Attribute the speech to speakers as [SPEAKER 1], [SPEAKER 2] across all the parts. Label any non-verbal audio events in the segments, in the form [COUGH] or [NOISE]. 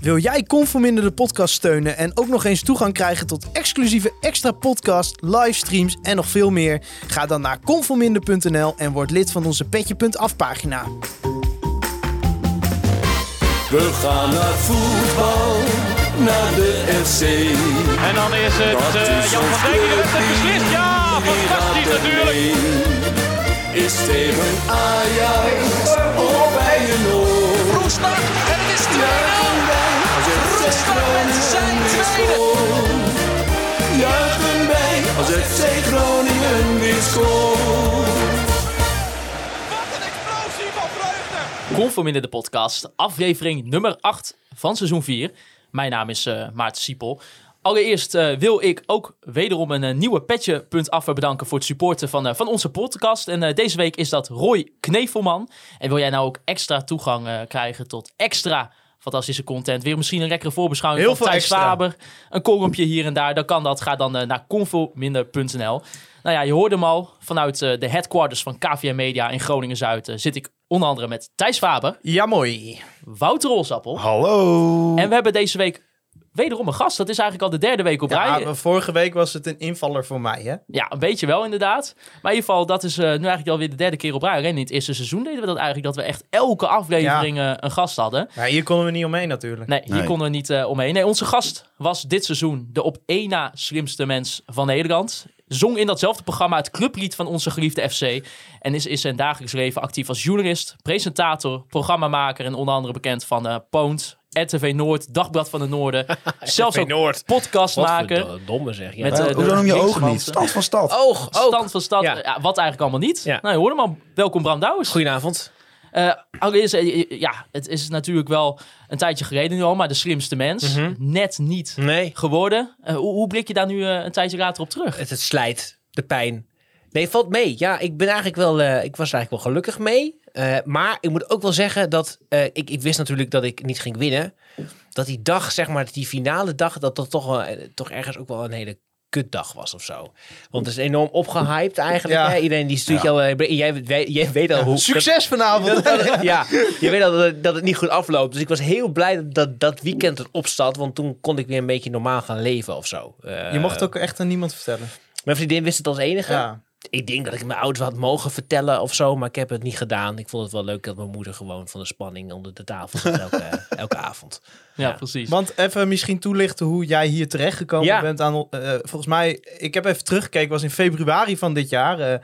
[SPEAKER 1] Wil jij Conforminder de podcast steunen en ook nog eens toegang krijgen tot exclusieve extra podcasts, livestreams en nog veel meer? Ga dan naar conforminder.nl en word lid van onze petje.af pagina.
[SPEAKER 2] We gaan naar voetbal, naar de FC.
[SPEAKER 3] En dan is het
[SPEAKER 2] Dat
[SPEAKER 3] eh,
[SPEAKER 2] is
[SPEAKER 3] Jan
[SPEAKER 2] ons
[SPEAKER 3] van Dijk die de wedstrijd
[SPEAKER 2] clubteam.
[SPEAKER 3] beslist. Ja, fantastisch
[SPEAKER 2] Iedereen
[SPEAKER 3] natuurlijk.
[SPEAKER 2] Is tegen Ajax of bij een oor.
[SPEAKER 4] Roestak en het is 2-0. Roestak met zijn tweede.
[SPEAKER 2] Juichen wij als FC Groningen weer scoort.
[SPEAKER 4] Wat een explosie van vreugde.
[SPEAKER 5] Conforminder de podcast, aflevering nummer 8 van seizoen 4. Mijn naam is eh, Maarten Siepel. Allereerst eh, wil ik ook wederom een eh, nieuwe petje.af bedanken voor het supporten van, eh, van onze podcast. En eh, deze week is dat Roy Knevelman. En wil jij nou ook extra toegang eh, krijgen tot extra fantastische content? Weer misschien een lekkere voorbeschouwing
[SPEAKER 1] Heel
[SPEAKER 5] van
[SPEAKER 1] veel
[SPEAKER 5] Thijs
[SPEAKER 1] extra.
[SPEAKER 5] Faber. Een kolompje hier en daar. Dan kan dat. Ga dan eh, naar conforminder.nl. Nou ja, je hoorde hem al. Vanuit eh, de headquarters van KVM Media in Groningen-Zuid eh, zit ik onder andere met Thijs Faber.
[SPEAKER 1] Ja, mooi.
[SPEAKER 5] Wouter Olsappel.
[SPEAKER 1] Hallo.
[SPEAKER 5] En we hebben deze week wederom een gast. Dat is eigenlijk al de derde week op rij.
[SPEAKER 1] Ja,
[SPEAKER 5] Ja,
[SPEAKER 1] maar vorige week was het een invaller voor mij, hè?
[SPEAKER 5] een beetje wel inderdaad. Maar in ieder geval, dat is eh, nu eigenlijk alweer de derde keer op rij. Alleen in het eerste seizoen deden we dat eigenlijk. Dat we echt elke aflevering eh, een gast hadden.
[SPEAKER 1] Ja, hier konden we niet omheen natuurlijk.
[SPEAKER 5] Nee, hier konden we niet eh, omheen. Nee, onze gast was dit seizoen de op één na slimste mens van Nederland. Zong in datzelfde programma het clublied van onze geliefde FC. En is in zijn dagelijks leven actief als journalist, presentator, programmamaker en onder andere bekend van eh Poont, RTV Noord, Dagblad van de Noorden. zelfs ook
[SPEAKER 1] Noord.
[SPEAKER 5] podcast maken.
[SPEAKER 6] Wat domme zeg. Ja.
[SPEAKER 5] Met, eh,
[SPEAKER 7] Hoezo
[SPEAKER 5] de
[SPEAKER 7] noem je oog niet?
[SPEAKER 5] linkswanten.
[SPEAKER 7] Stad van stad.
[SPEAKER 1] Oog,
[SPEAKER 5] Stand van stad,
[SPEAKER 6] Ja.
[SPEAKER 5] eh, ja, wat eigenlijk allemaal niet.
[SPEAKER 6] Ja.
[SPEAKER 5] Nou, je hoorde hem al. Welkom Bram Douwers.
[SPEAKER 6] Goedenavond.
[SPEAKER 5] Eh, allereerst, eh, eh, ja, het is natuurlijk wel een tijdje geleden nu al, maar de slimste mens. Net niet
[SPEAKER 6] Mhm. Nee,
[SPEAKER 5] geworden. Eh, hoe, hoe blik je daar nu eh, een tijdje later op terug?
[SPEAKER 6] het, het slijt. De pijn. Nee, valt mee. Ja, ik ben eigenlijk wel. eh, ik was er eigenlijk wel gelukkig mee. Eh, maar ik moet ook wel zeggen dat eh, ik, ik wist natuurlijk dat ik niet ging winnen. Dat die dag, zeg maar, die finale dag, dat dat toch, wel, eh, toch ergens ook wel een hele kutdag was of zo. Want het is enorm opgehyped eigenlijk.
[SPEAKER 1] Ja.
[SPEAKER 6] Hè? Iedereen die stuurt jou. eh, jij, jij, jij weet al hoe.
[SPEAKER 1] Succes vanavond.
[SPEAKER 6] ja, je weet al dat het, dat het niet goed afloopt. Dus ik was heel blij dat dat, dat weekend erop staat. Want toen kon ik weer een beetje normaal gaan leven of zo. Eh,
[SPEAKER 1] Je mocht ook echt aan niemand vertellen.
[SPEAKER 6] Mijn vriendin wist het als enige.
[SPEAKER 1] Ja.
[SPEAKER 6] Ik denk dat ik mijn ouders had mogen vertellen of zo. Maar ik heb het niet gedaan. Ik vond het wel leuk dat mijn moeder gewoon van de spanning onder de tafel
[SPEAKER 1] [LAUGHS]
[SPEAKER 6] zat elke, elke avond.
[SPEAKER 5] Ja, precies.
[SPEAKER 1] Want even misschien toelichten hoe jij hier terecht gekomen
[SPEAKER 6] Ja.
[SPEAKER 1] bent. Aan, eh, volgens mij, ik heb even teruggekeken, was in februari van dit jaar. eh,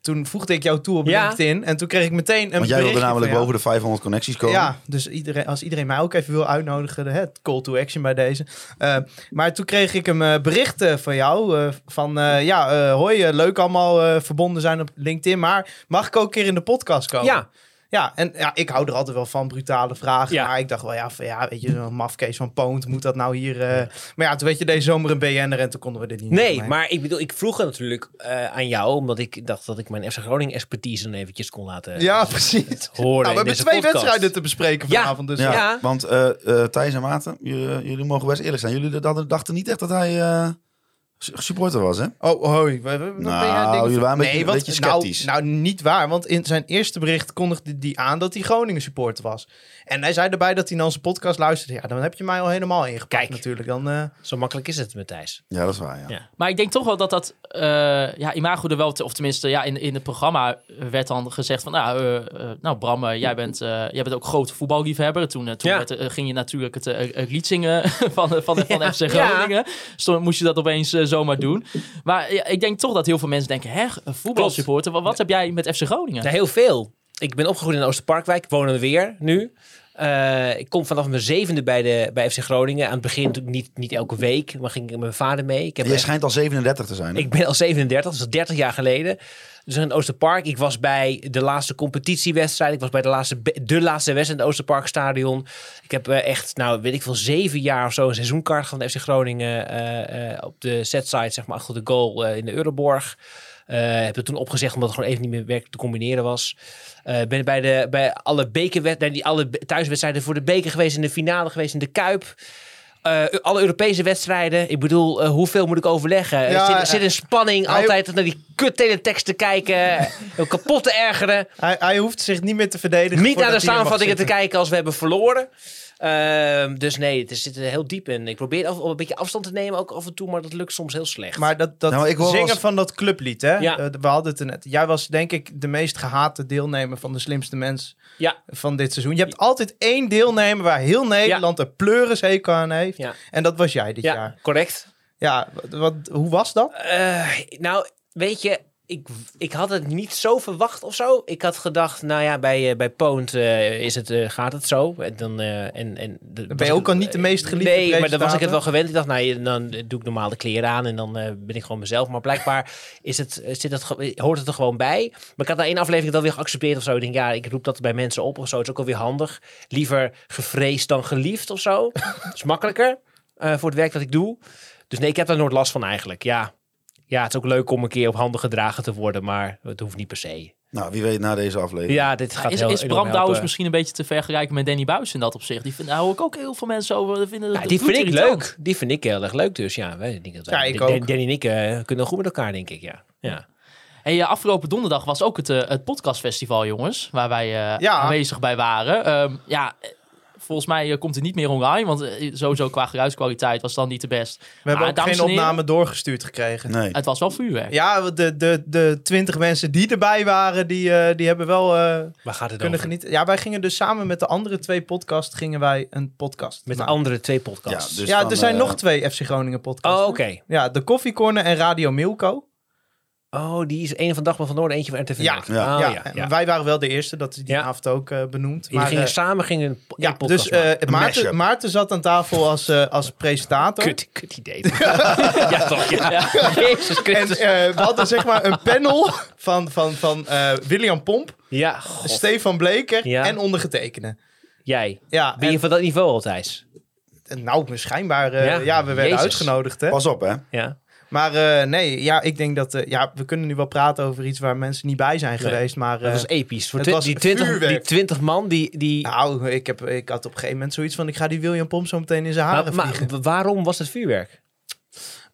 [SPEAKER 1] toen voegde ik jou toe op
[SPEAKER 6] Ja.
[SPEAKER 1] LinkedIn en toen kreeg ik meteen een
[SPEAKER 7] Want jij wilde
[SPEAKER 1] berichtje
[SPEAKER 7] namelijk
[SPEAKER 1] van jou.
[SPEAKER 7] boven de 500 connecties komen.
[SPEAKER 1] Ja, dus iedereen, als iedereen mij ook even wil uitnodigen, hè, het call to action bij deze. Eh, maar toen kreeg ik een eh, bericht eh, van jou eh, van, eh, ja, eh, hoi, eh, leuk allemaal eh, verbonden zijn op LinkedIn, maar mag ik ook een keer in de podcast komen?
[SPEAKER 6] Ja,
[SPEAKER 1] Oh, Ja, en ja, ik hou er altijd wel van brutale vragen.
[SPEAKER 6] Ja.
[SPEAKER 1] Maar ik dacht wel, ja, van, ja weet je, zo'n mafkees van Poont, moet dat nou hier... eh, Maar ja, toen weet je, deze zomer een BN'er en toen konden we dit niet
[SPEAKER 6] nee,
[SPEAKER 1] meer doen.
[SPEAKER 6] maar ik bedoel, ik vroeg het natuurlijk eh, aan jou. Omdat ik dacht dat ik mijn FC Groningen expertise dan eventjes kon laten
[SPEAKER 1] Ja, precies. Nou, we
[SPEAKER 6] horen. in
[SPEAKER 1] hebben
[SPEAKER 6] deze
[SPEAKER 1] twee
[SPEAKER 6] podcast.
[SPEAKER 1] wedstrijden te bespreken
[SPEAKER 6] Ja.
[SPEAKER 1] vanavond. Dus
[SPEAKER 7] Ja,
[SPEAKER 6] Ja.
[SPEAKER 7] Want eh, eh, Thijs en Maarten, jullie, eh, jullie mogen best eerlijk zijn. Jullie dachten, dachten niet echt dat hij eh, s- supporter was, hè?
[SPEAKER 1] Oh, hoi. We- we- nog ben jij
[SPEAKER 7] Nou,
[SPEAKER 1] dingen-
[SPEAKER 7] jullie waren een beetje-
[SPEAKER 1] nee,
[SPEAKER 7] een
[SPEAKER 1] want-
[SPEAKER 7] beetje
[SPEAKER 1] nou-
[SPEAKER 7] sceptisch.
[SPEAKER 1] Nou, niet waar, want in zijn eerste bericht kondigde hij aan dat hij Groningen supporter was. En hij zei erbij dat hij naar onze podcast luisterde. Ja, dan heb je mij al helemaal ingepakt
[SPEAKER 6] Kijk.
[SPEAKER 1] natuurlijk. Dan, eh,
[SPEAKER 6] Zo makkelijk is het met Thijs.
[SPEAKER 7] Ja, dat is waar, ja.
[SPEAKER 6] Ja.
[SPEAKER 5] Maar ik denk toch wel dat dat eh, ja, imago er wel, te- of tenminste ja, in, in het programma eh, werd dan gezegd van, nou, eh, eh, nou Bram, eh, jij, bent, eh, jij bent ook groot voetballiefhebber. Toen, eh, toen
[SPEAKER 6] Ja.
[SPEAKER 5] werd, eh, ging je natuurlijk het eh, eh, lied zingen [LAUGHS] van, eh, van, van FC
[SPEAKER 6] Ja.
[SPEAKER 5] Groningen. Dus dan moest je dat opeens eh, zomaar doen. Maar ja, ik denk toch dat heel veel mensen denken, hè, voetbalsupporter, wat, wat heb jij met FC Groningen?
[SPEAKER 6] Nou, heel veel. Ik ben opgegroeid in Oosterparkwijk, woon er weer nu. Eh, ik kom vanaf mijn zevende bij, de, bij FC Groningen. Aan het begin natuurlijk niet, niet elke week, maar ging ik met mijn vader mee. Ik, heb
[SPEAKER 7] Jij
[SPEAKER 6] echt-
[SPEAKER 7] schijnt al 37 te zijn. hè?
[SPEAKER 6] ik ben al 37, dat is al 30 jaar geleden. Dus in Oosterpark, ik was bij de laatste competitiewedstrijd. Ik was bij de laatste, be- de laatste wedstrijd in het Oosterparkstadion. Ik heb eh, echt, nou weet ik veel, zeven jaar of zo een seizoenkaart van de FC Groningen eh, eh, op de setsite, zeg maar, achter de goal eh, in de Euroborg. Eh, heb het toen opgezegd omdat het gewoon even niet meer werk te combineren was. Eh, ben bij, de, bij alle, bekerwed- bij die alle be- thuiswedstrijden voor de beker geweest, in de finale geweest, in de Kuip. Eh, alle Europese wedstrijden. Ik bedoel, eh, hoeveel moet ik overleggen?
[SPEAKER 1] Ja, eh,
[SPEAKER 6] er zit, er zit een spanning
[SPEAKER 1] hij-
[SPEAKER 6] altijd naar die kut teletext te
[SPEAKER 1] [LAUGHS]
[SPEAKER 6] kijken. om kapot te ergeren.
[SPEAKER 1] hij, hij hoeft zich niet meer te verdedigen.
[SPEAKER 6] Niet naar de
[SPEAKER 1] voordat hij in mag
[SPEAKER 6] samenvattingen te
[SPEAKER 1] zitten.
[SPEAKER 6] kijken als we hebben verloren. Eh, Ehm, dus nee, het is- zit er heel diep in. Ik probeer af, om een beetje afstand te nemen ook af en toe, maar dat lukt soms heel slecht.
[SPEAKER 1] Maar dat, dat
[SPEAKER 7] Nou, maar ik hoor
[SPEAKER 1] zingen
[SPEAKER 7] als-
[SPEAKER 1] van dat clublied, hè?
[SPEAKER 6] Ja.
[SPEAKER 1] Eh, we hadden het er net. Jij was denk ik de meest gehate deelnemer van de slimste mens
[SPEAKER 6] Ja.
[SPEAKER 1] van dit seizoen. Je hebt altijd één deelnemer waar heel Nederland een pleurishekel aan heeft.
[SPEAKER 6] Ja.
[SPEAKER 1] En dat was jij dit
[SPEAKER 6] ja,
[SPEAKER 1] jaar.
[SPEAKER 6] correct.
[SPEAKER 1] Ja, wat, wat- hoe was dat?
[SPEAKER 6] Eh, nou, weet je, ik, ik had het niet zo verwacht of zo. Ik had gedacht, nou ja, bij, eh bij Poont eh, is het, eh, gaat het zo. En dan, eh, en, en,
[SPEAKER 1] Dan ben je ook al niet de meest geliefde
[SPEAKER 6] Nee, maar dan was ik het wel
[SPEAKER 1] presentator.
[SPEAKER 6] gewend. Ik dacht, nou, je- dan doe ik normale kleren aan en dan eh, ben ik gewoon mezelf. Maar blijkbaar is het, eh, zit het, ge- hoort het er gewoon bij. Maar ik had na één aflevering dat weer geaccepteerd of zo. Ik denk, ja, ik roep dat bij mensen op of zo. Het is ook alweer handig. Liever gevreesd dan geliefd of zo. [LAUGHS] Dat is makkelijker eh, voor het werk dat ik doe. Dus nee, ik heb daar nooit last van eigenlijk. Ja. ja, het is ook leuk om een keer op handen gedragen te worden, maar het hoeft niet per se.
[SPEAKER 7] Nou, wie weet na deze aflevering.
[SPEAKER 6] Ja, dit gaat
[SPEAKER 5] is,
[SPEAKER 6] heel eh.
[SPEAKER 5] is
[SPEAKER 6] enorm
[SPEAKER 5] Bram Douwens
[SPEAKER 6] helpen.
[SPEAKER 5] misschien een beetje te vergelijken met Danny Buis in dat opzicht? Die vind, daar hoor ik ook heel veel mensen over. Die vinden,
[SPEAKER 6] Ja,
[SPEAKER 5] dat
[SPEAKER 6] die vind ik
[SPEAKER 5] bloedirritant.
[SPEAKER 6] leuk. Die vind ik heel erg leuk. Dus ja, wij, ik denk dat wij-
[SPEAKER 1] Ja, ik
[SPEAKER 6] Dan-
[SPEAKER 1] ook.
[SPEAKER 6] Danny en ik eh, kunnen goed met elkaar, denk ik. Ja. Ja.
[SPEAKER 5] Hey, eh, afgelopen donderdag was ook het, eh, het podcastfestival, jongens. Waar wij eh,
[SPEAKER 1] Ja.
[SPEAKER 5] aanwezig bij waren. Ehm, ja, eh, volgens mij eh, komt het niet meer online. Want eh, sowieso qua geluidskwaliteit was het dan niet de best.
[SPEAKER 1] We hebben ook
[SPEAKER 6] Ah,
[SPEAKER 5] dames
[SPEAKER 1] geen
[SPEAKER 5] en heren,
[SPEAKER 1] opname doorgestuurd gekregen.
[SPEAKER 7] Nee.
[SPEAKER 5] Het was wel vuurwerk.
[SPEAKER 1] Ja, de, de, de twintig mensen die erbij waren, die, eh, die hebben wel eh,
[SPEAKER 6] Waar gaat het
[SPEAKER 1] kunnen
[SPEAKER 6] over?
[SPEAKER 1] genieten. Ja, wij gingen dus samen met de andere twee podcasts gingen wij een podcast
[SPEAKER 6] Met de
[SPEAKER 1] maken.
[SPEAKER 6] andere twee podcasts.
[SPEAKER 7] Ja, dus-
[SPEAKER 1] ja,
[SPEAKER 7] dan,
[SPEAKER 1] er zijn
[SPEAKER 7] eh,
[SPEAKER 1] nog twee FC Groningen podcasts.
[SPEAKER 6] Oh,
[SPEAKER 1] hè?
[SPEAKER 6] oké.
[SPEAKER 1] Ja, de Koffie Corner en Radio Milko.
[SPEAKER 6] Oh, die is één van Dagmar van Noorden, eentje van RTV
[SPEAKER 1] Ja,
[SPEAKER 6] Noord.
[SPEAKER 7] ja,
[SPEAKER 6] Oh,
[SPEAKER 1] ja,
[SPEAKER 6] ja,
[SPEAKER 1] en
[SPEAKER 6] ja.
[SPEAKER 1] Wij waren wel de eerste, dat is die
[SPEAKER 6] Ja.
[SPEAKER 1] avond ook eh, benoemd.
[SPEAKER 6] Jullie gingen
[SPEAKER 1] eh,
[SPEAKER 6] samen gingen een po-
[SPEAKER 1] ja,
[SPEAKER 6] een podcast
[SPEAKER 1] dus eh,
[SPEAKER 6] maken.
[SPEAKER 7] mashup.
[SPEAKER 1] Maarten, Maarten zat aan tafel als, eh, als presentator.
[SPEAKER 6] Kut, kut idee.
[SPEAKER 1] [LAUGHS]
[SPEAKER 6] ja, toch? Ja. [LAUGHS] Jezus
[SPEAKER 1] En
[SPEAKER 6] Christus.
[SPEAKER 1] eh, we hadden zeg maar een panel van, van, van eh, William Pomp,
[SPEAKER 6] ja, god,
[SPEAKER 1] Stefan Bleker
[SPEAKER 6] Ja.
[SPEAKER 1] en ondergetekende.
[SPEAKER 6] jij.
[SPEAKER 1] Ja,
[SPEAKER 6] Ben je van dat niveau al, Thijs?
[SPEAKER 1] en- nou, schijnbaar. eh,
[SPEAKER 6] Ja,
[SPEAKER 1] ja. we werden
[SPEAKER 6] Jezus.
[SPEAKER 1] uitgenodigd. Hè?
[SPEAKER 7] Pas op, hè.
[SPEAKER 6] Ja.
[SPEAKER 1] Maar eh, nee, ja, ik denk dat... eh, ja, we kunnen nu wel praten over iets waar mensen niet bij zijn geweest. Maar
[SPEAKER 6] Dat
[SPEAKER 1] eh,
[SPEAKER 6] was episch. Voor
[SPEAKER 1] het
[SPEAKER 6] twi-
[SPEAKER 1] was
[SPEAKER 6] die, 20, die
[SPEAKER 1] vuurwerk.
[SPEAKER 6] 20 man, die... die
[SPEAKER 1] Nou, ik, heb, ik had op een gegeven moment zoiets van... ik ga die William Pomp zo meteen in zijn haren
[SPEAKER 6] maar, maar
[SPEAKER 1] vliegen.
[SPEAKER 6] waarom was het vuurwerk?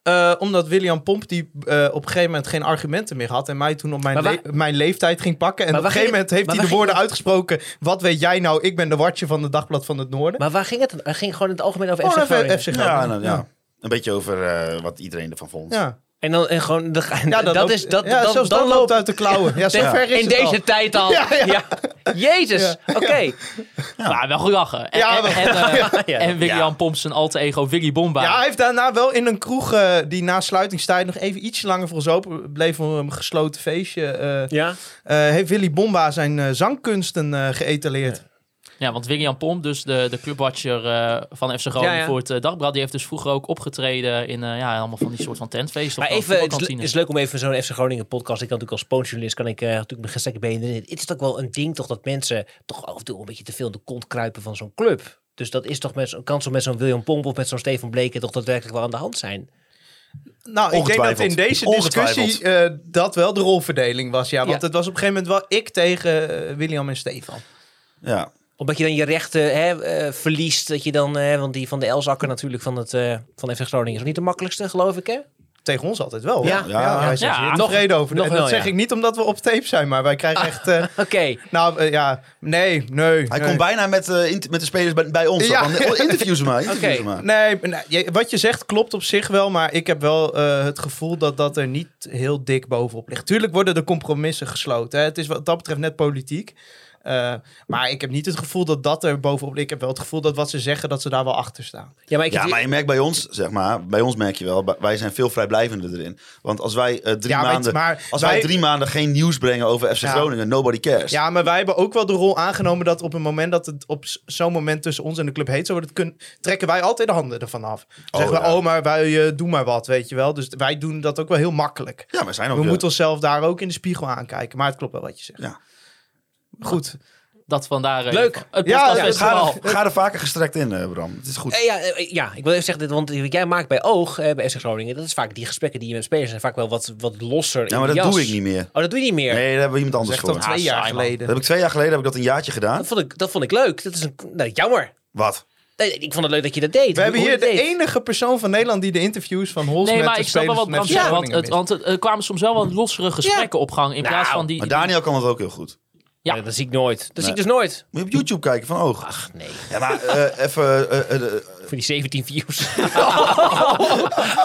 [SPEAKER 1] Eh, omdat William Pomp die eh, op een gegeven moment geen argumenten meer had... en mij toen op mijn,
[SPEAKER 6] Maar wa-
[SPEAKER 1] le- mijn leeftijd ging pakken. En
[SPEAKER 6] Maar
[SPEAKER 1] op een
[SPEAKER 6] waar
[SPEAKER 1] gegeven moment
[SPEAKER 6] ging-
[SPEAKER 1] heeft
[SPEAKER 6] maar
[SPEAKER 1] hij de
[SPEAKER 6] waar
[SPEAKER 1] woorden uitgesproken... wat weet jij nou, ik ben de watje van het Dagblad van het Noorden.
[SPEAKER 6] Maar waar ging het? dan? Het ging gewoon in het algemeen over
[SPEAKER 1] Oh,
[SPEAKER 6] FC
[SPEAKER 1] even
[SPEAKER 6] Groningen.
[SPEAKER 1] FC Groningen.
[SPEAKER 7] Ja, nou, ja. Een beetje over eh, wat iedereen ervan vond.
[SPEAKER 1] Ja.
[SPEAKER 6] En dan en gewoon... dan-
[SPEAKER 1] Ja,
[SPEAKER 6] dat
[SPEAKER 1] loopt-
[SPEAKER 6] is... Dat,
[SPEAKER 1] ja,
[SPEAKER 6] dat,
[SPEAKER 1] zelfs
[SPEAKER 6] dan
[SPEAKER 1] dat
[SPEAKER 6] loopt
[SPEAKER 1] loopt uit de klauwen.
[SPEAKER 6] [LAUGHS]
[SPEAKER 1] Ja, zover is
[SPEAKER 6] in
[SPEAKER 1] het al.
[SPEAKER 6] deze tijd
[SPEAKER 1] [LAUGHS]
[SPEAKER 6] al.
[SPEAKER 1] Ja,
[SPEAKER 6] Ja,
[SPEAKER 1] ja.
[SPEAKER 6] Jezus,
[SPEAKER 1] [LAUGHS] Ja.
[SPEAKER 6] oké.
[SPEAKER 5] Maar wel gelachen. En,
[SPEAKER 1] Ja,
[SPEAKER 5] en,
[SPEAKER 1] wel-
[SPEAKER 5] en, eh,
[SPEAKER 6] Ja.
[SPEAKER 5] en William Pomp zijn alter ego Willy Bomba.
[SPEAKER 1] Ja, hij heeft daarna wel in een kroeg eh, die na sluitingstijd nog even ietsje langer voor ons open bleef voor een gesloten feestje. eh,
[SPEAKER 6] Ja.
[SPEAKER 1] eh, heeft Willy Bomba zijn eh, zangkunsten eh geëtaleerd.
[SPEAKER 5] Ja, want William Pomp, dus de, de clubwatcher eh, van FC Groningen
[SPEAKER 6] Ja, ja.
[SPEAKER 5] voor het eh, Dagblad, die heeft dus vroeger ook opgetreden in eh, ja, allemaal van die soort van tentfeesten.
[SPEAKER 6] Maar
[SPEAKER 5] of
[SPEAKER 6] even, het is,
[SPEAKER 5] voetbalkantines.
[SPEAKER 6] le- is leuk om even zo'n FC Groningen podcast. Ik kan natuurlijk als poonsjournalist, kan ik eh, natuurlijk mijn gestrekt benen erin. Het is toch wel een ding toch dat mensen toch af en toe een beetje te veel in de kont kruipen van zo'n club. Dus dat is toch met zo'n kans om met zo'n William Pomp of met zo'n Steven Bleken toch daadwerkelijk wel aan de hand zijn.
[SPEAKER 1] Nou, ik denk dat in
[SPEAKER 7] Ongetwijfeld.
[SPEAKER 1] deze discussie eh, dat wel de rolverdeling was. Ja, want
[SPEAKER 6] Ja.
[SPEAKER 1] het was op een gegeven moment wel ik tegen eh, William en Stefan.
[SPEAKER 7] Ja.
[SPEAKER 6] Omdat je dan je rechten hè, eh, verliest. Dat je dan, hè, want die van de Elzakker natuurlijk van, het, eh, van FC Groningen is nog niet de makkelijkste, geloof ik hè?
[SPEAKER 1] Tegen ons altijd wel.
[SPEAKER 6] Ja.
[SPEAKER 1] hoor. ja, hij is
[SPEAKER 5] Ja,
[SPEAKER 1] hier
[SPEAKER 5] nog-
[SPEAKER 1] tevreden over.
[SPEAKER 6] nog
[SPEAKER 1] en dat
[SPEAKER 6] wel,
[SPEAKER 1] zeg
[SPEAKER 6] ja.
[SPEAKER 1] ik niet omdat we op tape zijn, maar wij
[SPEAKER 6] [LAUGHS]
[SPEAKER 1] krijgen echt... eh,
[SPEAKER 6] Oké,
[SPEAKER 1] nou, eh, ja, nee, nee.
[SPEAKER 7] Hij
[SPEAKER 1] nee.
[SPEAKER 7] komt bijna met, eh, int- met de spelers bij, bij ons.
[SPEAKER 1] Ja.
[SPEAKER 7] Ja. Interview ze maar.
[SPEAKER 1] [LAUGHS]
[SPEAKER 7] interview ze
[SPEAKER 6] Oké.
[SPEAKER 7] maar.
[SPEAKER 1] Nee, nee, je- wat je zegt klopt op zich wel, maar ik heb wel eh, het gevoel dat dat er niet heel dik bovenop ligt. Tuurlijk worden er compromissen gesloten. Hè. Het is wat dat betreft net politiek. Eh, maar ik heb niet het gevoel dat dat er bovenop ligt. Ik heb wel het gevoel dat wat ze zeggen, dat ze daar wel achter staan.
[SPEAKER 6] ja, maar ik
[SPEAKER 7] Ja, maar je merkt bij ons, zeg maar, bij ons merk je wel, bij- wij zijn veel vrijblijvender erin. Want als wij eh, drie,
[SPEAKER 1] Ja, maar-
[SPEAKER 7] maanden,
[SPEAKER 1] maar
[SPEAKER 7] als wij
[SPEAKER 1] wij-
[SPEAKER 7] drie maanden geen nieuws brengen over FC
[SPEAKER 1] Ja.
[SPEAKER 7] Groningen, nobody cares.
[SPEAKER 1] Ja, maar wij hebben ook wel de rol aangenomen dat op een moment dat het op s- zo'n moment tussen ons en de club heet zou worden, kun- trekken wij altijd de handen ervan af. Dan zeggen we,
[SPEAKER 7] ja.
[SPEAKER 1] oh, maar wij eh, doen maar wat, weet je wel. Dus wij doen dat ook wel heel makkelijk.
[SPEAKER 7] Ja, maar zijn ook
[SPEAKER 1] We
[SPEAKER 7] de-
[SPEAKER 1] moeten onszelf daar ook in de spiegel aankijken. Maar het klopt wel wat je zegt.
[SPEAKER 7] Ja.
[SPEAKER 1] Goed.
[SPEAKER 5] Dat vandaar eh,
[SPEAKER 6] Leuk.
[SPEAKER 5] het
[SPEAKER 1] Ja,
[SPEAKER 5] podcastfestival.
[SPEAKER 1] dat is
[SPEAKER 7] Ga, er, ga er vaker gestrekt in, eh, Bram. Het is goed.
[SPEAKER 6] Eh, Ja, eh, ja, ik wil even zeggen, dit, want wat jij maakt bij Oog, eh, bij FC Groningen, dat is vaak die gesprekken die je met spelers zijn vaak wel wat, wat losser.
[SPEAKER 7] Ja, maar
[SPEAKER 6] in de
[SPEAKER 7] dat
[SPEAKER 6] jas.
[SPEAKER 7] doe ik niet meer.
[SPEAKER 6] Oh, dat doe je niet meer?
[SPEAKER 7] Nee, daar hebben we iemand anders
[SPEAKER 1] Zegt
[SPEAKER 7] voor. Ah,
[SPEAKER 1] al
[SPEAKER 7] Dat
[SPEAKER 1] twee jaar
[SPEAKER 5] saai, man.
[SPEAKER 1] geleden.
[SPEAKER 7] heb ik twee jaar geleden heb ik dat een jaartje gedaan.
[SPEAKER 6] Dat vond ik, dat vond ik leuk. Dat is een, nou, jammer.
[SPEAKER 7] Wat?
[SPEAKER 6] Nee, ik vond het leuk dat je dat deed.
[SPEAKER 1] We hebben
[SPEAKER 6] Hoe-
[SPEAKER 1] hier
[SPEAKER 6] hoe je
[SPEAKER 1] de
[SPEAKER 6] het deed.
[SPEAKER 1] enige persoon van Nederland die de interviews van Holsmet
[SPEAKER 5] Nee, maar
[SPEAKER 1] en
[SPEAKER 5] ik snap wel wat
[SPEAKER 1] spelers
[SPEAKER 5] Bram
[SPEAKER 1] van FC
[SPEAKER 5] zegt. Want,
[SPEAKER 1] Groningen
[SPEAKER 6] Nou,
[SPEAKER 5] het, want het, er kwamen soms wel wat lossere gesprekken op gang. In plaats van die...
[SPEAKER 7] Maar Daniel kan dat ook heel goed.
[SPEAKER 5] Ja.
[SPEAKER 6] Nee, dat zie ik nooit. Dat zie ik
[SPEAKER 7] e- Nee.
[SPEAKER 6] dus nooit.
[SPEAKER 7] Moet je op YouTube kijken van oog.
[SPEAKER 6] Ach nee,
[SPEAKER 7] Ja, maar eh, [LAUGHS] even... eh, eh, eh,
[SPEAKER 6] voor die 17
[SPEAKER 7] [LAUGHS]
[SPEAKER 6] views.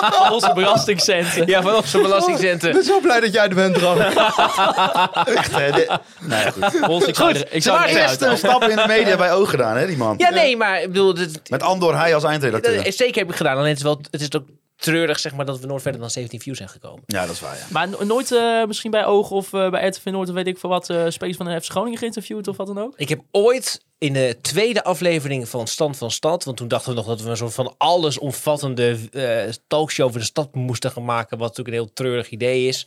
[SPEAKER 5] Al onze
[SPEAKER 6] [LAUGHS]
[SPEAKER 5] belastingcenten.
[SPEAKER 6] ja, van onze belastingcenten.
[SPEAKER 1] Ik ben zo blij dat jij er bent, Bram.
[SPEAKER 7] echt, hè, dit- nee, goed.
[SPEAKER 5] Ons, ik zou er- ik zou
[SPEAKER 6] maar
[SPEAKER 5] er niet
[SPEAKER 7] Eerst
[SPEAKER 5] uit.
[SPEAKER 7] een stap eh, in de media bij oog gedaan, hè, die man.
[SPEAKER 6] Ja, nee, maar ik bedoel, dat,
[SPEAKER 7] Met Andor Heij als
[SPEAKER 6] dat-
[SPEAKER 1] eh,
[SPEAKER 7] eindredacteur.
[SPEAKER 6] zeker heb ik gedaan. Alleen het is wel, het is ook treurig zeg maar dat we nooit verder dan 17 views zijn gekomen.
[SPEAKER 7] Ja, dat is waar, ja.
[SPEAKER 5] Maar no- nooit eh, misschien bij Oog of eh, bij RTV Noord of weet ik veel wat eh, spelers van de FC Groningen geïnterviewd of wat dan ook.
[SPEAKER 6] Ik heb ooit in de tweede aflevering van Stand van Stad, want toen dachten we nog dat we een soort van allesomvattende eh, talkshow over de stad moesten gaan maken, wat natuurlijk een heel treurig idee is.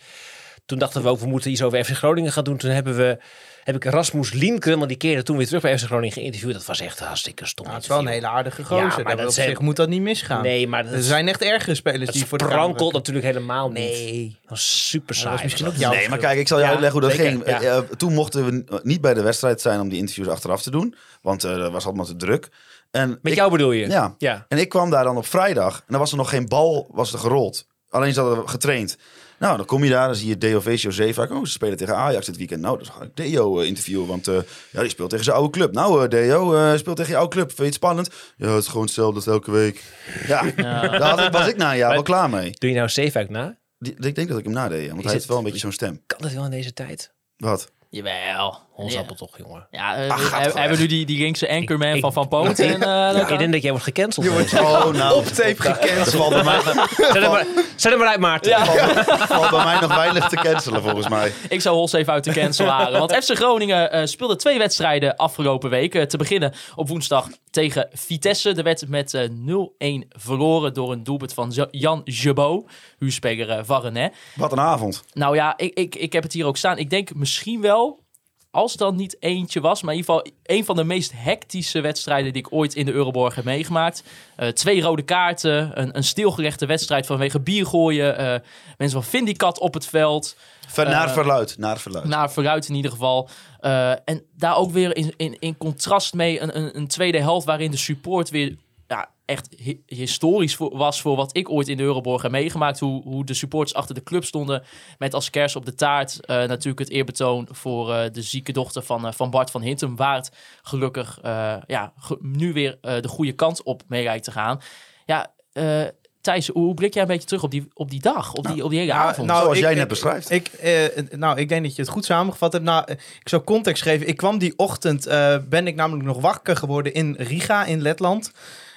[SPEAKER 6] Toen dachten we ook, we moeten iets over FC Groningen gaan doen. Toen hebben we, heb ik Rasmus Lienke, want die keerde toen weer terug bij FC Groningen geïnterviewd. Dat was echt een hartstikke stom
[SPEAKER 1] Nou, het is wel een
[SPEAKER 6] interview.
[SPEAKER 1] hele aardige
[SPEAKER 6] Ja,
[SPEAKER 1] gozer.
[SPEAKER 6] maar
[SPEAKER 1] maar
[SPEAKER 6] dat
[SPEAKER 1] op
[SPEAKER 6] zijn-
[SPEAKER 1] zich moet dat niet misgaan.
[SPEAKER 6] Nee, maar dat,
[SPEAKER 1] Er zijn echt ergere spelers
[SPEAKER 6] dat
[SPEAKER 1] die voor de camera
[SPEAKER 6] sprankelt
[SPEAKER 1] werken.
[SPEAKER 6] natuurlijk helemaal niet.
[SPEAKER 1] Nee.
[SPEAKER 6] Dat was super saai.
[SPEAKER 1] was misschien
[SPEAKER 6] was
[SPEAKER 1] ook
[SPEAKER 6] dat.
[SPEAKER 1] jouw
[SPEAKER 7] Nee, maar kijk, ik zal je
[SPEAKER 6] Ja,
[SPEAKER 7] uitleggen hoe dat
[SPEAKER 6] zeker,
[SPEAKER 7] ging.
[SPEAKER 6] ja.
[SPEAKER 7] Eh, eh, toen mochten we n- niet bij de wedstrijd zijn om die interviews achteraf te doen. Want eh, er was allemaal te druk. En
[SPEAKER 6] Met
[SPEAKER 7] ik,
[SPEAKER 6] jou bedoel je?
[SPEAKER 7] Ja.
[SPEAKER 6] ja.
[SPEAKER 7] En ik kwam daar dan op vrijdag. En dan was er nog geen bal was er gerold. Alleen ze hadden getraind. Nou, dan kom je daar, dan zie je DOV Joseva. Oh, ze spelen tegen Ajax dit weekend. Nou, dan ga ik Deo eh, interviewen, want eh, ja, die speelt tegen zijn oude club. Nou, eh, Deo eh, speelt tegen je oude club. Vind je het spannend? Ja, het is gewoon hetzelfde als elke week. Ja, daar had ik- was ik na een jaar wel klaar mee.
[SPEAKER 6] Doe je nou Zeefuik na?
[SPEAKER 7] Die- Ik denk dat ik hem nadeed, ja, want hij
[SPEAKER 6] het-
[SPEAKER 7] heeft wel een beetje zo'n stem.
[SPEAKER 6] Kan dat wel in deze tijd?
[SPEAKER 7] Wat?
[SPEAKER 5] Jawel.
[SPEAKER 6] Honsappel toch, jongen.
[SPEAKER 5] Ja, eh,
[SPEAKER 7] Ach, gaat
[SPEAKER 5] we-
[SPEAKER 7] toch
[SPEAKER 5] hebben
[SPEAKER 7] echt.
[SPEAKER 5] nu die, die linkse anchorman
[SPEAKER 6] ik-
[SPEAKER 5] van Van
[SPEAKER 6] [LAUGHS]
[SPEAKER 5] Poot. en, eh, dat
[SPEAKER 6] Ik
[SPEAKER 5] kan.
[SPEAKER 6] denk dat jij wordt gecanceld.
[SPEAKER 7] [LAUGHS] Oh, nou. Op tape gecanceld. bij mij.
[SPEAKER 6] Zet hem maar, zet hem maar uit, Maarten.
[SPEAKER 7] valt, valt bij mij nog weinig te cancelen, volgens mij.
[SPEAKER 5] Ik zou Hols even uit de cancel halen. Want FC Groningen eh, speelde twee wedstrijden afgelopen week. Eh, te beginnen op woensdag tegen Vitesse. Er werd met eh, 0-1 verloren door een doelpunt van Ja- Jan Jebot, huurspeler eh Varrenet.
[SPEAKER 7] Wat een avond.
[SPEAKER 5] Nou ja, ik, ik, ik heb het hier ook staan. Ik denk misschien wel, als dat niet eentje was, maar in ieder geval een van de meest hectische wedstrijden die ik ooit in de Euroborg heb meegemaakt. Eh, twee rode kaarten, een, een stilgerechte wedstrijd vanwege biergooien, eh mensen van Vindicat op het veld.
[SPEAKER 7] Ver- naar
[SPEAKER 5] Eh,
[SPEAKER 7] verluid, naar verluid.
[SPEAKER 1] nou,
[SPEAKER 5] Naar vooruit in ieder geval. Eh, en daar ook weer in, in, in contrast mee een, een, een tweede helft waarin de support weer ja, echt hi- historisch voor, was voor wat ik ooit in de Euroborg heb meegemaakt. Hoe, hoe de supporters achter de club stonden met als kers op de taart eh, natuurlijk het eerbetoon voor eh, de zieke dochter van, eh, van Bart van Hintem. Waar het gelukkig eh, ja, ge- nu weer eh, de goede kant op mee lijkt te gaan. Ja, eh, Thijs, hoe hoe blik jij een beetje terug op die, op die dag, op, die, op die hele
[SPEAKER 1] nou,
[SPEAKER 5] avond?
[SPEAKER 1] nou,
[SPEAKER 7] Zoals
[SPEAKER 1] ik-
[SPEAKER 7] jij
[SPEAKER 1] ik-
[SPEAKER 7] net beschrijft.
[SPEAKER 1] Ik, eh, nou, ik denk dat je het goed samengevat hebt. Nou, eh, ik zou context geven. Ik kwam die ochtend, eh, ben ik namelijk nog wakker geworden in Riga in Letland.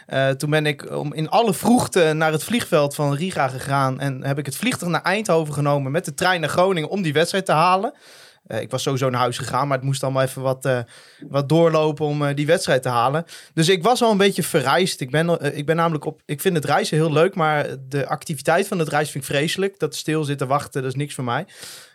[SPEAKER 1] Eh, toen ben ik om in alle vroegte naar het vliegveld van Riga gegaan. En heb ik het vliegtuig naar Eindhoven genomen met de trein naar Groningen om die wedstrijd te halen. Eh, ik was sowieso naar huis gegaan, maar het moest allemaal even wat, eh, wat doorlopen om eh, die wedstrijd te halen. Dus ik was al een beetje verrijst. Ik ben, eh, ik ben namelijk op. Ik vind het reizen heel leuk, maar de activiteit van het reizen vind ik vreselijk. Dat stilzitten, wachten, dat is niks voor mij.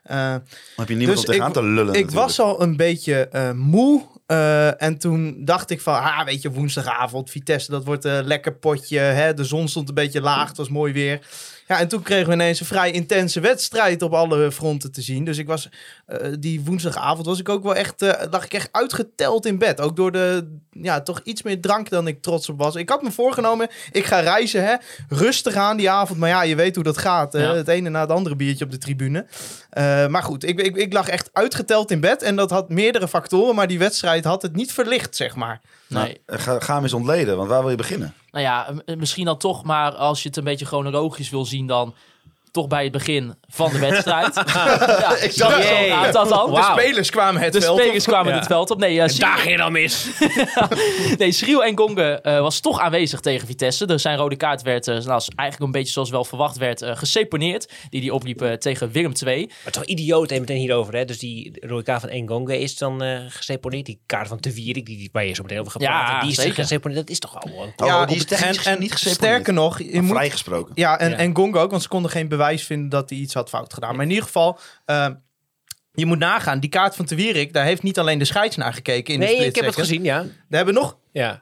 [SPEAKER 1] Eh,
[SPEAKER 7] Dan heb je niemand
[SPEAKER 1] dus
[SPEAKER 7] om tegenaan
[SPEAKER 1] ik-
[SPEAKER 7] te lullen
[SPEAKER 1] ik
[SPEAKER 7] natuurlijk.
[SPEAKER 1] was al een beetje eh, moe. eh, en toen dacht ik van, ah, weet je, woensdagavond, Vitesse, dat wordt een lekker potje. Hè? De zon stond een beetje laag, het was mooi weer. Ja, en toen kregen we ineens een vrij intense wedstrijd op alle fronten te zien. Dus ik was, eh, die woensdagavond was ik ook wel echt, eh, lag ik echt uitgeteld in bed. Ook door de, ja, toch iets meer drank dan ik trots op was. Ik had me voorgenomen, ik ga reizen, hè. Rustig aan die avond, maar ja, je weet hoe dat gaat. hè.
[SPEAKER 5] Ja.
[SPEAKER 1] Het ene na het andere biertje op de tribune. Eh, maar goed, ik, ik, ik lag echt uitgeteld in bed. En dat had meerdere factoren, maar die wedstrijd had het niet verlicht, zeg maar.
[SPEAKER 7] Nou, eh, ga, ga hem eens ontleden, want waar wil je beginnen?
[SPEAKER 5] Nou ja, m- misschien dan toch, maar als je het een beetje chronologisch wil zien, dan toch bij het begin van de
[SPEAKER 1] [LAUGHS]
[SPEAKER 5] wedstrijd. ja, ik
[SPEAKER 1] dacht al.
[SPEAKER 5] dat dan.
[SPEAKER 6] Wauw.
[SPEAKER 5] De
[SPEAKER 1] Spelers kwamen het
[SPEAKER 5] de
[SPEAKER 1] veld op.
[SPEAKER 5] spelers kwamen
[SPEAKER 6] Ja.
[SPEAKER 5] het veld op. Nee, eh Sri-
[SPEAKER 6] Daar ging dan mis.
[SPEAKER 5] nee Schriel en Gonge eh, was toch aanwezig tegen Vitesse. Er zijn rode kaart werd, eh, nou, is eigenlijk een beetje zoals wel verwacht werd, eh, geseponeerd. Die die opliep eh, tegen Willem II.
[SPEAKER 6] Maar toch idioot, even meteen hierover. Hè? Dus die rode K van Engonge is dan eh geseponeerd. Die kaart van Tevierik, die, die, waar je zo meteen over gaat
[SPEAKER 5] Ja,
[SPEAKER 6] praten, die is
[SPEAKER 5] zeker.
[SPEAKER 6] geseponeerd. Dat is toch al wel...
[SPEAKER 7] Oh,
[SPEAKER 1] Ja,
[SPEAKER 7] die is technisch
[SPEAKER 1] en, en
[SPEAKER 7] niet geseponeerd.
[SPEAKER 1] sterker nog, je moet,
[SPEAKER 7] Vrijgesproken.
[SPEAKER 1] Ja, en,
[SPEAKER 6] Ja.
[SPEAKER 1] en Gongo ook, want ze konden geen bewijs vinden dat hij iets had fout gedaan. Maar in ieder geval, eh, je moet nagaan, die kaart van Te Wierik, daar heeft niet alleen de scheids naar gekeken in de
[SPEAKER 6] Nee, ik heb
[SPEAKER 1] split
[SPEAKER 6] het
[SPEAKER 1] second.
[SPEAKER 6] gezien, ja.
[SPEAKER 1] Daar hebben nog
[SPEAKER 6] ja.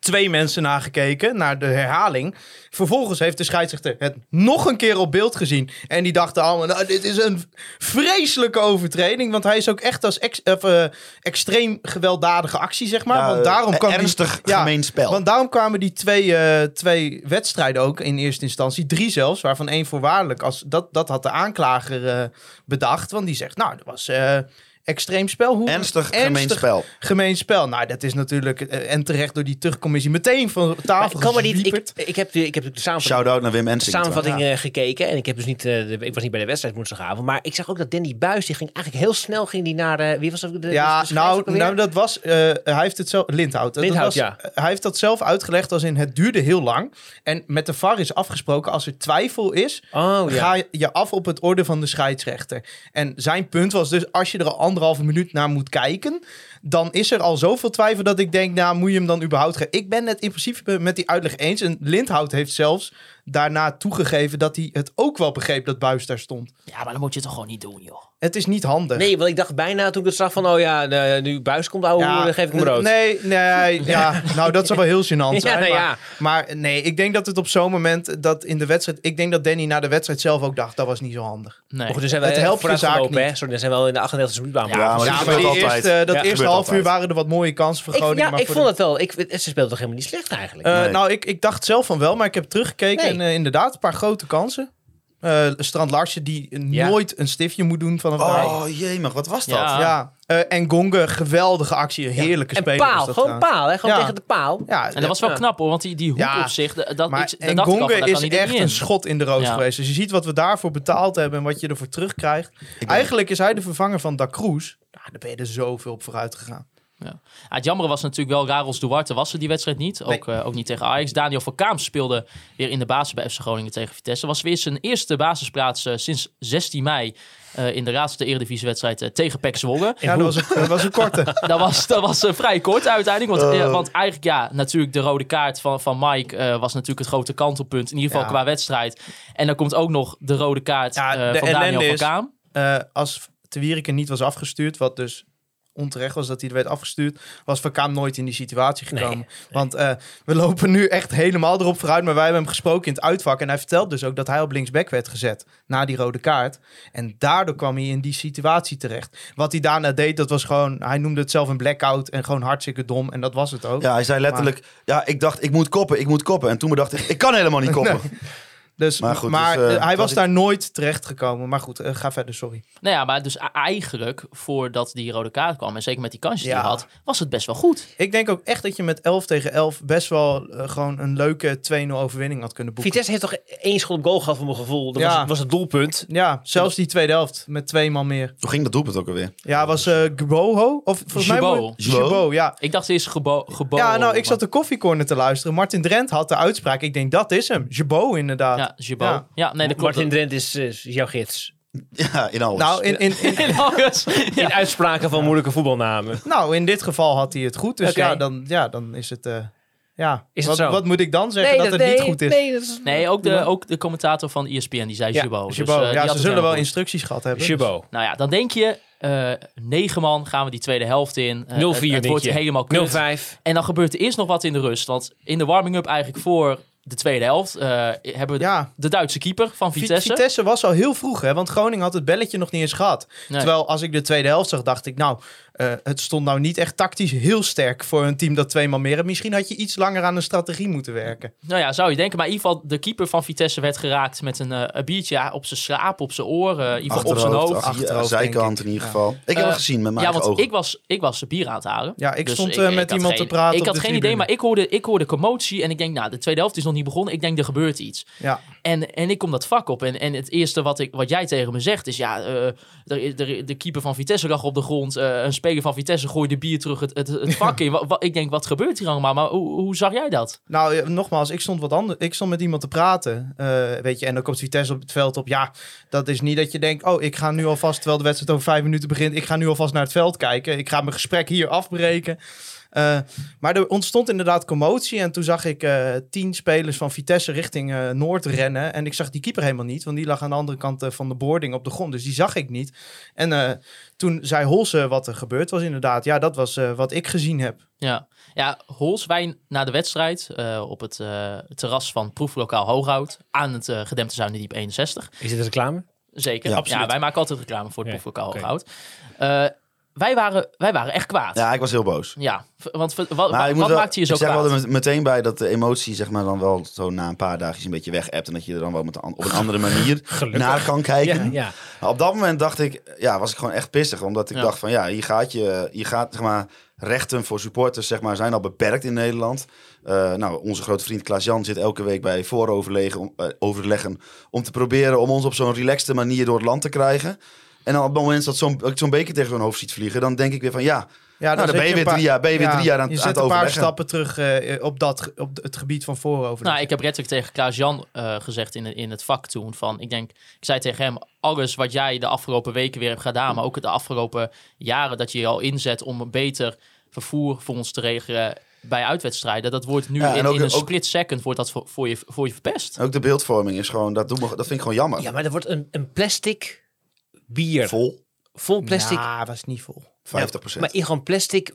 [SPEAKER 1] twee mensen naar gekeken, naar de herhaling. Vervolgens heeft de scheidsrechter het nog een keer op beeld gezien. En die dachten allemaal, nou, dit is een vreselijke overtreding. Want hij is ook echt als ex- of, eh, extreem gewelddadige actie, zeg maar.
[SPEAKER 7] Ja,
[SPEAKER 1] want daarom
[SPEAKER 7] eh,
[SPEAKER 1] kwam die-
[SPEAKER 7] ernstig
[SPEAKER 1] Ja,
[SPEAKER 7] gemeen spel.
[SPEAKER 1] want daarom kwamen die twee, eh, twee wedstrijden ook in eerste instantie. Drie zelfs, waarvan één voorwaardelijk. Als, dat, dat had de aanklager eh, bedacht. Want die zegt, nou, dat was eh, extreem spel. Hoe
[SPEAKER 7] Ernstig gemeen spel.
[SPEAKER 1] gemeen spel. Nou, dat is natuurlijk. eh, en terecht door die terugcommissie meteen van tafel.
[SPEAKER 6] Ik kan maar niet. Ik,
[SPEAKER 1] gezwieperd.
[SPEAKER 6] ik heb de, ik heb de samenvatting,
[SPEAKER 7] Shout-out naar Wim Ensing.
[SPEAKER 6] samenvatting eh, gekeken en ik heb dus niet. eh, de- ik was niet bij de wedstrijd woensdagavond, maar ik zag ook dat Danny Buis die ging eigenlijk heel snel ging die naar eh, wie was dat? De,
[SPEAKER 1] ja,
[SPEAKER 6] de schrijver ook
[SPEAKER 1] nou,
[SPEAKER 6] alweer?
[SPEAKER 1] nou, dat was. eh, hij heeft het zelf. Lindhout. Dat
[SPEAKER 6] Lindhout,
[SPEAKER 1] was,
[SPEAKER 6] ja.
[SPEAKER 1] eh, Hij heeft dat zelf uitgelegd als in het duurde heel lang. En met de VAR is afgesproken als er twijfel is.
[SPEAKER 6] Oh ja.
[SPEAKER 1] Ga je af op het orde van de scheidsrechter. En zijn punt was dus, als je er al anderhalve minuut naar moet kijken, dan is er al zoveel twijfel dat ik denk, nou moet je hem dan überhaupt gaan. Ik ben het in principe met die uitleg eens. En Lindhout heeft zelfs daarna toegegeven dat hij het ook wel begreep dat Buis daar stond.
[SPEAKER 5] Ja, maar dat moet je toch gewoon niet doen, joh.
[SPEAKER 1] Het is niet handig.
[SPEAKER 6] Nee, want ik dacht bijna toen ik het zag van, oh ja, eh, nu Buis komt ouwe
[SPEAKER 1] Ja,
[SPEAKER 6] hoeren, dan geef ik hem rood.
[SPEAKER 1] Nee, nee,
[SPEAKER 6] [LAUGHS]
[SPEAKER 1] ja. Nou, dat zou wel heel gênant zijn.
[SPEAKER 6] Ja, nou
[SPEAKER 1] maar,
[SPEAKER 6] ja.
[SPEAKER 1] maar nee, ik denk dat het op zo'n moment dat in de wedstrijd... Ik denk dat Danny na de wedstrijd zelf ook dacht, dat was niet zo handig.
[SPEAKER 5] Nee.
[SPEAKER 6] Maar goed, dan zijn we
[SPEAKER 1] Het
[SPEAKER 6] eh,
[SPEAKER 1] helpt je
[SPEAKER 6] vooruitgelopen,
[SPEAKER 1] zaak niet.
[SPEAKER 6] hè. Sorry, dan zijn we al in de 38e minuut aan.
[SPEAKER 7] Ja, maar,
[SPEAKER 1] Ja,
[SPEAKER 7] Oh, dat
[SPEAKER 1] maar
[SPEAKER 7] gebeurt
[SPEAKER 1] die
[SPEAKER 7] altijd.
[SPEAKER 1] eerste, dat
[SPEAKER 7] gebeurt
[SPEAKER 1] eerste half uur
[SPEAKER 7] altijd.
[SPEAKER 1] waren er wat mooie kansen voor
[SPEAKER 6] ik,
[SPEAKER 1] Groningen.
[SPEAKER 6] ja,
[SPEAKER 1] maar
[SPEAKER 6] ik
[SPEAKER 1] voor
[SPEAKER 6] vond
[SPEAKER 1] de-
[SPEAKER 6] het wel. Ik, ze speelden toch helemaal niet slecht eigenlijk?
[SPEAKER 1] Eh,
[SPEAKER 7] Nee.
[SPEAKER 1] Nou, ik, ik dacht zelf van wel, maar ik heb teruggekeken
[SPEAKER 6] Nee.
[SPEAKER 1] en eh, inderdaad, een paar grote kansen. Eh, Strand Larsen, die
[SPEAKER 6] Ja.
[SPEAKER 1] nooit een stiftje moet doen van een verhaal.
[SPEAKER 7] Oh jemig, wat was dat?
[SPEAKER 5] Ja.
[SPEAKER 1] Ja. Eh, en Gonge, geweldige actie, heerlijke
[SPEAKER 6] en
[SPEAKER 1] speler. was
[SPEAKER 6] paal,
[SPEAKER 1] dat
[SPEAKER 6] gewoon
[SPEAKER 1] trouwens.
[SPEAKER 6] paal, hè? Gewoon
[SPEAKER 1] Ja.
[SPEAKER 6] tegen de paal.
[SPEAKER 1] Ja,
[SPEAKER 5] En dat was wel knap, hoor. Want die, die hoek
[SPEAKER 1] Ja.
[SPEAKER 5] op zich, da- dat,
[SPEAKER 1] maar
[SPEAKER 5] ik, daar
[SPEAKER 1] en
[SPEAKER 5] dacht ik
[SPEAKER 1] Gonge
[SPEAKER 5] al van, daar
[SPEAKER 1] is
[SPEAKER 5] kan hij er
[SPEAKER 1] echt
[SPEAKER 5] niet in.
[SPEAKER 1] een schot in de roos
[SPEAKER 5] Ja.
[SPEAKER 1] geweest. Dus je ziet wat we daarvoor betaald hebben en wat je ervoor terugkrijgt. Eigenlijk is hij de vervanger van Da Cruz. Nou, daar ben je er zoveel op vooruit gegaan.
[SPEAKER 5] Ja, het jammere was natuurlijk wel, Rarels Duarte was er die wedstrijd niet. Ook, eh, ook niet tegen Ajax. Daniel van Kaam speelde weer in de basis bij FC Groningen tegen Vitesse. Was weer zijn eerste basisplaats eh, sinds 16 mei eh, in de laatste eredivisiewedstrijd eh, tegen
[SPEAKER 1] [LAUGHS]
[SPEAKER 5] PEC Zwolle.
[SPEAKER 1] Ja, dat was een, dat was een korte.
[SPEAKER 5] dat was, dat was eh, vrij kort uiteindelijk. Want, eh, want eigenlijk, ja, natuurlijk de rode kaart van, van Mike eh, was natuurlijk het grote kantelpunt. In ieder geval
[SPEAKER 1] Ja.
[SPEAKER 5] qua wedstrijd. En dan komt ook nog de rode kaart
[SPEAKER 1] Ja,
[SPEAKER 5] eh,
[SPEAKER 1] de
[SPEAKER 5] van Daniel
[SPEAKER 1] ellende
[SPEAKER 5] van
[SPEAKER 1] is-
[SPEAKER 5] Kaam.
[SPEAKER 1] Eh, als Te Wierken niet was afgestuurd, wat dus onterecht was dat hij er werd afgestuurd, was Van Kaam nooit in die situatie gekomen. Want eh, we lopen nu echt helemaal erop vooruit, maar wij hebben hem gesproken in het uitvak en hij vertelt dus ook dat hij op linksback werd gezet na die rode kaart. En daardoor kwam hij in die situatie terecht. Wat hij daarna deed, dat was gewoon, hij noemde het zelf een blackout en gewoon hartstikke dom en dat was het ook.
[SPEAKER 7] Ja, hij zei letterlijk, ja, ik dacht, ik moet koppen, ik moet koppen. En toen bedacht ik, ik kan helemaal
[SPEAKER 5] [LAUGHS]
[SPEAKER 7] niet koppen.
[SPEAKER 1] Dus, maar
[SPEAKER 7] Maar goed, dus,
[SPEAKER 1] eh,
[SPEAKER 7] eh,
[SPEAKER 1] hij
[SPEAKER 7] dat
[SPEAKER 1] was
[SPEAKER 7] ik-
[SPEAKER 1] daar nooit terecht gekomen. Maar goed, eh, ga verder, sorry.
[SPEAKER 5] Nou ja, maar dus a- eigenlijk voordat die rode kaart kwam, en zeker met die kansjes die
[SPEAKER 1] Ja.
[SPEAKER 5] hij had, was het best wel goed.
[SPEAKER 1] Ik denk ook echt dat je met 11 tegen 11 best wel eh, gewoon een leuke 2-0 overwinning had kunnen boeken.
[SPEAKER 6] Vitesse heeft toch één schot op goal gehad van mijn gevoel. Dat
[SPEAKER 1] Ja.
[SPEAKER 6] was, het- was het doelpunt.
[SPEAKER 1] Ja, zelfs die tweede helft met twee man meer.
[SPEAKER 7] Toen ging dat doelpunt ook alweer.
[SPEAKER 1] Ja, was eh Gboho? Of volgens mij...
[SPEAKER 5] Gbo.
[SPEAKER 1] moet- Gbo, ja.
[SPEAKER 5] Ik dacht eerst gebo geboren.
[SPEAKER 1] Ja, nou, ik zat de koffiecorner te luisteren. Martin Drent had de uitspraak. Ik denk, dat is hem. Gbo, inderdaad.
[SPEAKER 5] Ja, Jabo.
[SPEAKER 1] Ja.
[SPEAKER 5] Ja. nee, dat klopt.
[SPEAKER 6] Martin
[SPEAKER 5] [LAUGHS]
[SPEAKER 6] Drent is, eh, is jouw gids.
[SPEAKER 7] Ja, in alles.
[SPEAKER 1] Nou in, in, [LAUGHS] in,
[SPEAKER 5] Ja.
[SPEAKER 6] In uitspraken van moeilijke voetbalnamen.
[SPEAKER 1] nou, in dit geval had hij het goed. Dus
[SPEAKER 6] Oké.
[SPEAKER 1] ja, dan, ja, dan is het... eh, ja.
[SPEAKER 6] Is
[SPEAKER 1] wat,
[SPEAKER 6] het zo?
[SPEAKER 1] wat moet ik dan zeggen dat, het niet goed is?
[SPEAKER 6] Nee, dat is...
[SPEAKER 5] Nee, ook de, ook de commentator van E ESPN, die zei
[SPEAKER 6] Ja,
[SPEAKER 5] Jabo. Dus,
[SPEAKER 1] Gbo,
[SPEAKER 5] eh, die had
[SPEAKER 1] ja, ze
[SPEAKER 5] het helemaal
[SPEAKER 1] zullen wel
[SPEAKER 5] goed.
[SPEAKER 1] instructies gehad hebben.
[SPEAKER 6] Chabot.
[SPEAKER 5] Nou ja, dan denk je, eh negen man gaan we die tweede helft in. Eh,
[SPEAKER 6] 0-4
[SPEAKER 5] het- Het,
[SPEAKER 6] denk
[SPEAKER 5] wordt
[SPEAKER 6] je.
[SPEAKER 5] helemaal kut.
[SPEAKER 6] 0-5.
[SPEAKER 5] En dan gebeurt er eerst nog wat in de rust. Want in de warming-up eigenlijk voor de tweede helft eh, hebben we
[SPEAKER 1] Ja.
[SPEAKER 5] de Duitse keeper van
[SPEAKER 1] Vi-
[SPEAKER 5] Vitesse.
[SPEAKER 1] Vitesse was al heel vroeg, hè? want Groningen had het belletje nog niet eens gehad.
[SPEAKER 5] Nee.
[SPEAKER 1] Terwijl als ik de tweede helft zag, dacht ik, nou, eh, het stond nou niet echt tactisch heel sterk voor een team dat twee man meer heeft. Misschien had je iets langer aan een strategie moeten werken.
[SPEAKER 5] Nou ja, zou je denken. Maar in ieder geval, de keeper van Vitesse werd geraakt met een, eh, een biertje ja, op zijn slaap, op zijn oren, eh, in ieder geval op zijn
[SPEAKER 7] Achterhoofd,
[SPEAKER 5] hoofd.
[SPEAKER 7] achter-
[SPEAKER 1] Achterhoofd, denk
[SPEAKER 7] zijkant in ieder geval. Ik
[SPEAKER 5] Eh,
[SPEAKER 7] heb het gezien met mijn
[SPEAKER 5] Ja,
[SPEAKER 7] eigen
[SPEAKER 5] want
[SPEAKER 7] ogen.
[SPEAKER 5] ik was, ik was de bier aan het halen.
[SPEAKER 1] Ja, ik
[SPEAKER 5] Dus
[SPEAKER 1] stond eh, met
[SPEAKER 5] had
[SPEAKER 1] iemand
[SPEAKER 5] geen-
[SPEAKER 1] te praten.
[SPEAKER 5] Ik
[SPEAKER 1] op
[SPEAKER 5] had
[SPEAKER 1] de
[SPEAKER 5] geen
[SPEAKER 1] tribune.
[SPEAKER 5] idee, maar ik hoorde, ik hoorde commotie. En ik denk, nou, de tweede helft is nog niet begonnen. Ik denk, er gebeurt iets.
[SPEAKER 1] Ja.
[SPEAKER 5] En, en ik kom dat vak op. En, en het eerste wat, ik, wat jij tegen me zegt is: ja, eh, er- er- de keeper van Vitesse lag op de grond. eh, een speler van Vitesse gooide bier terug het, het,
[SPEAKER 1] [LAUGHS]
[SPEAKER 5] het vak in. Wa- wa- ik denk: wat gebeurt hier allemaal? Maar hoe, hoe zag jij dat?
[SPEAKER 1] Nou, eh, nogmaals, ik stond wat anders. Ik stond met iemand te praten. eh, weet je, en dan komt Vitesse op het veld op. Ja, dat is niet dat je denkt. Oh, ik ga nu alvast, terwijl de wedstrijd over vijf minuten begint, ik ga nu alvast naar het veld kijken. Ik ga mijn gesprek hier afbreken. Eh, maar er ontstond inderdaad commotie. En toen zag ik eh, tien spelers van Vitesse richting eh, Noord rennen. En ik zag die keeper helemaal niet, want die lag aan de andere kant eh, van de boarding op de grond. Dus die zag ik niet. En eh, toen zei Holse wat er gebeurd was, inderdaad. Ja, dat was eh, wat ik gezien heb.
[SPEAKER 5] Ja, ja Hols, wij na de wedstrijd eh, op het eh, terras van proeflokaal Hooghout aan het eh, gedempte Zuiderdiep 61.
[SPEAKER 6] Is dit reclame?
[SPEAKER 5] Zeker.
[SPEAKER 7] Ja,
[SPEAKER 5] Ja,
[SPEAKER 7] absoluut.
[SPEAKER 5] wij maken altijd reclame voor het
[SPEAKER 6] Ja,
[SPEAKER 5] proeflokaal
[SPEAKER 6] oké.
[SPEAKER 5] Hooghout. Eh, wij waren, wij waren echt kwaad. Ja,
[SPEAKER 7] Ja, ik was heel boos.
[SPEAKER 5] v- want v- wa- wa-
[SPEAKER 7] Maar ik
[SPEAKER 5] wat,
[SPEAKER 7] moet wel-
[SPEAKER 5] maakt je zo
[SPEAKER 7] ik zeg wel
[SPEAKER 5] kwaad?
[SPEAKER 7] met- meteen bij dat de emotie zeg maar, dan wel zo na een paar dagjes een beetje weg hebt. En dat je er dan wel met een, an- op een
[SPEAKER 5] [LAUGHS]
[SPEAKER 7] andere manier naar kan kijken.
[SPEAKER 6] Ja.
[SPEAKER 7] Maar Nou, op dat moment dacht ik, ja, was ik gewoon echt pissig. Omdat ik
[SPEAKER 5] Ja.
[SPEAKER 7] dacht van ja, hier gaat je, hier gaat zeg maar, rechten voor supporters zeg maar, zijn al beperkt in Nederland. Eh, nou, onze grote vriend Klaas Jan zit elke week bij vooroverleggen om, eh, overleggen om te proberen om ons op zo'n relaxte manier door het land te krijgen. En dan op het moment dat zo'n- dat ik zo'n beker tegen mijn hoofd ziet vliegen, dan denk ik weer van ja,
[SPEAKER 1] Ja,
[SPEAKER 7] Nou, dan ben
[SPEAKER 1] zit
[SPEAKER 7] je weer
[SPEAKER 1] een
[SPEAKER 7] drie jaar- ben je weer drie jaar aan-
[SPEAKER 1] je
[SPEAKER 7] aan
[SPEAKER 1] zit
[SPEAKER 7] het
[SPEAKER 1] een paar
[SPEAKER 7] overleggen.
[SPEAKER 1] stappen terug eh, eh, op, dat, ge- op het gebied van voorover.
[SPEAKER 5] Nou, ik heb letterlijk tegen Klaas-Jan eh, gezegd in, in het vak toen. Van, ik denk, ik zei tegen hem, alles wat jij de afgelopen weken weer hebt gedaan, maar ook de afgelopen jaren, dat je je al inzet om een beter vervoer voor ons te regelen bij uitwedstrijden. Dat wordt nu
[SPEAKER 7] Ja, en
[SPEAKER 5] in,
[SPEAKER 7] ook-
[SPEAKER 5] in een
[SPEAKER 7] ook-
[SPEAKER 5] split second wordt dat voor, voor, je, voor je verpest.
[SPEAKER 7] ook de beeldvorming is gewoon, dat, doe me, dat vind ik gewoon jammer.
[SPEAKER 6] ja, maar er wordt een, een plastic bier. Vol,
[SPEAKER 7] Vol,
[SPEAKER 6] plastic.
[SPEAKER 1] Ja, was niet vol.
[SPEAKER 7] 50
[SPEAKER 6] Maar in gewoon plastic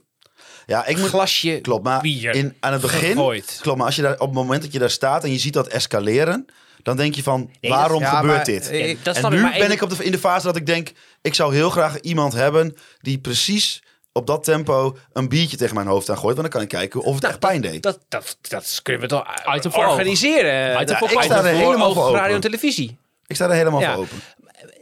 [SPEAKER 7] Ja, ik moet,
[SPEAKER 6] glasje
[SPEAKER 7] Klopt, maar
[SPEAKER 6] bier.
[SPEAKER 7] in, aan het begin.
[SPEAKER 6] gegooid.
[SPEAKER 7] Klopt, maar als je daar, op het moment dat je daar staat en je ziet dat escaleren, dan denk je van waarom
[SPEAKER 1] Ja,
[SPEAKER 7] gebeurt
[SPEAKER 1] maar,
[SPEAKER 7] dit?
[SPEAKER 1] eh,
[SPEAKER 6] Ja, dat
[SPEAKER 7] en
[SPEAKER 6] snap
[SPEAKER 7] nu
[SPEAKER 6] ik, maar
[SPEAKER 7] ben
[SPEAKER 6] even-
[SPEAKER 7] ik op de, in de fase dat ik denk, ik zou heel graag iemand hebben die precies op dat tempo een biertje tegen mijn hoofd aan gooit, want dan kan ik kijken of het echt pijn deed.
[SPEAKER 6] Nou, Dat, dat, dat kunnen we toch eh,
[SPEAKER 5] Uit de voor-
[SPEAKER 6] organiseren. Eh,
[SPEAKER 5] Uit de
[SPEAKER 6] Dat-
[SPEAKER 5] voor-
[SPEAKER 7] ik sta er helemaal voor
[SPEAKER 6] radio en
[SPEAKER 7] open.
[SPEAKER 6] televisie.
[SPEAKER 7] Ik sta er helemaal
[SPEAKER 6] Ja.
[SPEAKER 7] voor open.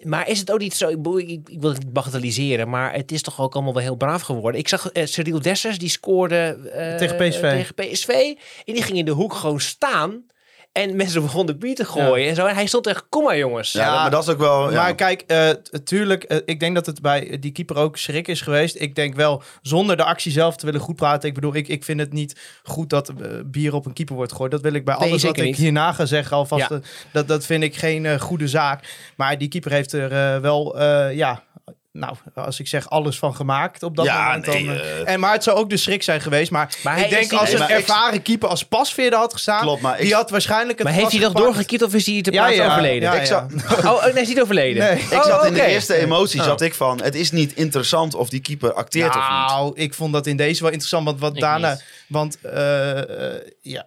[SPEAKER 6] Maar is het ook niet zo, ik, bedoel, ik, ik wil het niet bagatelliseren, maar het is toch ook allemaal wel heel braaf geworden. Ik zag eh, Cyril Dessers, die scoorde eh,
[SPEAKER 1] Tegen PSV.
[SPEAKER 6] tegen PSV. En die ging in de hoek gewoon staan. En mensen begonnen bier te gooien en zo. En hij stond echt, kom maar jongens.
[SPEAKER 7] Ja, dat- maar dat is ook wel. Oh, Ja,
[SPEAKER 1] Maar kijk, eh, t- tuurlijk, eh, ik denk dat het bij eh, die keeper ook schrik is geweest. Ik denk wel, zonder de actie zelf te willen goed praten. Ik bedoel, ik, ik vind het niet goed dat eh, bier op een keeper wordt gegooid. Dat wil ik bij
[SPEAKER 6] Nee,
[SPEAKER 1] alles wat
[SPEAKER 6] zeker
[SPEAKER 1] ik
[SPEAKER 6] niet.
[SPEAKER 1] hierna ga zeggen alvast.
[SPEAKER 6] Ja.
[SPEAKER 1] eh, dat, dat vind ik geen eh, goede zaak. Maar die keeper heeft er eh, wel, eh, ja... Nou, als ik zeg alles van gemaakt op dat
[SPEAKER 7] Ja,
[SPEAKER 1] moment. Dan,
[SPEAKER 7] nee,
[SPEAKER 1] eh,
[SPEAKER 7] eh.
[SPEAKER 1] en, maar het zou ook de schrik zijn geweest. Maar,
[SPEAKER 6] Maar hij
[SPEAKER 1] ik
[SPEAKER 6] is
[SPEAKER 1] denk
[SPEAKER 6] niet-
[SPEAKER 1] als
[SPEAKER 7] Nee,
[SPEAKER 1] een
[SPEAKER 7] maar ik-
[SPEAKER 1] ervaren keeper als pasveerder had gestaan...
[SPEAKER 7] Klopt, maar ik-
[SPEAKER 1] die had waarschijnlijk het
[SPEAKER 6] Maar heeft
[SPEAKER 1] gras
[SPEAKER 6] hij dat
[SPEAKER 1] gepakt.
[SPEAKER 6] doorgekiet of is hij te
[SPEAKER 1] Ja,
[SPEAKER 6] plaats
[SPEAKER 1] ja,
[SPEAKER 6] overleden?
[SPEAKER 1] ja,
[SPEAKER 7] ik zou-
[SPEAKER 1] ja.
[SPEAKER 6] Oh, oh, nee, hij is niet overleden.
[SPEAKER 1] Nee. Oh,
[SPEAKER 7] Ik zat in de
[SPEAKER 6] Oh, oké.
[SPEAKER 7] eerste emotie zat ik van, het is niet interessant of die keeper acteert of niet.
[SPEAKER 1] Nou, ik vond dat in deze wel interessant. Want, wat
[SPEAKER 5] Ik
[SPEAKER 1] daarna,
[SPEAKER 5] niet.
[SPEAKER 1] want eh, eh, ja,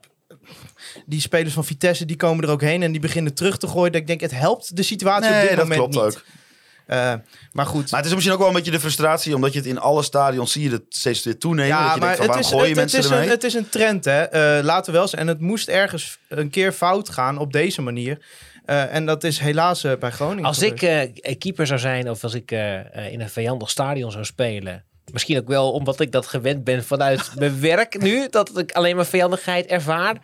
[SPEAKER 1] die spelers van Vitesse die komen er ook heen en die beginnen terug te gooien. Dat ik denk, het helpt de situatie op
[SPEAKER 7] Nee,
[SPEAKER 1] dit
[SPEAKER 7] dat
[SPEAKER 1] moment
[SPEAKER 7] klopt
[SPEAKER 1] niet.
[SPEAKER 7] ook.
[SPEAKER 1] Eh, maar goed.
[SPEAKER 7] Maar het is misschien ook wel een beetje de frustratie, omdat je het in alle stadions zie je het steeds weer toenemen. dat je denkt van, waarom gooien
[SPEAKER 1] het,
[SPEAKER 7] mensen
[SPEAKER 1] is
[SPEAKER 7] ermee?
[SPEAKER 1] een, het is een trend, hè. Eh, laten we wel eens. En het moest ergens een keer fout gaan op deze manier. Eh, en dat is helaas eh, bij Groningen.
[SPEAKER 6] Als
[SPEAKER 1] gebeurd.
[SPEAKER 6] ik eh, keeper zou zijn of als ik eh, eh, in een vijandig stadion zou spelen. Misschien ook wel omdat ik dat gewend ben [LAUGHS] vanuit mijn werk nu. Dat ik alleen maar vijandigheid ervaar.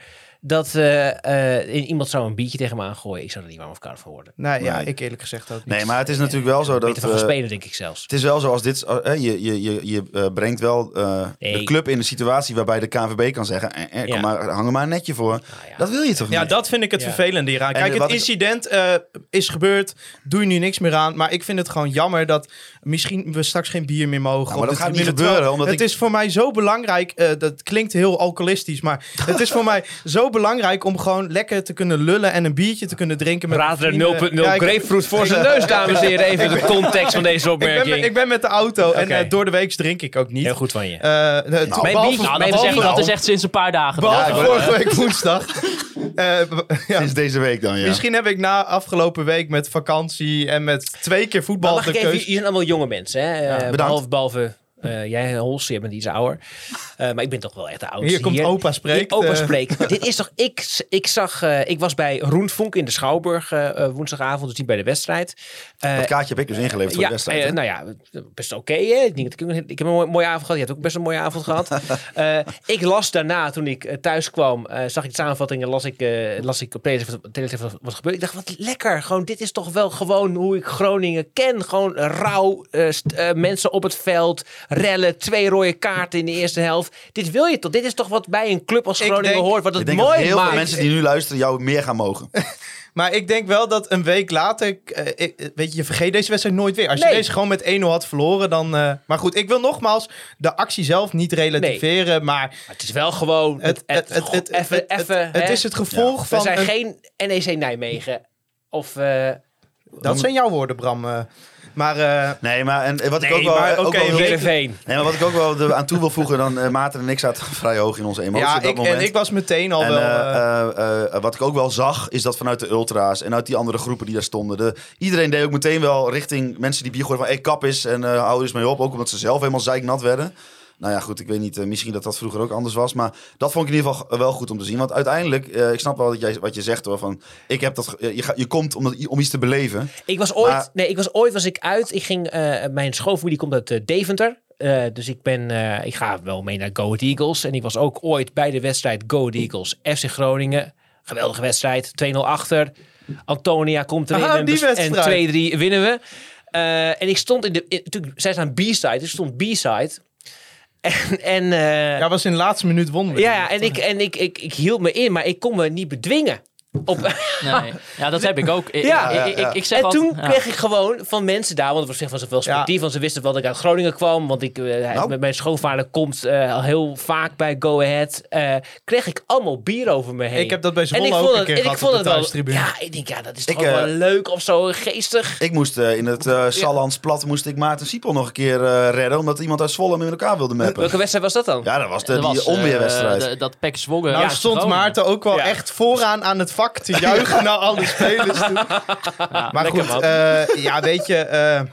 [SPEAKER 6] Dat eh, eh, iemand zou een biertje tegen me aangooien. Ik zou er niet warm of koud van worden.
[SPEAKER 1] Nee, ja,
[SPEAKER 7] Nee.
[SPEAKER 1] ik eerlijk gezegd ook niet.
[SPEAKER 7] Nee, maar het is natuurlijk wel zo dat...
[SPEAKER 6] Beter van gaan
[SPEAKER 7] eh,
[SPEAKER 6] spelen, denk ik zelfs.
[SPEAKER 7] het is wel zo als dit... eh, je je, je, je eh, brengt wel eh, de
[SPEAKER 6] Nee.
[SPEAKER 7] club in een situatie waarbij de KNVB kan zeggen... Eh, eh, kom
[SPEAKER 6] Ja.
[SPEAKER 7] maar, hang er maar een netje voor.
[SPEAKER 6] ja.
[SPEAKER 7] Dat wil je toch
[SPEAKER 1] Nou Ja,
[SPEAKER 7] niet?
[SPEAKER 1] dat vind ik het
[SPEAKER 6] Ja.
[SPEAKER 1] vervelende hieraan.
[SPEAKER 7] En
[SPEAKER 1] Kijk, het
[SPEAKER 7] wat ik-
[SPEAKER 1] incident eh, is gebeurd. Doe je nu niks meer aan. Maar ik vind het gewoon jammer dat misschien we straks geen bier meer mogen.
[SPEAKER 7] maar
[SPEAKER 1] op
[SPEAKER 7] dat
[SPEAKER 1] de
[SPEAKER 7] gaat niet
[SPEAKER 1] tribune.
[SPEAKER 7] gebeuren,
[SPEAKER 1] Terwijl
[SPEAKER 7] omdat
[SPEAKER 1] het
[SPEAKER 7] ik-
[SPEAKER 1] is voor mij zo belangrijk. eh, dat klinkt heel alcoholistisch. Maar het is voor mij zo belangrijk om gewoon lekker te kunnen lullen. En een biertje te kunnen drinken. Met
[SPEAKER 6] Raad er
[SPEAKER 1] vrienden.
[SPEAKER 6] 0.0
[SPEAKER 1] Ja, ik-
[SPEAKER 6] grapefruit voor zijn neus, dames en heren. Even de context van deze
[SPEAKER 1] Ik ben, met,
[SPEAKER 6] opmerking.
[SPEAKER 1] ik ben met de auto en
[SPEAKER 6] Oké.
[SPEAKER 1] eh, door de week drink ik ook niet.
[SPEAKER 6] Heel goed van je.
[SPEAKER 1] Eh, het- behalve-
[SPEAKER 6] biertje-
[SPEAKER 5] Nou,
[SPEAKER 6] Mijn
[SPEAKER 5] dat, is echt,
[SPEAKER 6] biertje-
[SPEAKER 5] dat is echt sinds een paar dagen.
[SPEAKER 1] behalve
[SPEAKER 5] Ja,
[SPEAKER 1] vorige week woensdag. Eh, ja.
[SPEAKER 7] Sinds deze week dan, ja.
[SPEAKER 1] Misschien heb ik na afgelopen week met vakantie en met twee keer
[SPEAKER 6] Maar
[SPEAKER 1] voetbal
[SPEAKER 6] mag
[SPEAKER 1] de
[SPEAKER 6] ik even,
[SPEAKER 1] keus.
[SPEAKER 6] jullie zijn allemaal jonge mensen, hè? Eh,
[SPEAKER 7] bedankt.
[SPEAKER 6] behalve behalve eh, jij, Hols, je bent iets ouder. Eh, maar ik ben toch wel echt de oudste.
[SPEAKER 1] Hier komt opa spreekt,
[SPEAKER 6] Hier, opa
[SPEAKER 1] eh.
[SPEAKER 6] spreekt. [LAUGHS] Dit is toch... Ik, ik zag... eh, ik was bij Roenvonk in de Schouwburg eh, eh, woensdagavond, dus niet bij de wedstrijd. Eh,
[SPEAKER 7] Dat kaartje heb ik dus ingeleverd voor
[SPEAKER 6] ja,
[SPEAKER 7] de wedstrijd.
[SPEAKER 6] eh,
[SPEAKER 7] hè?
[SPEAKER 6] nou ja, best oké. hè? ik, denk dat ik, ik heb een mooi- mooie avond gehad. Je hebt ook best een mooie avond gehad.
[SPEAKER 7] [LAUGHS]
[SPEAKER 6] Eh, ik las daarna, toen ik eh, thuis kwam, eh, zag ik de samenvatting en las ik, eh, las ik op Teletext wat- Teletext wat, wat gebeurde. Ik dacht, wat lekker. Gewoon, dit is toch wel gewoon hoe ik Groningen ken. Gewoon rauw, eh, st- eh, mensen op het veld, rellen, twee rode kaarten in de eerste helft. Dit wil je toch? Dit is toch wat bij een club als
[SPEAKER 1] Ik
[SPEAKER 6] Groningen
[SPEAKER 1] denk-
[SPEAKER 6] hoort, wat
[SPEAKER 7] ik
[SPEAKER 6] het
[SPEAKER 7] denk dat
[SPEAKER 6] mooi
[SPEAKER 7] heel
[SPEAKER 6] maakt.
[SPEAKER 7] veel mensen die nu luisteren jou meer gaan
[SPEAKER 1] [LAUGHS]
[SPEAKER 7] mogen.
[SPEAKER 1] Maar ik denk wel dat een week later, eh, ik- eh, weet je, je vergeet deze wedstrijd nooit weer. Als je
[SPEAKER 6] Nee.
[SPEAKER 1] deze gewoon met 1-0 had verloren, dan... eh, maar goed, ik wil nogmaals de actie zelf niet relativeren, maar...
[SPEAKER 6] Maar het is wel gewoon...
[SPEAKER 1] Het, het, het,
[SPEAKER 6] het,
[SPEAKER 1] het,
[SPEAKER 6] even,
[SPEAKER 1] het- het-
[SPEAKER 6] even,
[SPEAKER 1] het
[SPEAKER 6] hè?
[SPEAKER 1] is het gevolg
[SPEAKER 6] We
[SPEAKER 1] van...
[SPEAKER 6] zijn
[SPEAKER 1] een-
[SPEAKER 6] geen NEC Nijmegen. Of eh,
[SPEAKER 1] Dat zijn jouw woorden, Bram. eh. Maar eh,
[SPEAKER 7] Nee, maar en, en wat ik
[SPEAKER 6] Nee,
[SPEAKER 7] ook wel...
[SPEAKER 1] maar
[SPEAKER 7] eh, ook
[SPEAKER 1] oké,
[SPEAKER 7] wel heel-
[SPEAKER 1] reken-
[SPEAKER 6] Heerenveen.
[SPEAKER 7] nee, maar wat ik ook wel er aan toe wil voegen, dan eh Maarten en ik zaten vrij hoog in onze emoties
[SPEAKER 1] ja,
[SPEAKER 7] op dat
[SPEAKER 1] ik,
[SPEAKER 7] moment.
[SPEAKER 1] en ik was meteen al
[SPEAKER 7] En,
[SPEAKER 1] wel...
[SPEAKER 7] eh,
[SPEAKER 1] eh,
[SPEAKER 7] eh, eh, wat ik ook wel zag, is dat vanuit de ultra's en uit die andere groepen die daar stonden. De, iedereen deed ook meteen wel richting mensen die bier gooiden van... Hey, kap is en eh hou er eens mee op. Ook omdat ze zelf helemaal zeiknat werden. Nou ja, goed, ik weet niet. eh, misschien dat dat vroeger ook anders was. Maar dat vond ik in ieder geval eh, wel goed om te zien. Want uiteindelijk, eh, ik snap wel dat jij, wat je zegt hoor. Van, ik heb dat, ge- eh, je, ga- je komt om, dat- om iets te beleven.
[SPEAKER 6] Ik was ooit,
[SPEAKER 7] Maar-
[SPEAKER 6] nee, ik was ooit was ik uit. Ik ging, eh, mijn schoonfamilie komt uit eh, Deventer. Eh, dus ik, ben, eh, ik ga wel mee naar Go Ahead Eagles. En ik was ook ooit bij de wedstrijd Go Ahead Eagles FC Groningen. Geweldige wedstrijd. 2-0 achter. Antonia komt erin.
[SPEAKER 1] Ah,
[SPEAKER 6] en,
[SPEAKER 1] die
[SPEAKER 6] bes-
[SPEAKER 1] wedstrijd.
[SPEAKER 6] En 2-3 winnen we. Eh, en ik stond in de... in- natuurlijk, zij staan B-side. Dus ik stond B-side. [LAUGHS] En, en eh,
[SPEAKER 1] ja, was in de laatste minuut wonnen we.
[SPEAKER 6] ja, en, ik, en ik, ik, ik hield me in. Maar ik kon me niet bedwingen. Op,
[SPEAKER 1] [LAUGHS]
[SPEAKER 5] Nee. Ja, dat heb ik ook. Ik,
[SPEAKER 6] Ja.
[SPEAKER 5] ik, ik, ik, ik zeg
[SPEAKER 6] en
[SPEAKER 5] al-
[SPEAKER 6] toen
[SPEAKER 5] ja.
[SPEAKER 6] kreeg ik gewoon van mensen daar, want het was zich was het wel sportief, want ze wisten wel dat ik uit Groningen kwam, want ik, eh, hij-
[SPEAKER 7] Nou.
[SPEAKER 6] met mijn schoonvader komt eh, al heel vaak bij Go Ahead. eh, kreeg ik allemaal bier over me heen.
[SPEAKER 1] Ik heb dat bij Zwolle
[SPEAKER 6] en ik
[SPEAKER 1] ook
[SPEAKER 6] vond
[SPEAKER 1] een
[SPEAKER 6] het-
[SPEAKER 1] keer
[SPEAKER 6] en ik
[SPEAKER 1] gehad
[SPEAKER 6] vond
[SPEAKER 1] op de
[SPEAKER 6] het wel-
[SPEAKER 1] thuistribune.
[SPEAKER 6] Ja, ik denk, ja, dat is toch
[SPEAKER 7] Ik,
[SPEAKER 6] ook wel
[SPEAKER 7] eh,
[SPEAKER 6] leuk of zo,
[SPEAKER 1] [LAUGHS]
[SPEAKER 6] geestig.
[SPEAKER 7] Ik moest eh, in het eh Sallands plat, moest ik Maarten Siepel nog een keer eh, redden. Omdat iemand uit Zwolle met elkaar wilde mappen.
[SPEAKER 6] Welke wedstrijd was dat dan?
[SPEAKER 7] Ja, dat was de,
[SPEAKER 5] Dat
[SPEAKER 7] die
[SPEAKER 5] was, eh,
[SPEAKER 7] onweerwedstrijd.
[SPEAKER 5] de- dat Pek Zwolle.
[SPEAKER 1] Nou
[SPEAKER 5] Ja,
[SPEAKER 1] stond
[SPEAKER 5] Groningen.
[SPEAKER 1] Maarten ook wel
[SPEAKER 6] Ja.
[SPEAKER 1] echt vooraan aan het vak te juichen naar alle spelers toe. maar goed, eh, ja, weet je... eh, eh,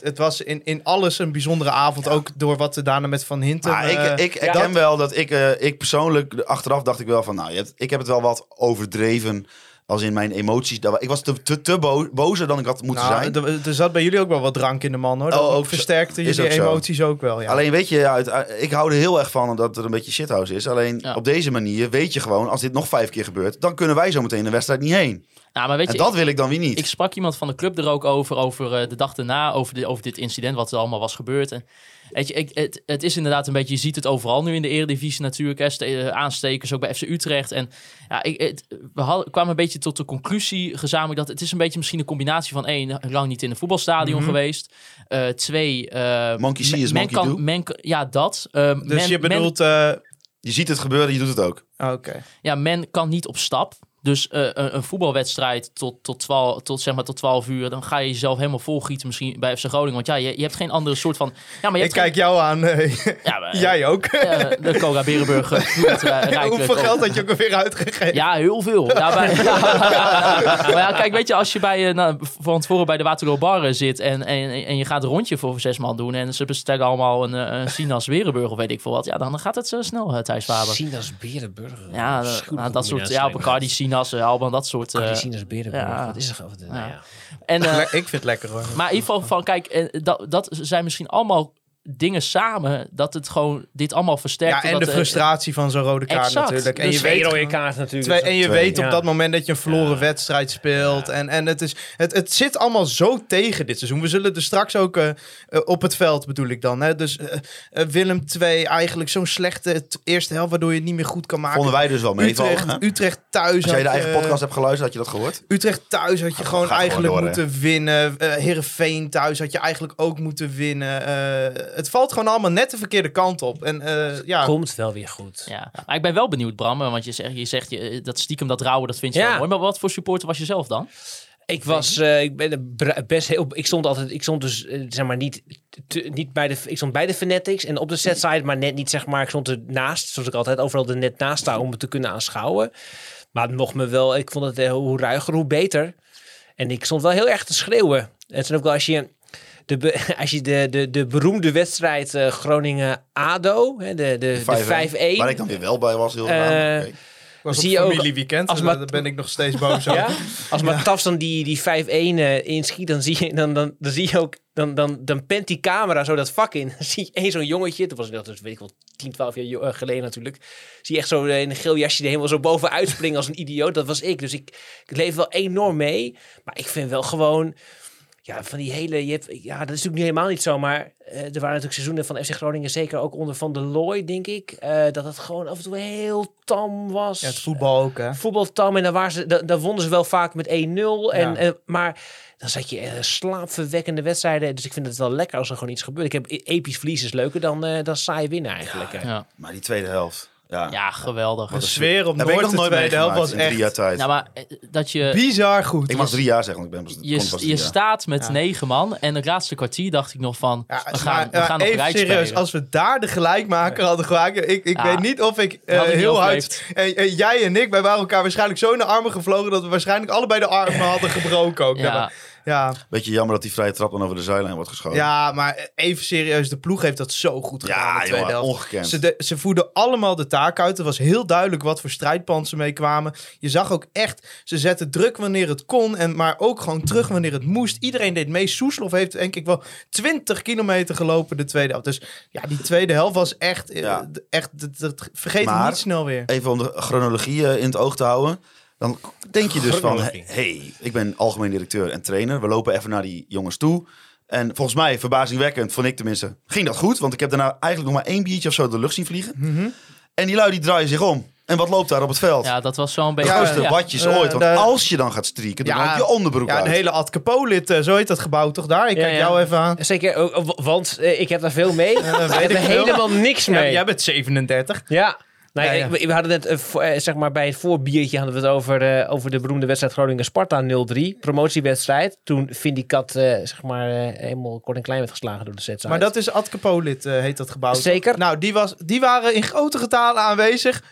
[SPEAKER 1] het was in, in alles een bijzondere avond. Ook door wat er daarna met Van Hinten...
[SPEAKER 7] Maar
[SPEAKER 1] eh,
[SPEAKER 7] Ah, ik, ik herken wel dat ik, eh, ik persoonlijk, de- achteraf dacht ik wel van, nou, je hebt, ik heb het wel wat overdreven als in mijn emoties. Dat, ik was te, te, te bo- bozer dan ik had moeten
[SPEAKER 1] nou,
[SPEAKER 7] zijn.
[SPEAKER 1] er- Er zat bij jullie ook wel wat drank in de man, hoor. Dat
[SPEAKER 7] Oh, ook
[SPEAKER 1] ook
[SPEAKER 7] zo.
[SPEAKER 1] versterkte
[SPEAKER 7] Is
[SPEAKER 1] jullie
[SPEAKER 7] ook zo.
[SPEAKER 1] emoties ook wel, ja.
[SPEAKER 7] Alleen weet je, ja, uit- ik hou er heel erg van dat er een beetje shithouse is. Alleen
[SPEAKER 5] Ja.
[SPEAKER 7] op deze manier weet je gewoon, als dit nog vijf keer gebeurt, dan kunnen wij zo meteen de wedstrijd niet heen.
[SPEAKER 5] Nou, maar weet
[SPEAKER 7] En
[SPEAKER 5] je,
[SPEAKER 7] dat wil ik dan weer niet.
[SPEAKER 5] ik sprak iemand van de club er ook over, over eh, de dag daarna, over, de, over dit incident, wat er allemaal was gebeurd. En, weet je, ik, het, het is inderdaad een beetje, je ziet het overal nu in de eredivisie natuurlijk, hè, ste- eh, aanstekers ook bij FC Utrecht. En ja, ik, het- we hadden- kwamen een beetje tot de conclusie gezamenlijk dat het is een beetje misschien een combinatie van één, lang niet in een voetbalstadion
[SPEAKER 1] Mhm.
[SPEAKER 5] geweest, Eh, twee... eh,
[SPEAKER 7] Monkey see is
[SPEAKER 5] men
[SPEAKER 7] monkey
[SPEAKER 5] kan-
[SPEAKER 7] do.
[SPEAKER 5] men kan- ja, dat. Eh,
[SPEAKER 1] dus
[SPEAKER 5] men-
[SPEAKER 1] je
[SPEAKER 5] men-
[SPEAKER 1] bedoelt... eh,
[SPEAKER 7] Je ziet het gebeuren, je doet het ook.
[SPEAKER 1] Oké.
[SPEAKER 5] ja, men kan niet op stap. Dus eh, een, een voetbalwedstrijd tot, tot, 12, tot, zeg maar, tot 12 uur, dan ga je jezelf helemaal volgieten misschien bij FC Groningen. Want ja, je, je hebt geen andere soort van... Ja, maar je
[SPEAKER 1] Ik
[SPEAKER 5] hebt
[SPEAKER 1] kijk jou aan. eh,
[SPEAKER 5] geen- ja, maar, eh,
[SPEAKER 1] Jij ook.
[SPEAKER 5] eh, de Cora
[SPEAKER 1] [LAUGHS]
[SPEAKER 5] Berenburg. eh, vloeit, eh, rijkelijk
[SPEAKER 1] Hoeveel
[SPEAKER 5] op.
[SPEAKER 1] geld had je ook alweer uitgegeven?
[SPEAKER 5] Ja, heel veel. Ja, maar,
[SPEAKER 1] [LAUGHS]
[SPEAKER 5] [LAUGHS] maar ja, kijk, weet je, als je bij, eh, nou, van tevoren bij de Waterloo Bar eh, zit en, en, en je gaat een rondje voor zes man doen en ze bestellen allemaal een, eh, een Sinas Werenburg of weet ik veel wat, ja, dan gaat het zo snel, eh, Thijs Faber.
[SPEAKER 6] Sinas Berenburger.
[SPEAKER 5] Ja, eh, nou, dat soort, ja, Bacardi, Sinas, eh, Alban, dat soort. eh,
[SPEAKER 6] Sinas Berenburger.
[SPEAKER 5] ja.
[SPEAKER 6] Wat is er? ge- wat- nou ja.
[SPEAKER 5] en, eh,
[SPEAKER 1] ik vind het lekker hoor.
[SPEAKER 5] maar in ieder geval van, kijk, eh, dat, dat zijn misschien allemaal dingen samen dat het gewoon dit allemaal versterkt.
[SPEAKER 1] Ja, en
[SPEAKER 5] omdat,
[SPEAKER 1] de
[SPEAKER 5] eh,
[SPEAKER 1] frustratie van zo'n rode kaart
[SPEAKER 5] exact.
[SPEAKER 1] natuurlijk. En
[SPEAKER 5] Dus
[SPEAKER 1] je
[SPEAKER 6] Twee
[SPEAKER 1] weet,
[SPEAKER 6] rode kaart natuurlijk.
[SPEAKER 1] twee- en je weet
[SPEAKER 6] Ja.
[SPEAKER 1] op dat moment dat je een verloren wedstrijd speelt. En, en het, is, het, het zit allemaal zo tegen dit seizoen. We zullen er straks ook eh, eh, op het veld, bedoel ik dan. Hè? Dus eh, eh, Willem 2 eigenlijk zo'n slechte t- eerste helft... waardoor je het niet meer goed kan maken.
[SPEAKER 7] Vonden wij dus wel meevallen.
[SPEAKER 1] Utrecht, eh,
[SPEAKER 7] hè?
[SPEAKER 1] Utrecht thuis.
[SPEAKER 7] Als jij de
[SPEAKER 1] had
[SPEAKER 7] eigen
[SPEAKER 1] je-
[SPEAKER 7] podcast hebt geluisterd, had je dat gehoord?
[SPEAKER 1] Utrecht thuis had je gewoon
[SPEAKER 7] gewoon
[SPEAKER 1] eigenlijk
[SPEAKER 7] door, hè?
[SPEAKER 1] moeten winnen. Eh Heerenveen thuis had je eigenlijk ook moeten winnen. Eh, het valt gewoon allemaal net de verkeerde kant op. En eh, ja,
[SPEAKER 6] Komt wel weer goed.
[SPEAKER 5] Ja, maar ik ben wel benieuwd, Bram, eh, want je zegt, je zegt je, dat stiekem dat rouwen, dat vind je
[SPEAKER 6] Ja.
[SPEAKER 5] wel mooi. Maar wat voor supporter was je zelf dan?
[SPEAKER 6] Ik was, eh, ik ben er bra- best heel, ik stond altijd, ik stond dus, eh, zeg maar niet, te- niet bij de, ik stond bij de Fanatics en op de side, maar net niet, zeg maar, ik stond ernaast, zoals ik altijd overal er net naast sta om het te kunnen aanschouwen. Maar het mocht me wel, ik vond het eh, hoe ruiger, hoe beter. En ik stond wel heel erg te schreeuwen. En het zijn ook wel als je de, be- [LAUGHS] als je de, de, de beroemde wedstrijd eh, Groningen-ADO, hè, de, de, de 5-1.
[SPEAKER 7] Waar ik dan weer wel bij was, heel raar.
[SPEAKER 6] Eh,
[SPEAKER 7] Oké.
[SPEAKER 1] was
[SPEAKER 6] zie
[SPEAKER 1] op
[SPEAKER 6] je ook-
[SPEAKER 1] familieweekend.
[SPEAKER 6] als
[SPEAKER 1] en
[SPEAKER 6] maar-
[SPEAKER 1] daar ben ik nog steeds boos over.
[SPEAKER 6] [LAUGHS] Ja? Als Matas dan die, die 5-1 eh, inschiet, dan zie je, dan, dan, dan zie je ook... Dan, dan, dan pent die camera zo dat vak in. [LAUGHS] Dan zie je één zo'n jongetje, dat was dat dus, weet ik wel, 10, 12 jaar jo- eh, geleden natuurlijk. Zie je echt zo eh, in een geel jasje er helemaal zo bovenuit springen als een idioot. Dat was ik. Dus ik, ik leef wel enorm mee. Maar ik vind wel gewoon... Ja, van die hele... Je hebt, ja, dat is natuurlijk niet helemaal niet zo, maar eh, er waren natuurlijk seizoenen van FC Groningen, zeker ook onder Van der Looy, denk ik, eh, dat het gewoon af en toe heel tam was
[SPEAKER 1] Ja, het voetbal ook, hè.
[SPEAKER 6] voetbaltam. En dan, waren ze, dan, dan wonnen ze wel vaak met 1-0. En,
[SPEAKER 1] Ja.
[SPEAKER 6] en, eh, maar dan zat je eh, slaapverwekkende wedstrijden. Dus ik vind het wel e- lekker als er gewoon iets gebeurt. Ik heb episch verliezen is leuker dan, eh, dan saai winnen eigenlijk. hè.
[SPEAKER 5] Ja.
[SPEAKER 7] Maar die tweede helft. Ja.
[SPEAKER 5] Ja, geweldig.
[SPEAKER 1] De sfeer op
[SPEAKER 7] Dat heb ik
[SPEAKER 1] Noord
[SPEAKER 7] nog
[SPEAKER 1] de
[SPEAKER 7] nooit
[SPEAKER 1] tweede helft
[SPEAKER 7] meegemaakt
[SPEAKER 1] was
[SPEAKER 7] in drie jaar
[SPEAKER 1] echt
[SPEAKER 7] tijd.
[SPEAKER 5] Nou, maar eh, dat je...
[SPEAKER 1] bizar goed.
[SPEAKER 7] ik mag drie jaar zeggen, want ik ben pas,
[SPEAKER 5] Je,
[SPEAKER 7] kon pas
[SPEAKER 5] je
[SPEAKER 7] drie jaar.
[SPEAKER 5] staat met
[SPEAKER 1] Ja.
[SPEAKER 5] negen man en het laatste kwartier dacht ik nog van,
[SPEAKER 1] Ja,
[SPEAKER 5] we gaan,
[SPEAKER 1] maar,
[SPEAKER 5] we gaan
[SPEAKER 1] ja,
[SPEAKER 5] nog
[SPEAKER 1] even
[SPEAKER 5] rijk
[SPEAKER 1] serieus,
[SPEAKER 5] spelen.
[SPEAKER 1] als we daar de gelijkmaker hadden gemaakt... Ik, ik
[SPEAKER 5] Ja,
[SPEAKER 1] weet niet of ik eh,
[SPEAKER 5] had ik niet
[SPEAKER 1] heel hard...
[SPEAKER 5] overleefd.
[SPEAKER 1] En, en jij en ik, wij waren elkaar waarschijnlijk zo in de armen gevlogen... dat we waarschijnlijk allebei de armen hadden gebroken ook. Ja,
[SPEAKER 5] ja,
[SPEAKER 1] maar, ja.
[SPEAKER 7] Beetje jammer dat die vrije trap dan over de zijlijn wordt geschoten.
[SPEAKER 1] ja, maar even serieus, de ploeg heeft dat zo goed gedaan in
[SPEAKER 7] ja
[SPEAKER 1] de tweede
[SPEAKER 7] jongen,
[SPEAKER 1] helft.
[SPEAKER 7] ongekend.
[SPEAKER 1] Ze, de- ze voerden allemaal de taak uit. Het was heel duidelijk wat voor strijdpand ze mee kwamen. Je zag ook echt, ze zetten druk wanneer het kon, en, maar ook gewoon terug wanneer het moest. Iedereen deed mee. Soeslof heeft denk ik wel 20 kilometer gelopen de tweede helft. Dus ja, die tweede helft was echt, eh,
[SPEAKER 7] Ja.
[SPEAKER 1] d- echt dat, dat- vergeet het
[SPEAKER 7] Maar-
[SPEAKER 1] niet snel weer.
[SPEAKER 7] Even om de chronologie eh, in het oog te houden. Dan denk je dus van, hé,
[SPEAKER 6] Chronologie.
[SPEAKER 7] hey, ik ben algemeen directeur en trainer. We lopen even naar die jongens toe. En volgens mij, verbazingwekkend, vond ik tenminste, ging dat goed. Want ik heb daarna eigenlijk nog maar één biertje of zo de lucht zien vliegen. En die lui die draaien zich om. En wat loopt daar op het veld?
[SPEAKER 5] ja, dat was zo'n
[SPEAKER 7] de
[SPEAKER 5] beetje...
[SPEAKER 7] grootste
[SPEAKER 5] ja.
[SPEAKER 7] watjes
[SPEAKER 1] Eh,
[SPEAKER 7] ooit. Want
[SPEAKER 1] de-
[SPEAKER 7] als je dan gaat strieken, dan
[SPEAKER 1] Ja,
[SPEAKER 7] raak je onderbroek
[SPEAKER 1] Ja,
[SPEAKER 7] uit.
[SPEAKER 1] een hele Ad Capolid, eh, zo heet dat gebouw toch daar? Ik
[SPEAKER 6] Ja,
[SPEAKER 1] kijk
[SPEAKER 6] ja.
[SPEAKER 1] jou even aan.
[SPEAKER 6] Zeker, ook, ook, want eh, ik heb daar veel
[SPEAKER 1] [LAUGHS]
[SPEAKER 6] mee.
[SPEAKER 1] dat
[SPEAKER 6] ik
[SPEAKER 1] weet
[SPEAKER 6] heb
[SPEAKER 1] ik
[SPEAKER 6] er
[SPEAKER 1] veel.
[SPEAKER 6] helemaal niks mee.
[SPEAKER 1] Ja, jij bent 37.
[SPEAKER 6] Ja. Nou,
[SPEAKER 1] Ja,
[SPEAKER 6] ja,
[SPEAKER 1] ja.
[SPEAKER 6] ik- We, we hadden net eh, voor- eh, zeg maar bij het voorbiertje hadden we het over, eh, over de beroemde wedstrijd Groningen-Sparta 0-3. Promotiewedstrijd. Toen Vindy Kat eh, zeg maar, eh, helemaal kort en klein werd geslagen door de sets.
[SPEAKER 1] Maar dat is Ad Capolid, eh, heet dat gebouw. toch?
[SPEAKER 6] Zeker.
[SPEAKER 1] Nou, die, was, die waren in grote getalen aanwezig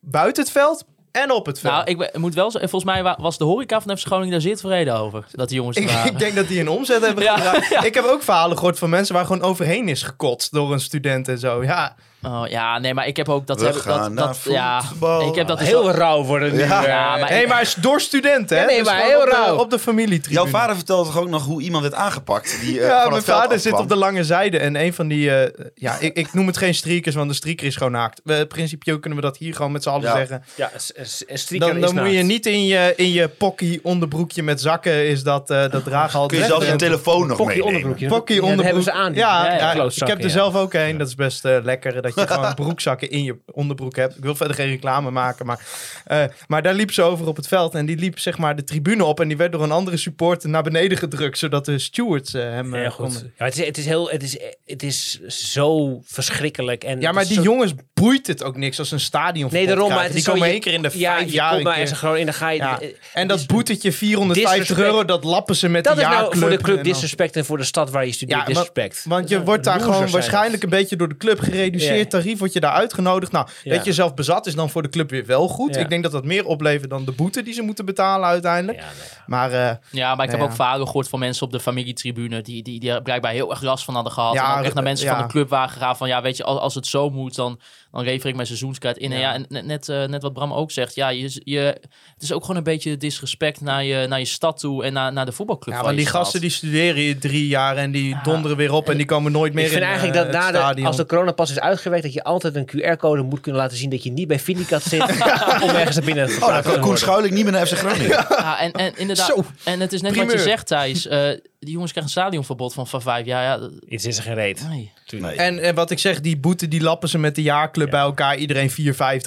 [SPEAKER 1] buiten het veld en op het veld.
[SPEAKER 5] Nou, ik ben- ik moet wel zeggen, volgens mij wa- was de horeca van FC Groningen daar zeer tevreden over. Dat die jongens er
[SPEAKER 1] Ik,
[SPEAKER 5] waren.
[SPEAKER 1] [LAUGHS] ik denk dat die een omzet hebben
[SPEAKER 5] Ja,
[SPEAKER 6] [LAUGHS]
[SPEAKER 1] gedaan. Ik heb ook verhalen gehoord van mensen waar gewoon overheen is gekotst door een student en zo. Ja,
[SPEAKER 5] Oh, ja, nee, maar ik heb ook dat...
[SPEAKER 7] We
[SPEAKER 5] heb- dat-
[SPEAKER 7] gaan
[SPEAKER 5] dat,
[SPEAKER 7] naar
[SPEAKER 5] ja,
[SPEAKER 7] voetbal.
[SPEAKER 5] ik heb dat dus
[SPEAKER 6] heel
[SPEAKER 5] wel-
[SPEAKER 6] rauw worden nu.
[SPEAKER 7] Ja.
[SPEAKER 6] eh.
[SPEAKER 5] Ja, maar
[SPEAKER 1] nee, maar is door studenten, hè?
[SPEAKER 6] Ja, nee,
[SPEAKER 1] Dus
[SPEAKER 6] maar
[SPEAKER 1] gewoon
[SPEAKER 6] heel
[SPEAKER 1] op de,
[SPEAKER 6] rauw.
[SPEAKER 1] op de familietribune.
[SPEAKER 7] Jouw vader vertelde toch ook nog hoe iemand werd aangepakt? Die, eh, van
[SPEAKER 1] Ja,
[SPEAKER 7] het
[SPEAKER 1] mijn
[SPEAKER 7] veld
[SPEAKER 1] vader zit
[SPEAKER 7] afkwam?
[SPEAKER 1] op de lange zijde en een van die... eh, ja, ik, ik noem het geen streakers, want de streaker is gewoon naakt. We, principieel kunnen we dat hier gewoon met z'n allen
[SPEAKER 7] Ja.
[SPEAKER 1] zeggen.
[SPEAKER 6] Ja, s- s- streaker
[SPEAKER 1] Dan,
[SPEAKER 6] is
[SPEAKER 1] dan moet je
[SPEAKER 6] naakt.
[SPEAKER 1] niet in je, in je pokkie onderbroekje met zakken is dat, eh dat dragen
[SPEAKER 7] Kun je zelfs je telefoon nog
[SPEAKER 6] Pokkie
[SPEAKER 7] meenemen? Oh,
[SPEAKER 6] onderbroekje.
[SPEAKER 1] Pokkie
[SPEAKER 6] Ja, dat
[SPEAKER 1] onderbroek.
[SPEAKER 6] hebben ze aan. die-
[SPEAKER 1] Ja, ja,
[SPEAKER 5] ja,
[SPEAKER 1] ik heb
[SPEAKER 6] klootzakken,
[SPEAKER 1] er
[SPEAKER 6] ja.
[SPEAKER 1] zelf ook een. Dat is best eh, lekker. Dat je gewoon [LAUGHS] broekzakken in je onderbroek hebt. Ik wil verder geen reclame maken. Maar, eh, maar daar liep ze over op het veld. En die liep zeg maar de tribune op. En die werd door een andere supporter naar beneden gedrukt. Zodat de stewards eh, hem eh,
[SPEAKER 6] Ja, goed.
[SPEAKER 1] konden-
[SPEAKER 6] Ja, het, is, het, is heel, het, is, het is zo verschrikkelijk. En
[SPEAKER 1] Ja,
[SPEAKER 6] het
[SPEAKER 1] maar
[SPEAKER 6] is
[SPEAKER 1] die
[SPEAKER 6] zo-
[SPEAKER 1] jongens boeit het ook niet. Als een stadion
[SPEAKER 6] Nee, daarom. Maar
[SPEAKER 1] krijgen.
[SPEAKER 6] het
[SPEAKER 1] Die
[SPEAKER 6] is zo,
[SPEAKER 1] komen
[SPEAKER 6] je-
[SPEAKER 1] één keer in de vijf
[SPEAKER 6] ja, je
[SPEAKER 1] jaar
[SPEAKER 6] komt
[SPEAKER 1] een
[SPEAKER 6] maar
[SPEAKER 1] keer.
[SPEAKER 6] en ze gewoon in de ga je...
[SPEAKER 1] Ja.
[SPEAKER 6] eh,
[SPEAKER 1] En dat boetetje 450
[SPEAKER 6] Disrespect.
[SPEAKER 1] euro, dat lappen ze met
[SPEAKER 6] Dat
[SPEAKER 1] de
[SPEAKER 6] is nou
[SPEAKER 1] jaarclub
[SPEAKER 6] voor de
[SPEAKER 1] en
[SPEAKER 6] club
[SPEAKER 1] dan-
[SPEAKER 6] disrespect en voor de stad waar je studeert
[SPEAKER 1] Ja, maar-
[SPEAKER 6] disrespect.
[SPEAKER 1] Want je wordt daar
[SPEAKER 6] losers
[SPEAKER 1] gewoon
[SPEAKER 6] zijn dat.
[SPEAKER 1] waarschijnlijk een beetje door de club gereduceerd.
[SPEAKER 6] Ja.
[SPEAKER 1] Tarief wordt je daar uitgenodigd. Nou,
[SPEAKER 6] Ja.
[SPEAKER 1] dat je zelf bezat is dan voor de club weer wel goed.
[SPEAKER 6] Ja.
[SPEAKER 1] Ik denk dat dat meer oplevert dan de boete die ze moeten betalen uiteindelijk.
[SPEAKER 6] Ja, nou ja.
[SPEAKER 1] Maar eh,
[SPEAKER 5] Ja, maar ik heb
[SPEAKER 1] Nou
[SPEAKER 5] ook
[SPEAKER 1] ja.
[SPEAKER 5] verhalen gehoord van mensen op de familietribune die, die, die er blijkbaar heel erg last van hadden gehad.
[SPEAKER 1] Ja,
[SPEAKER 5] en ook echt naar mensen
[SPEAKER 1] ja.
[SPEAKER 5] van de club waren gegaan van ja, weet je, als, als het zo moet, dan, dan lever ik mijn seizoenskaart in. En ja, en net, net, eh, net wat Bram ook zegt, ja, je, je, het is ook gewoon een beetje disrespect naar je, naar je stad toe en naar, naar de voetbalclub
[SPEAKER 1] ja,
[SPEAKER 5] van
[SPEAKER 1] want
[SPEAKER 5] je
[SPEAKER 1] die
[SPEAKER 5] stad.
[SPEAKER 1] gasten die studeren hier drie jaar en die donderen weer op en die komen nooit meer
[SPEAKER 6] Ik vind
[SPEAKER 1] in
[SPEAKER 6] eigenlijk
[SPEAKER 1] eh,
[SPEAKER 6] dat na
[SPEAKER 1] het
[SPEAKER 6] de-
[SPEAKER 1] stadion.
[SPEAKER 6] als de coronapas is uitgewerkt, dat je altijd een QR-code moet kunnen laten zien dat je niet bij Vindicat
[SPEAKER 1] [LAUGHS]
[SPEAKER 6] zit om ergens naar binnen te
[SPEAKER 7] Oh, dan kan Koen Schuiling niet meer naar FC Groningen.
[SPEAKER 5] Ja, en, en inderdaad,
[SPEAKER 1] Zo,
[SPEAKER 5] en het is net wat
[SPEAKER 1] primeur.
[SPEAKER 5] je zegt Thijs, eh, die jongens krijgen een stadionverbod van, van vijf jaar. Ja, dat-
[SPEAKER 6] Iets is er geen reet.
[SPEAKER 5] nee.
[SPEAKER 7] Nee.
[SPEAKER 1] En, en wat ik zeg, die boete die lappen ze met de jaarclub bij elkaar. Iedereen 4,50,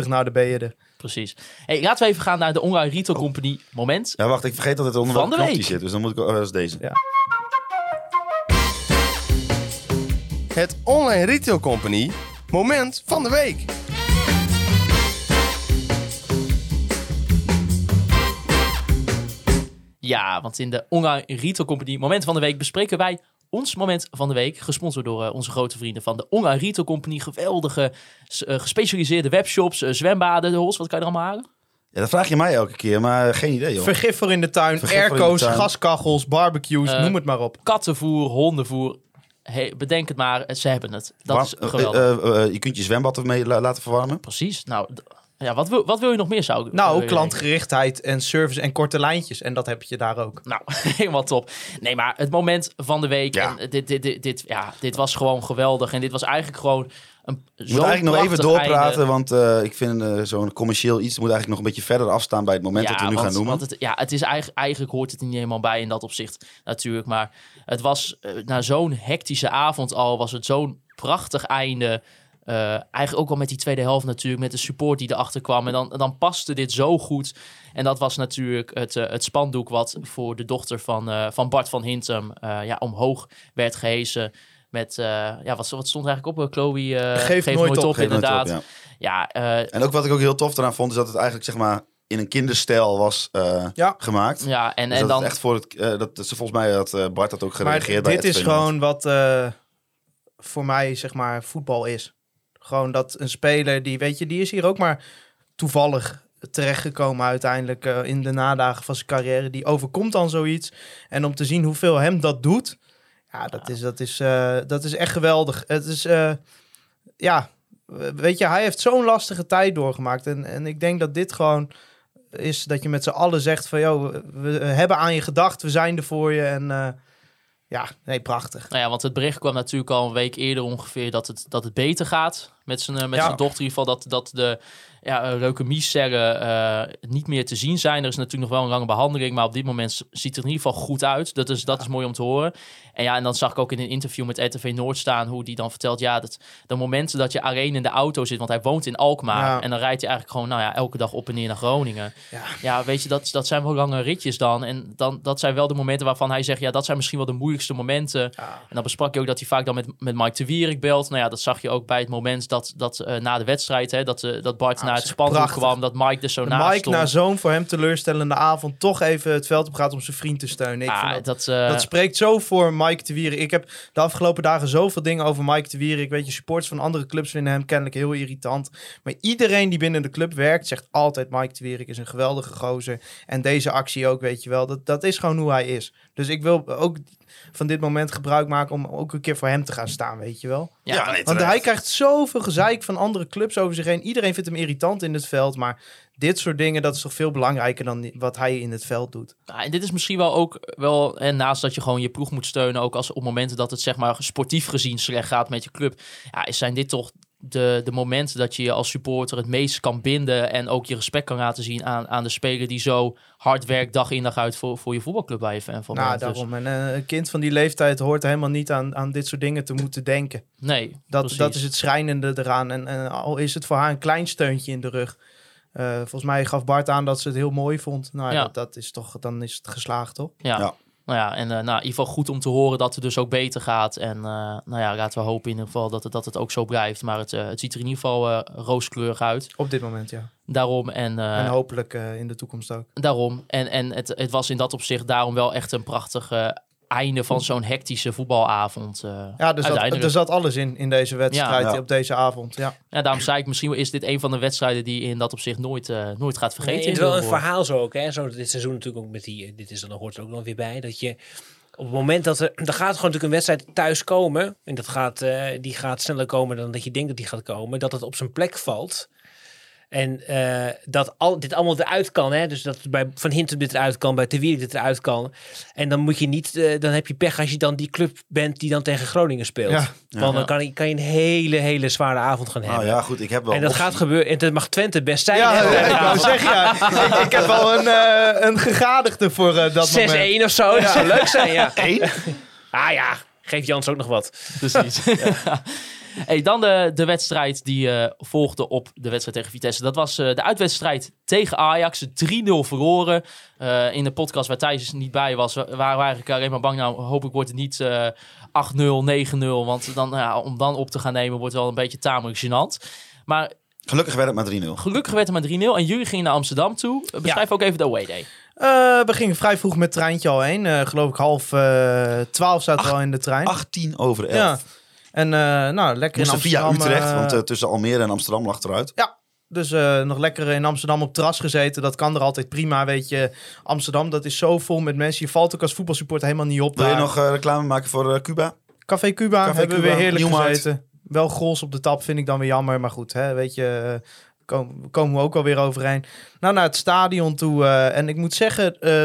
[SPEAKER 1] nou daar ben je er.
[SPEAKER 5] Precies. Hey, laten we even gaan naar de online retail company moment.
[SPEAKER 7] Ja, wacht, ik vergeet dat het onder
[SPEAKER 5] Van
[SPEAKER 7] welke
[SPEAKER 5] de
[SPEAKER 7] knop die
[SPEAKER 5] week.
[SPEAKER 7] zit. Dus dan moet ik... Oh, dat is deze.
[SPEAKER 8] Het Online Retail Company moment van de week.
[SPEAKER 5] Ja, want in de online retail company moment van de week bespreken wij ons moment van de week, gesponsord door eh, onze grote vrienden van de online retail company. Geweldige s- eh, gespecialiseerde webshops, eh, zwembaden, hols, wat kan je er allemaal halen?
[SPEAKER 7] Ja, dat vraag je mij elke keer, maar eh, geen idee, joh.
[SPEAKER 1] Vergif voor in de tuin,
[SPEAKER 7] Vergif voor in de
[SPEAKER 1] airco's,
[SPEAKER 7] tuin.
[SPEAKER 1] gaskachels, barbecues,
[SPEAKER 5] Eh,
[SPEAKER 1] noem het maar op.
[SPEAKER 5] Kattenvoer, hondenvoer. Hey, bedenk het maar, eh, ze hebben het. Dat
[SPEAKER 7] Warm-
[SPEAKER 5] is
[SPEAKER 7] eh,
[SPEAKER 5] geweldig.
[SPEAKER 7] eh, eh, eh, je kunt je zwembad ermee la- laten verwarmen.
[SPEAKER 5] Precies. Nou, d- ja, wat, wil, wat wil je nog meer? Zou ik, wil
[SPEAKER 1] Nou,
[SPEAKER 5] je
[SPEAKER 1] klantgerichtheid en service en korte lijntjes. En dat heb je daar ook.
[SPEAKER 5] [LAUGHS] Nou, helemaal top. Nee, maar het moment van de week.
[SPEAKER 7] Ja.
[SPEAKER 5] En dit, dit, dit, dit, ja, dit was gewoon geweldig. En dit was eigenlijk gewoon een
[SPEAKER 7] Je moet eigenlijk nog even doorpraten, want eh, ik vind eh, zo'n commercieel iets moet eigenlijk nog een beetje verder afstaan bij het moment dat we nu
[SPEAKER 5] want,
[SPEAKER 7] gaan noemen.
[SPEAKER 5] want het, ja, het is eigenlijk, eigenlijk hoort het er niet helemaal bij in dat opzicht natuurlijk. Maar het was eh, na zo'n hectische avond al, was het zo'n prachtig einde. Eh, eigenlijk ook al met die tweede helft natuurlijk, met de support die erachter kwam. En dan, dan paste dit zo goed. En dat was natuurlijk het, eh, het spandoek wat voor de dochter van, eh, van Bart van Hintem eh, ja, omhoog werd gehezen. Met, eh, ja, wat, wat stond er eigenlijk op? Chloe eh,
[SPEAKER 1] Geef nooit op,
[SPEAKER 7] Geef nooit op,
[SPEAKER 5] inderdaad.
[SPEAKER 7] ja.
[SPEAKER 5] ja, eh,
[SPEAKER 7] En ook wat ik ook heel tof eraan vond, is dat het eigenlijk zeg maar in een kinderstijl was eh,
[SPEAKER 1] Ja.
[SPEAKER 7] gemaakt. Dus
[SPEAKER 5] ja en,
[SPEAKER 7] dat
[SPEAKER 5] en
[SPEAKER 7] het
[SPEAKER 5] dan...
[SPEAKER 7] echt voor het, eh, dat, dat ze volgens mij had eh, Bart dat ook
[SPEAKER 1] Maar
[SPEAKER 7] gereageerd bij
[SPEAKER 1] dit is
[SPEAKER 7] Edwin.
[SPEAKER 1] gewoon wat eh, voor mij, zeg maar, voetbal is. Gewoon dat een speler die, weet je, die is hier ook maar toevallig terechtgekomen uiteindelijk eh, in de nadagen van zijn carrière. Die overkomt dan zoiets. En om te zien hoeveel hem dat doet, ja, dat is, dat is, eh, dat is echt geweldig. Het is, eh, ja, weet je, hij heeft zo'n lastige tijd doorgemaakt. En, en ik denk dat dit gewoon is dat je met z'n allen zegt van... joh, we- we hebben aan je gedacht, we zijn er voor je. En eh, ja, nee, prachtig.
[SPEAKER 5] Nou ja, want het bericht kwam natuurlijk al een week eerder ongeveer dat het, dat het beter gaat met zijn, eh, met
[SPEAKER 1] Ja.
[SPEAKER 5] zijn dochter. In ieder geval dat, dat de ja, eh, leukemiecellen eh, niet meer te zien zijn. Er is natuurlijk nog wel een lange behandeling, maar op dit moment z- ziet het er in ieder geval goed uit. Dat is, dat is mooi om te horen. En ja, en dan zag ik ook in een interview met RTV Noord staan hoe die dan vertelt, ja, dat de momenten dat je alleen in de auto zit, want hij woont in Alkmaar
[SPEAKER 1] Ja.
[SPEAKER 5] en dan rijdt hij eigenlijk gewoon, nou ja, elke dag op en neer naar Groningen. Ja, weet je, dat, dat zijn wel lange ritjes dan. En dan, dat zijn wel de momenten waarvan hij zegt, ja, dat zijn misschien wel de moeilijkste momenten. En dan besprak je ook dat hij vaak dan met, met Mike de Wierik belt. Nou ja, dat zag je ook bij het moment dat, dat eh, na de wedstrijd, hè, dat, eh, dat Bart naar het spandoek
[SPEAKER 1] Ah, prachtig.
[SPEAKER 5] kwam, dat Mike er zo
[SPEAKER 1] Dat
[SPEAKER 5] naast
[SPEAKER 1] Mike
[SPEAKER 5] stond.
[SPEAKER 1] na zo'n voor hem teleurstellende avond toch even het veld op gaat om zijn vriend te steunen. Ik
[SPEAKER 5] Ah,
[SPEAKER 1] vind dat,
[SPEAKER 5] dat, eh,
[SPEAKER 1] dat spreekt zo voor Mike de Wierik. Ik heb de afgelopen dagen zoveel dingen over Mike de Wierik. Weet je, supporters van andere clubs vinden hem kennelijk heel irritant. Maar iedereen die binnen de club werkt zegt altijd Mike de Wierik is een geweldige gozer. En deze actie ook, weet je wel. Dat, dat is gewoon hoe hij is. Dus ik wil ook van dit moment gebruik maken om ook een keer voor hem te gaan staan, weet je wel.
[SPEAKER 5] ja,
[SPEAKER 7] Ja, nee,
[SPEAKER 1] Want
[SPEAKER 7] terecht.
[SPEAKER 1] hij krijgt zoveel gezeik van andere clubs over zich heen. Iedereen vindt hem irritant in het veld. Maar dit soort dingen, dat is toch veel belangrijker dan wat hij in het veld doet.
[SPEAKER 5] Ja, ah, en dit is misschien wel ook wel, en naast dat je gewoon je ploeg moet steunen, ook als op momenten dat het zeg maar sportief gezien slecht gaat met je club, ja, is- zijn dit toch de, de momenten dat je je als supporter het meest kan binden en ook je respect kan laten zien aan, aan de speler die zo hard werkt dag in dag uit voor, voor je voetbalclub bij je fan van
[SPEAKER 1] nou,
[SPEAKER 5] bent. Dus
[SPEAKER 1] daarom. En eh, een kind van die leeftijd hoort helemaal niet aan, aan dit soort dingen te moeten denken.
[SPEAKER 5] nee,
[SPEAKER 1] Dat,
[SPEAKER 5] precies.
[SPEAKER 1] dat is het schrijnende eraan. En, en al is het voor haar een klein steuntje in de rug. Eh, volgens mij gaf Bart aan dat ze het heel mooi vond. Nou,
[SPEAKER 5] Ja.
[SPEAKER 1] dat, dat is toch, dan is het geslaagd, toch?
[SPEAKER 5] Ja.
[SPEAKER 7] Ja.
[SPEAKER 5] Nou ja, en eh, nou, in ieder geval goed om te horen dat het dus ook beter gaat. En eh, nou ja, laten we hopen in ieder geval dat het, dat het ook zo blijft. Maar het, eh, het ziet er in ieder geval eh, rooskleurig uit.
[SPEAKER 1] Op dit moment, ja.
[SPEAKER 5] Daarom en, eh,
[SPEAKER 1] en hopelijk eh, in de toekomst ook.
[SPEAKER 5] daarom. En, en het, het was in dat opzicht daarom wel echt een prachtig eh, einde van zo'n hectische voetbalavond. eh,
[SPEAKER 1] Ja, dus dat,
[SPEAKER 5] uiteindelijk.
[SPEAKER 1] er zat alles in, in deze wedstrijd,
[SPEAKER 7] Ja.
[SPEAKER 1] op deze avond. Ja.
[SPEAKER 5] Ja, daarom zei ik, misschien is dit een van de wedstrijden die je in dat opzicht nooit, eh, nooit gaat vergeten.
[SPEAKER 6] Nee,
[SPEAKER 5] in
[SPEAKER 6] het is wel een
[SPEAKER 5] Wildeborg.
[SPEAKER 6] verhaal zo ook. Hè? Zo dit seizoen natuurlijk ook met die... eh, Dit is dan, hoort er ook nog weer bij. Dat je op het moment dat er... [CLEARS THROAT] Dan gaat gewoon natuurlijk een wedstrijd thuis komen. En dat gaat, eh, die gaat sneller komen dan dat je denkt dat die gaat komen. Dat het op zijn plek valt. En eh, dat al, dit allemaal eruit kan. Hè? Dus dat bij Van Hintem dit eruit kan. Bij Te Wierik dit eruit kan. En dan moet je niet... eh, dan heb je pech als je dan die club bent die dan tegen Groningen speelt.
[SPEAKER 1] Ja. Ah,
[SPEAKER 6] Want dan kan je, kan je een hele, hele zware avond gaan hebben.
[SPEAKER 7] Nou ja, goed, ik heb wel.
[SPEAKER 6] En dat
[SPEAKER 7] opties.
[SPEAKER 6] gaat gebeuren. En dat mag Twente best zijn.
[SPEAKER 1] Ja,
[SPEAKER 6] hè?
[SPEAKER 1] ja, ik wou zeggen, ja. ik, ik heb al een, eh, een gegadigde voor eh, dat moment.
[SPEAKER 6] 6-1 of zo. Dat zou leuk zijn,
[SPEAKER 1] [LAUGHS]
[SPEAKER 6] ja. Ah ja, geef Jans ook nog wat.
[SPEAKER 5] Precies. hey, dan de, de wedstrijd die eh, volgde op de wedstrijd tegen Vitesse. Dat was eh, de uitwedstrijd tegen Ajax. 3-0 verloren. Eh, in de podcast waar Thijs niet bij was, wa- waren we eigenlijk alleen maar bang. Nou, hoop ik wordt het niet eh 8-0, 9-0. Want dan, ja, om dan op te gaan nemen wordt wel een beetje tamelijk gênant. Maar
[SPEAKER 7] Gelukkig werd het maar 3-0.
[SPEAKER 5] gelukkig werd het maar 3-0. En jullie gingen naar Amsterdam toe. Eh, Beschrijf ook even de away day.
[SPEAKER 1] Eh, we gingen vrij vroeg met het treintje al heen. Eh, geloof ik half eh, twaalf zaten we al in de trein.
[SPEAKER 7] 18 over 11.
[SPEAKER 1] Ja. En eh, nou, lekker in
[SPEAKER 7] Moesten via
[SPEAKER 1] Amsterdam.
[SPEAKER 7] Utrecht,
[SPEAKER 1] eh,
[SPEAKER 7] want eh, tussen Almere en Amsterdam lag het eruit.
[SPEAKER 1] Ja, dus eh, nog lekker in Amsterdam op terras gezeten. Dat kan er altijd prima, weet je. Amsterdam, dat is zo vol met mensen. Je valt ook als voetbalsupporter helemaal niet op
[SPEAKER 7] Wil je
[SPEAKER 1] daar.
[SPEAKER 7] nog eh, reclame maken voor eh, Cuba?
[SPEAKER 1] Café Cuba
[SPEAKER 7] Café
[SPEAKER 1] hebben we
[SPEAKER 7] Cuba,
[SPEAKER 1] weer heerlijk
[SPEAKER 7] Nieuwmarkt.
[SPEAKER 1] gezeten. Wel goals op de tap vind ik dan weer jammer. Maar goed, hè, weet je, eh, kom- komen we ook alweer overheen. Nou, naar het stadion toe. eh, en ik moet zeggen, eh,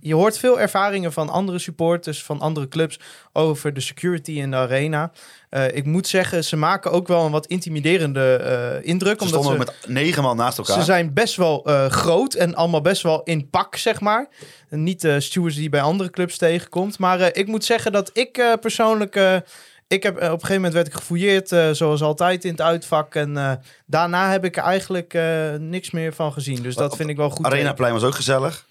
[SPEAKER 1] je hoort veel ervaringen van andere supporters, van andere clubs... over de security in de arena. Eh, ik moet zeggen, ze maken ook wel een wat intimiderende eh, indruk.
[SPEAKER 7] Ze
[SPEAKER 1] omdat
[SPEAKER 7] stonden
[SPEAKER 1] ze,
[SPEAKER 7] met negen man naast elkaar.
[SPEAKER 1] ze zijn best wel eh, groot en allemaal best wel in pak, zeg maar. En niet de stewards die je bij andere clubs tegenkomt. Maar eh, ik moet zeggen dat ik eh, persoonlijk... eh, ik heb, eh, op een gegeven moment werd ik gefouilleerd, eh, zoals altijd in het uitvak. En eh, daarna heb ik er eigenlijk eh, niks meer van gezien. Dus dat
[SPEAKER 7] Op
[SPEAKER 1] vind ik wel goed.
[SPEAKER 7] Arenaplein was ook gezellig.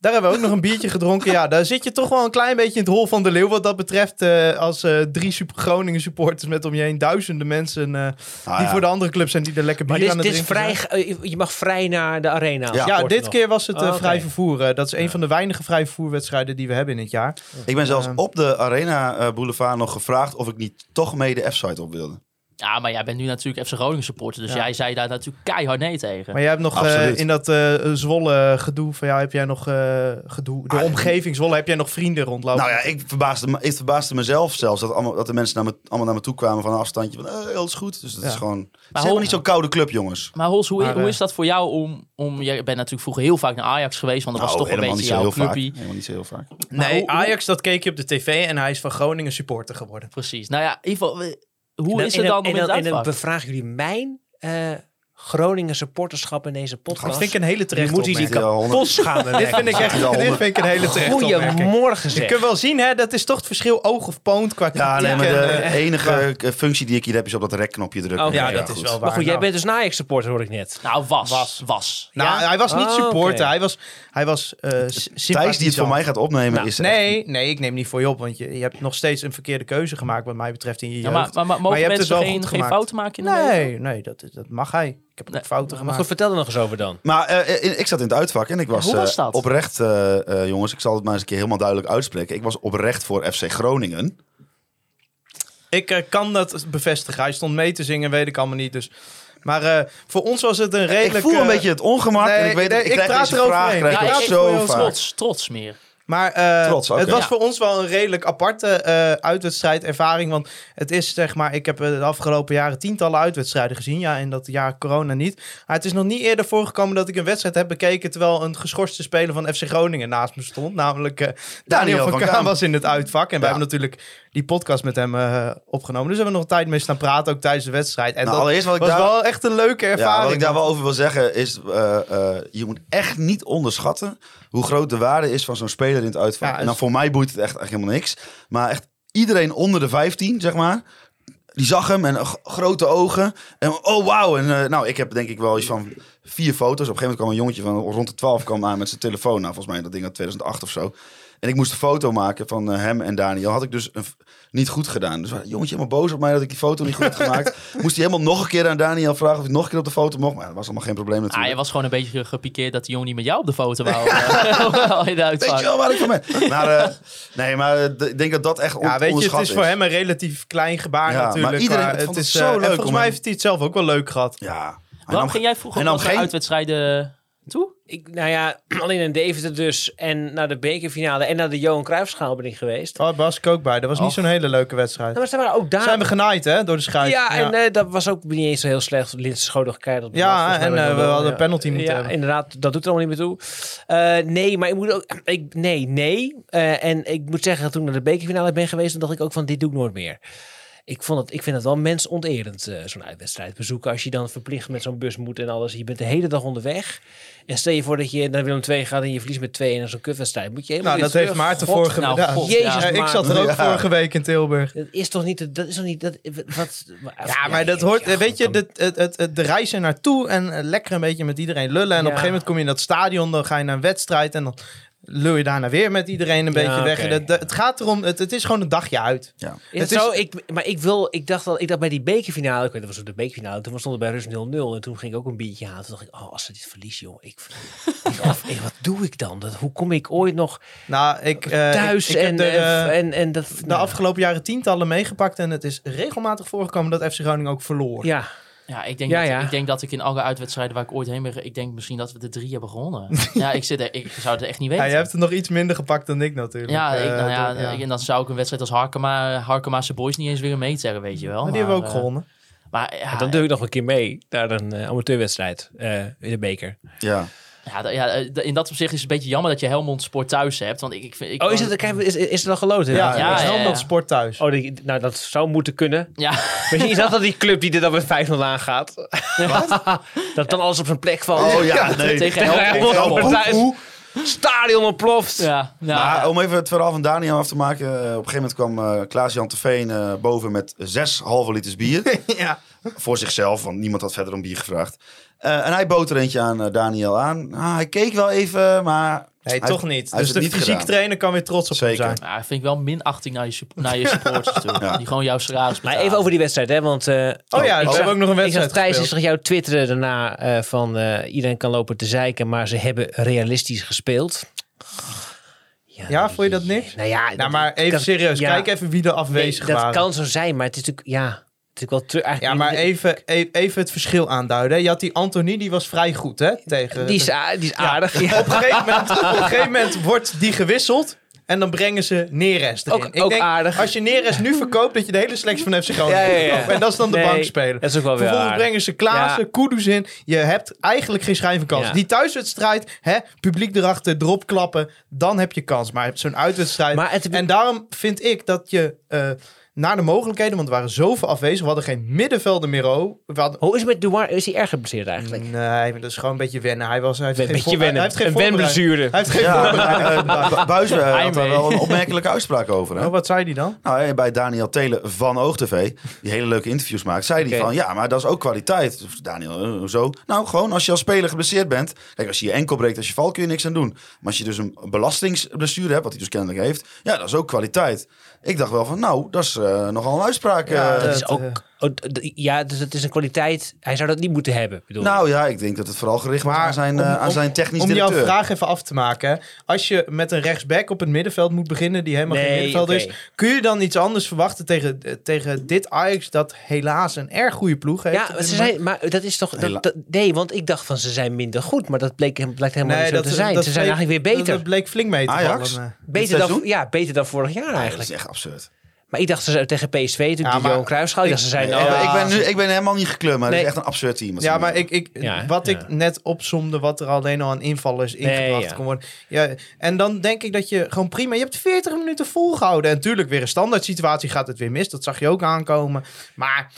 [SPEAKER 1] Daar hebben we ook nog een biertje gedronken. Ja, daar zit je toch wel een klein beetje in het hol van de leeuw wat dat betreft. eh, als eh, drie super Groningen supporters met om je heen duizenden mensen eh,
[SPEAKER 7] Ah,
[SPEAKER 1] die
[SPEAKER 7] ja.
[SPEAKER 1] voor de andere club zijn die er lekker bier
[SPEAKER 6] Maar dit,
[SPEAKER 1] aan
[SPEAKER 6] is-
[SPEAKER 1] het
[SPEAKER 6] dit is
[SPEAKER 1] drinken
[SPEAKER 6] vrij,
[SPEAKER 1] zijn.
[SPEAKER 6] eh, je mag vrij naar de arena.
[SPEAKER 7] Ja.
[SPEAKER 1] Ja,
[SPEAKER 6] Wordt
[SPEAKER 1] dit
[SPEAKER 6] nog.
[SPEAKER 1] keer was het eh,
[SPEAKER 6] Ah, oké.
[SPEAKER 1] vrij vervoer. eh, dat is een van de weinige vrij vervoerwedstrijden die we hebben in het jaar.
[SPEAKER 7] Ik ben zelfs op de Arena eh, Boulevard nog gevraagd of ik niet toch mee de F-site op wilde.
[SPEAKER 5] Ja, maar jij bent nu natuurlijk FC Groningen supporter, dus jij zei daar natuurlijk keihard nee tegen.
[SPEAKER 1] Maar jij hebt nog eh,
[SPEAKER 7] Absoluut.
[SPEAKER 1] in dat eh, Zwolle gedoe van ja, heb jij nog eh, gedoe? De
[SPEAKER 7] Ah,
[SPEAKER 1] omgeving Zwolle, heb jij nog vrienden rondlopen?
[SPEAKER 7] Nou ja, ik verbaasde, me- ik verbaasde mezelf zelfs dat, allemaal, dat de mensen naar me, allemaal naar me toe kwamen van een afstandje. Van, eh, alles goed. Dus dat
[SPEAKER 1] Ja.
[SPEAKER 7] is gewoon... Het is
[SPEAKER 5] hoe-
[SPEAKER 7] helemaal niet zo'n koude club, jongens.
[SPEAKER 5] Maar Hols, hoe,
[SPEAKER 1] Maar,
[SPEAKER 5] hoe
[SPEAKER 1] eh,
[SPEAKER 5] is dat voor jou om, om... Jij bent natuurlijk vroeger heel vaak naar Ajax geweest, want dat was
[SPEAKER 7] Nou,
[SPEAKER 5] toch een beetje
[SPEAKER 7] zo
[SPEAKER 5] jouw
[SPEAKER 7] heel vaak.
[SPEAKER 5] clubpie.
[SPEAKER 7] Helemaal niet zo heel vaak.
[SPEAKER 5] Maar
[SPEAKER 1] nee,
[SPEAKER 5] hoe- hoe-
[SPEAKER 1] Ajax, dat keek je op de tv en hij is van Groningen supporter geworden.
[SPEAKER 5] Precies. Nou ja, in ieder geval, eh, hoe
[SPEAKER 6] En
[SPEAKER 5] is het dan
[SPEAKER 6] en
[SPEAKER 5] om in het
[SPEAKER 6] dan, en dan
[SPEAKER 5] uitvak?
[SPEAKER 6] bevragen jullie mijn eh, Groningen supporterschap in deze
[SPEAKER 1] Dat
[SPEAKER 6] podcast.
[SPEAKER 1] vind ik een hele terechte
[SPEAKER 6] Je moet die
[SPEAKER 1] opmerking.
[SPEAKER 7] Niet, eh, honderd-
[SPEAKER 1] [LAUGHS] Dit vind ik echt
[SPEAKER 7] Ja,
[SPEAKER 1] dit
[SPEAKER 7] honderd-
[SPEAKER 1] vind ik een hele terechte opmerking.
[SPEAKER 6] Goedemorgen
[SPEAKER 1] Je
[SPEAKER 6] zeg.
[SPEAKER 1] kunt wel zien, hè, dat is toch het verschil oog of poont qua
[SPEAKER 7] Ja,
[SPEAKER 1] kritiek
[SPEAKER 7] alleen maar
[SPEAKER 1] en,
[SPEAKER 7] de
[SPEAKER 1] eh,
[SPEAKER 7] enige eh, functie die ik hier heb is op dat rekknopje drukken.
[SPEAKER 6] Oh,
[SPEAKER 1] ja,
[SPEAKER 6] ja,
[SPEAKER 1] dat is
[SPEAKER 7] goed.
[SPEAKER 1] wel waar.
[SPEAKER 6] Maar goed, jij
[SPEAKER 1] nou.
[SPEAKER 6] bent dus een Ajax supporter hoor ik net.
[SPEAKER 5] Nou, was. Was. was.
[SPEAKER 1] Nou, hij was niet
[SPEAKER 6] Ah,
[SPEAKER 1] supporter.
[SPEAKER 6] oké.
[SPEAKER 1] Hij was, hij was eh, s-
[SPEAKER 7] Thijs die het voor
[SPEAKER 1] sympathisant.
[SPEAKER 7] mij gaat opnemen
[SPEAKER 1] Nou,
[SPEAKER 7] is...
[SPEAKER 1] nee, nee, ik neem niet voor je op, want je, je hebt nog steeds een verkeerde keuze gemaakt wat mij betreft in je
[SPEAKER 5] Ja,
[SPEAKER 1] jeugd.
[SPEAKER 5] maar, maar, maar mogen
[SPEAKER 1] je hebt het
[SPEAKER 5] mensen
[SPEAKER 1] wel
[SPEAKER 5] geen,
[SPEAKER 1] goed
[SPEAKER 5] geen
[SPEAKER 1] gemaakt.
[SPEAKER 5] fouten maken in de leven?
[SPEAKER 1] Nee, nee dat, dat mag hij. Ik heb ook
[SPEAKER 5] Nee,
[SPEAKER 1] fouten
[SPEAKER 6] Maar
[SPEAKER 1] gemaakt.
[SPEAKER 6] goed, vertel er nog eens over dan.
[SPEAKER 7] Maar eh, eh, ik zat in het uitvak en ik was,
[SPEAKER 5] hoe was
[SPEAKER 7] eh,
[SPEAKER 5] dat?
[SPEAKER 7] oprecht, eh, eh, jongens, ik zal het maar eens een keer helemaal duidelijk uitspreken. Ik was oprecht voor FC Groningen.
[SPEAKER 1] Ik eh, kan dat bevestigen. Hij stond mee te zingen, weet ik allemaal niet. Dus. Maar eh, voor ons was het een redelijk...
[SPEAKER 7] ik voel
[SPEAKER 1] eh,
[SPEAKER 7] een beetje het ongemak. en
[SPEAKER 1] nee,
[SPEAKER 7] ik weet
[SPEAKER 1] nee,
[SPEAKER 7] ik
[SPEAKER 1] ik
[SPEAKER 7] krijg
[SPEAKER 1] praat
[SPEAKER 7] deze
[SPEAKER 1] eroverheen.
[SPEAKER 7] vraag krijg
[SPEAKER 1] Ja,
[SPEAKER 7] ik ook
[SPEAKER 1] ik voel
[SPEAKER 7] zo
[SPEAKER 1] heel
[SPEAKER 7] vaak.
[SPEAKER 5] Trots, trots meer. Ah,
[SPEAKER 1] Maar eh,
[SPEAKER 7] Trots, oké.
[SPEAKER 1] het was
[SPEAKER 7] Ja.
[SPEAKER 1] voor ons wel een redelijk aparte eh uitwedstrijdervaring. Want het is zeg maar, ik heb eh, de afgelopen jaren tientallen uitwedstrijden gezien. Ja, in dat jaar corona niet. Maar het is nog niet eerder voorgekomen dat ik een wedstrijd heb bekeken. terwijl een geschorste speler van FC Groningen naast me stond. Namelijk eh, Daniel, van, Kaan was in het uitvak. En wij hebben natuurlijk die podcast met hem eh, opgenomen. Dus we hebben nog tijd mee staan praten, ook tijdens de wedstrijd. En
[SPEAKER 7] Nou,
[SPEAKER 1] dat
[SPEAKER 7] allereerst wat ik
[SPEAKER 1] was
[SPEAKER 7] daar-
[SPEAKER 1] wel echt een leuke ervaring.
[SPEAKER 7] Ja, wat ik daar wel over wil zeggen is, eh, eh, je moet echt niet onderschatten hoe groot de waarde is van zo'n speler in het uitvak.
[SPEAKER 1] Ja,
[SPEAKER 7] en dan
[SPEAKER 1] is-
[SPEAKER 7] voor mij boeit het echt, echt helemaal niks. Maar echt iedereen onder de 15, zeg maar, die zag hem en eh, g- grote ogen. En oh wauw. En eh, nou, ik heb denk ik wel iets van vier foto's. Op een gegeven moment kwam een jongetje van rond de 12 kwam aan met zijn telefoon. Nou, volgens mij dat ding uit 2008 of zo. En ik moest een foto maken van eh, hem en Daniel. Had ik dus een f- niet goed gedaan. Dus was het jongetje helemaal boos op mij dat ik die foto niet goed had
[SPEAKER 1] [LAUGHS]
[SPEAKER 7] gemaakt. moest hij helemaal nog een keer aan Daniel vragen of ik nog een keer op de foto mocht. Maar dat was allemaal geen probleem
[SPEAKER 5] Ah,
[SPEAKER 7] natuurlijk.
[SPEAKER 5] je was gewoon een beetje gepikeerd dat die jongen niet met jou op de foto
[SPEAKER 7] [LAUGHS]
[SPEAKER 5] wou. eh, [LAUGHS] in de
[SPEAKER 7] Weet
[SPEAKER 5] uitvak.
[SPEAKER 7] je wel waar ik van ben? Maar, eh, nee, maar eh, d- ik denk dat dat echt on
[SPEAKER 1] Ja, weet je, het
[SPEAKER 7] onderschat
[SPEAKER 1] is voor hem een relatief klein gebaar
[SPEAKER 7] Ja, maar
[SPEAKER 1] natuurlijk.
[SPEAKER 7] iedereen
[SPEAKER 1] maar
[SPEAKER 7] vond het
[SPEAKER 1] is,
[SPEAKER 7] zo
[SPEAKER 1] eh, en
[SPEAKER 7] leuk
[SPEAKER 1] Volgens
[SPEAKER 7] om
[SPEAKER 1] mij
[SPEAKER 7] hem-
[SPEAKER 1] heeft hij het zelf ook wel leuk gehad.
[SPEAKER 7] Ja. Hij
[SPEAKER 5] Waarom
[SPEAKER 7] nam-
[SPEAKER 5] ging jij vroeger
[SPEAKER 7] hij nam
[SPEAKER 5] wel naar
[SPEAKER 7] geen-
[SPEAKER 5] uitwedstrijden toe?
[SPEAKER 6] Ik, nou ja, [CLEARS THROAT] alleen in Deventer dus. En naar de bekerfinale en naar de Johan Cruijffschaal ben ik geweest.
[SPEAKER 1] Oh, daar was ik ook bij. Dat was niet
[SPEAKER 5] Och.
[SPEAKER 1] zo'n hele leuke wedstrijd.
[SPEAKER 6] Nou, maar ze waren ook daar.
[SPEAKER 1] Zijn we genaaid, hè, door de schuit.
[SPEAKER 6] ja, en eh, dat was ook niet eens zo heel slecht. Linse Schoon keihard op de
[SPEAKER 1] Ja,
[SPEAKER 6] lat, volgens mij
[SPEAKER 1] en,
[SPEAKER 6] werd
[SPEAKER 1] eh,
[SPEAKER 6] dat
[SPEAKER 1] we
[SPEAKER 6] wel,
[SPEAKER 1] hadden
[SPEAKER 6] ja.
[SPEAKER 1] penalty moeten
[SPEAKER 6] ja,
[SPEAKER 1] hebben.
[SPEAKER 6] inderdaad. Dat doet er allemaal niet meer toe. Eh, nee, maar ik moet ook... Ik, nee, nee. Eh, en ik moet zeggen, toen ik naar de bekerfinale ben geweest... dan dacht ik ook van, dit doe ik nooit meer. Ik, vond het, ik vind het wel mensonterend, eh, zo'n uitwedstrijd bezoeken. Als je dan verplicht met zo'n bus moet en alles. Je bent de hele dag onderweg. En stel je voor dat je naar Willem II gaat en je verliest met 2 en dan zo'n kutwedstrijd. Moet je helemaal
[SPEAKER 1] Nou, dat
[SPEAKER 6] weer
[SPEAKER 1] heeft
[SPEAKER 6] terug.
[SPEAKER 1] Maarten
[SPEAKER 5] God,
[SPEAKER 1] vorige
[SPEAKER 5] nou,
[SPEAKER 1] week.
[SPEAKER 5] God,
[SPEAKER 1] Jezus,
[SPEAKER 6] ja.
[SPEAKER 1] ik zat er ook
[SPEAKER 7] Ja.
[SPEAKER 1] vorige week in Tilburg.
[SPEAKER 6] Dat is toch niet... Dat is toch niet... Dat, wat,
[SPEAKER 1] Ja, maar dat hoort,
[SPEAKER 6] ja,
[SPEAKER 1] weet je,
[SPEAKER 6] dan-
[SPEAKER 1] de, het, het, het- de reis er naartoe en eh, lekker een beetje met iedereen lullen. En op een gegeven moment kom je in dat stadion, dan ga je naar een wedstrijd en dan lul je daarna weer met iedereen een
[SPEAKER 6] Ja,
[SPEAKER 1] beetje weg. En
[SPEAKER 6] oké.
[SPEAKER 1] dat- dat- het gaat erom, het, het is gewoon een dagje uit.
[SPEAKER 7] Ja.
[SPEAKER 6] Is
[SPEAKER 1] Het
[SPEAKER 6] het zo?
[SPEAKER 1] is-
[SPEAKER 6] Ik, maar ik, wil, ik, dacht al, ik dacht bij die bekerfinale, ik weet niet of het de bekerfinale, toen stond het bij Rus 0-0 en toen ging ik ook een biertje halen. Toen dacht ik, oh, als ze dit verlies, joh, ik, [LAUGHS] ik af, eh, wat doe ik dan? Dat, hoe kom ik ooit nog
[SPEAKER 1] Nou, ik, eh,
[SPEAKER 6] thuis
[SPEAKER 1] ik, ik heb
[SPEAKER 6] en,
[SPEAKER 1] de,
[SPEAKER 6] en,
[SPEAKER 1] eh,
[SPEAKER 6] en, en dat...
[SPEAKER 1] de
[SPEAKER 6] nou,
[SPEAKER 1] afgelopen jaren tientallen meegepakt en het is regelmatig voorgekomen dat FC Groningen ook verloor.
[SPEAKER 6] Ja,
[SPEAKER 5] Ja, ik denk,
[SPEAKER 6] Ja,
[SPEAKER 5] dat,
[SPEAKER 6] ja.
[SPEAKER 5] Ik denk dat ik in alle uitwedstrijden waar ik ooit heen ben, ge- ik denk misschien dat we de drie hebben
[SPEAKER 1] [LAUGHS]
[SPEAKER 5] gewonnen. ja, ik, zit er, ik zou het echt niet
[SPEAKER 1] Ja,
[SPEAKER 5] weten.
[SPEAKER 1] je hebt het nog iets minder gepakt dan ik natuurlijk.
[SPEAKER 5] Ja, ik,
[SPEAKER 1] Eh,
[SPEAKER 5] nou ja,
[SPEAKER 1] door- ja.
[SPEAKER 5] ik- en dan zou ik een wedstrijd als Harkema, Harkemaanse Boys niet eens willen meetellen, weet je wel.
[SPEAKER 1] Maar die hebben we ook
[SPEAKER 5] eh,
[SPEAKER 1] gewonnen. dus.
[SPEAKER 5] Maar ja,
[SPEAKER 6] dan doe ik nog een keer mee naar een eh, amateurwedstrijd eh, in de beker.
[SPEAKER 7] ja.
[SPEAKER 5] ja, d- ja, eh, d- in dat opzicht is het een beetje jammer dat je Helmond Sport thuis hebt. Want ik, ik vind... Ik,
[SPEAKER 6] Oh, is het, kijk, is, is het al geloten?
[SPEAKER 1] Ja,
[SPEAKER 5] ja,
[SPEAKER 1] ja,
[SPEAKER 5] ja, ja.
[SPEAKER 1] sport thuis.
[SPEAKER 6] Oh, die- nou, dat zou moeten kunnen.
[SPEAKER 5] Ja,
[SPEAKER 6] Misschien is dat dan die club die er dan met 5-0 aangaat. [LAUGHS] dat dan alles op zijn plek valt.
[SPEAKER 7] Oh ja, nee.
[SPEAKER 5] tegen
[SPEAKER 6] Tegen
[SPEAKER 5] Helmond.
[SPEAKER 6] Helmond
[SPEAKER 7] Helmond.
[SPEAKER 6] Sport thuis. Stadion ontploft.
[SPEAKER 5] Ja, nou,
[SPEAKER 7] Maar
[SPEAKER 5] ja.
[SPEAKER 7] om even het verhaal van Daniel af te maken. eh, op een gegeven moment kwam eh, Klaas-Jan Terveen eh, boven met zes halve liters bier.
[SPEAKER 1] ja.
[SPEAKER 7] voor zichzelf, want niemand had verder om bier gevraagd. Eh, en hij bood er eentje aan eh, Daniel aan. Ah, hij keek wel even, maar
[SPEAKER 1] Nee,
[SPEAKER 7] Hij-
[SPEAKER 1] toch niet.
[SPEAKER 7] hij
[SPEAKER 1] dus
[SPEAKER 7] heeft
[SPEAKER 1] de
[SPEAKER 7] het niet
[SPEAKER 1] fysiek
[SPEAKER 7] gedaan.
[SPEAKER 1] trainer kan weer trots op
[SPEAKER 7] Zeker.
[SPEAKER 1] hem zijn.
[SPEAKER 5] Ja, vind ik wel minachting naar je, sup- naar
[SPEAKER 1] [LAUGHS]
[SPEAKER 5] je supporters toe.
[SPEAKER 7] Ja.
[SPEAKER 5] Die gewoon jouw salaris
[SPEAKER 6] Maar
[SPEAKER 5] betalen.
[SPEAKER 6] even over die wedstrijd, hè? Want eh,
[SPEAKER 1] Oh ja,
[SPEAKER 7] ik
[SPEAKER 1] we
[SPEAKER 7] zag-
[SPEAKER 1] hebben ook nog een
[SPEAKER 6] ik zag
[SPEAKER 1] wedstrijd
[SPEAKER 6] Thijs
[SPEAKER 1] gespeeld.
[SPEAKER 6] is jou twitteren daarna eh, van eh, iedereen kan lopen te zeiken, maar ze hebben realistisch gespeeld.
[SPEAKER 1] Ja, vond je dat niks?
[SPEAKER 6] Nou ja, dat-
[SPEAKER 1] Nou, maar even
[SPEAKER 6] kan-
[SPEAKER 1] serieus.
[SPEAKER 6] ja.
[SPEAKER 1] Kijk even wie er
[SPEAKER 6] Nee,
[SPEAKER 1] afwezig
[SPEAKER 6] dat
[SPEAKER 1] waren.
[SPEAKER 6] kan zo zijn, maar het is natuurlijk, ja, het is natuurlijk wel terug.
[SPEAKER 1] Ja, maar even, e- even het verschil aanduiden. hè. Je had die Anthony, die was vrij goed, hè? Tegen,
[SPEAKER 6] Die is, a- die
[SPEAKER 1] [LAUGHS]
[SPEAKER 6] is aardig. Ja.
[SPEAKER 1] op, een gegeven moment, op een gegeven moment wordt die gewisseld. En dan brengen ze Neres erin.
[SPEAKER 6] Ook- ook aardig.
[SPEAKER 1] Als je Neres nu verkoopt, dat je de hele selectie van FC Groningen
[SPEAKER 6] Ja, ja, ja.
[SPEAKER 1] verkoopt. En dat is dan de
[SPEAKER 6] Nee,
[SPEAKER 1] bankspeler.
[SPEAKER 6] Dat is ook wel weer
[SPEAKER 1] Vervolgens
[SPEAKER 6] aardig.
[SPEAKER 1] brengen ze Klaassen,
[SPEAKER 6] Ja.
[SPEAKER 1] Kudus in. Je hebt eigenlijk geen schijn van kans.
[SPEAKER 6] Ja.
[SPEAKER 1] Die thuiswedstrijd, hè, publiek erachter, drop klappen. Dan heb je kans. Maar zo'n uitwedstrijd...
[SPEAKER 6] Maar het-
[SPEAKER 1] En daarom vind ik dat je... eh, naar de mogelijkheden, want er waren zoveel afwezig. We hadden geen middenvelden meer. oh. We hadden
[SPEAKER 6] Hoe is het met Duar? Is hij erg geblesseerd eigenlijk?
[SPEAKER 1] Nee, maar dat is gewoon een beetje wennen. Hij, was, hij heeft
[SPEAKER 6] Oh, Een
[SPEAKER 1] geen
[SPEAKER 6] beetje
[SPEAKER 1] voor-
[SPEAKER 6] wennen.
[SPEAKER 1] Hij heeft geen
[SPEAKER 6] Een
[SPEAKER 1] voorbereiding.
[SPEAKER 6] wenblessure.
[SPEAKER 1] Hij heeft geen
[SPEAKER 7] Ja,
[SPEAKER 1] voorbereiding.
[SPEAKER 7] maar, eh, Bu- Buijs eh, had daar wel een opmerkelijke uitspraak over. Hè?
[SPEAKER 1] Nou, wat zei hij dan?
[SPEAKER 7] Nou, eh, bij Daniel Telen van OogTV, die hele leuke interviews maakt, zei hij
[SPEAKER 6] Oké.
[SPEAKER 7] van, ja, maar dat is ook kwaliteit. Dus Daniel, eh, zo. Nou, gewoon als je als speler geblesseerd bent. Kijk, als je je enkel breekt, als je valt, kun je niks aan doen. Maar als je dus een belastingsblessure hebt, wat hij dus kennelijk heeft, ja, dat is ook kwaliteit. Ik dacht wel van, nou, dat is eh, nogal een uitspraak.
[SPEAKER 1] Ja,
[SPEAKER 7] eh.
[SPEAKER 1] dat
[SPEAKER 6] Dat is
[SPEAKER 1] eh,
[SPEAKER 6] ook, oh, d- d- ja, dus het is een kwaliteit. Hij zou dat niet moeten hebben. bedoel ik.
[SPEAKER 7] nou ja, ik denk dat het vooral gericht was
[SPEAKER 1] Maar
[SPEAKER 7] aan zijn,
[SPEAKER 1] om-
[SPEAKER 7] eh, aan
[SPEAKER 1] om-
[SPEAKER 7] zijn technisch
[SPEAKER 1] Om jouw
[SPEAKER 7] directeur.
[SPEAKER 1] vraag even af te maken. hè. Als je met een rechtsback op het middenveld moet beginnen, die helemaal geen
[SPEAKER 6] Nee,
[SPEAKER 1] middenveld
[SPEAKER 6] oké.
[SPEAKER 1] is, kun je dan iets anders verwachten tegen, eh, tegen dit Ajax dat helaas een erg goede ploeg heeft? op
[SPEAKER 6] Ja,
[SPEAKER 1] dit
[SPEAKER 6] ze
[SPEAKER 1] moment?
[SPEAKER 6] zijn, maar dat is toch.
[SPEAKER 7] Hela-
[SPEAKER 6] Dat, dat- nee, want ik dacht van ze zijn minder goed, maar dat bleek, blijkt helemaal niet zo te zijn. ze zijn
[SPEAKER 1] bleek-
[SPEAKER 6] eigenlijk weer
[SPEAKER 1] dat-
[SPEAKER 6] beter.
[SPEAKER 1] Dat bleek flink mee te
[SPEAKER 7] Ajax?
[SPEAKER 1] vallen, eh.
[SPEAKER 6] beter, dan,
[SPEAKER 7] seizoen?
[SPEAKER 6] ja, beter dan vorig jaar
[SPEAKER 7] Dat is
[SPEAKER 6] eigenlijk.
[SPEAKER 7] echt absurd.
[SPEAKER 6] Maar ik dacht ze zouden tegen PSV, natuurlijk, die
[SPEAKER 1] maar-
[SPEAKER 6] Johan Cruijffschaal. Ik dacht ze zijn.
[SPEAKER 7] Ja,
[SPEAKER 6] oh,
[SPEAKER 7] maar ik, ben nu, ik ben helemaal niet gekleurd, maar
[SPEAKER 6] Nee.
[SPEAKER 7] het is echt een absurd team. wat ze
[SPEAKER 1] eh, Ja,
[SPEAKER 7] nu
[SPEAKER 1] maar
[SPEAKER 7] hebben.
[SPEAKER 1] ik, ik,
[SPEAKER 6] Ja, hè?
[SPEAKER 1] wat ik
[SPEAKER 6] Ja.
[SPEAKER 1] net opsomde, wat er alleen al aan invallers ingebracht
[SPEAKER 6] ja.
[SPEAKER 1] kon worden. Ja, en dan denk ik dat je gewoon prima... Je hebt 40 minuten volgehouden. En natuurlijk, weer een standaard situatie gaat het weer mis. Dat zag je ook aankomen. Maar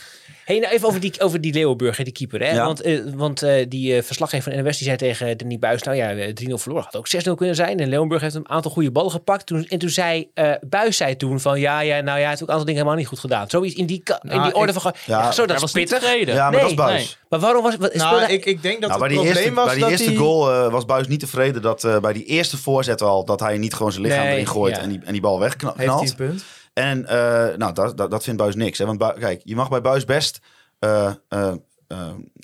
[SPEAKER 6] Hey, nou even over die, over die Leeuwenburg, hè, die keeper. Hè?
[SPEAKER 7] Ja.
[SPEAKER 6] Want, eh, want eh, die eh, verslaggever van NWS die zei tegen Danny Buis... nou ja, eh, 3-0 verloren had ook 6-0 kunnen zijn. En Leeuwenburg heeft een aantal goede ballen gepakt. Toen, en toen zei eh Buis zei toen van... ja, ja, nou ja, hij heeft ook een aantal dingen helemaal niet goed gedaan. Zoiets in die, ka- in
[SPEAKER 1] Nou,
[SPEAKER 6] die orde
[SPEAKER 1] ik-
[SPEAKER 6] van...
[SPEAKER 7] Ja,
[SPEAKER 6] Ja, zo,
[SPEAKER 5] Hij
[SPEAKER 6] dat is
[SPEAKER 5] was niet
[SPEAKER 6] pittig.
[SPEAKER 5] tevreden.
[SPEAKER 7] Ja, maar dat is
[SPEAKER 6] Nee,
[SPEAKER 7] buis.
[SPEAKER 5] nee.
[SPEAKER 6] Maar waarom was... Wat,
[SPEAKER 1] nou,
[SPEAKER 6] speelde-
[SPEAKER 1] ik, ik denk dat
[SPEAKER 7] Nou, bij
[SPEAKER 1] het
[SPEAKER 7] die
[SPEAKER 1] probleem
[SPEAKER 7] eerste,
[SPEAKER 1] was
[SPEAKER 7] bij die
[SPEAKER 1] dat
[SPEAKER 7] eerste
[SPEAKER 1] hij-
[SPEAKER 7] goal eh, was Buis niet tevreden dat eh, bij die eerste voorzet al dat hij niet gewoon zijn lichaam
[SPEAKER 6] Nee,
[SPEAKER 7] erin gooit
[SPEAKER 6] ja.
[SPEAKER 7] en, die, en die bal wegknalt.
[SPEAKER 1] Heeft hij een punt?
[SPEAKER 7] En eh, nou, dat, dat, dat vindt Buis niks. Hè? Want Buijs- kijk, je mag bij Buis best eh, eh, eh,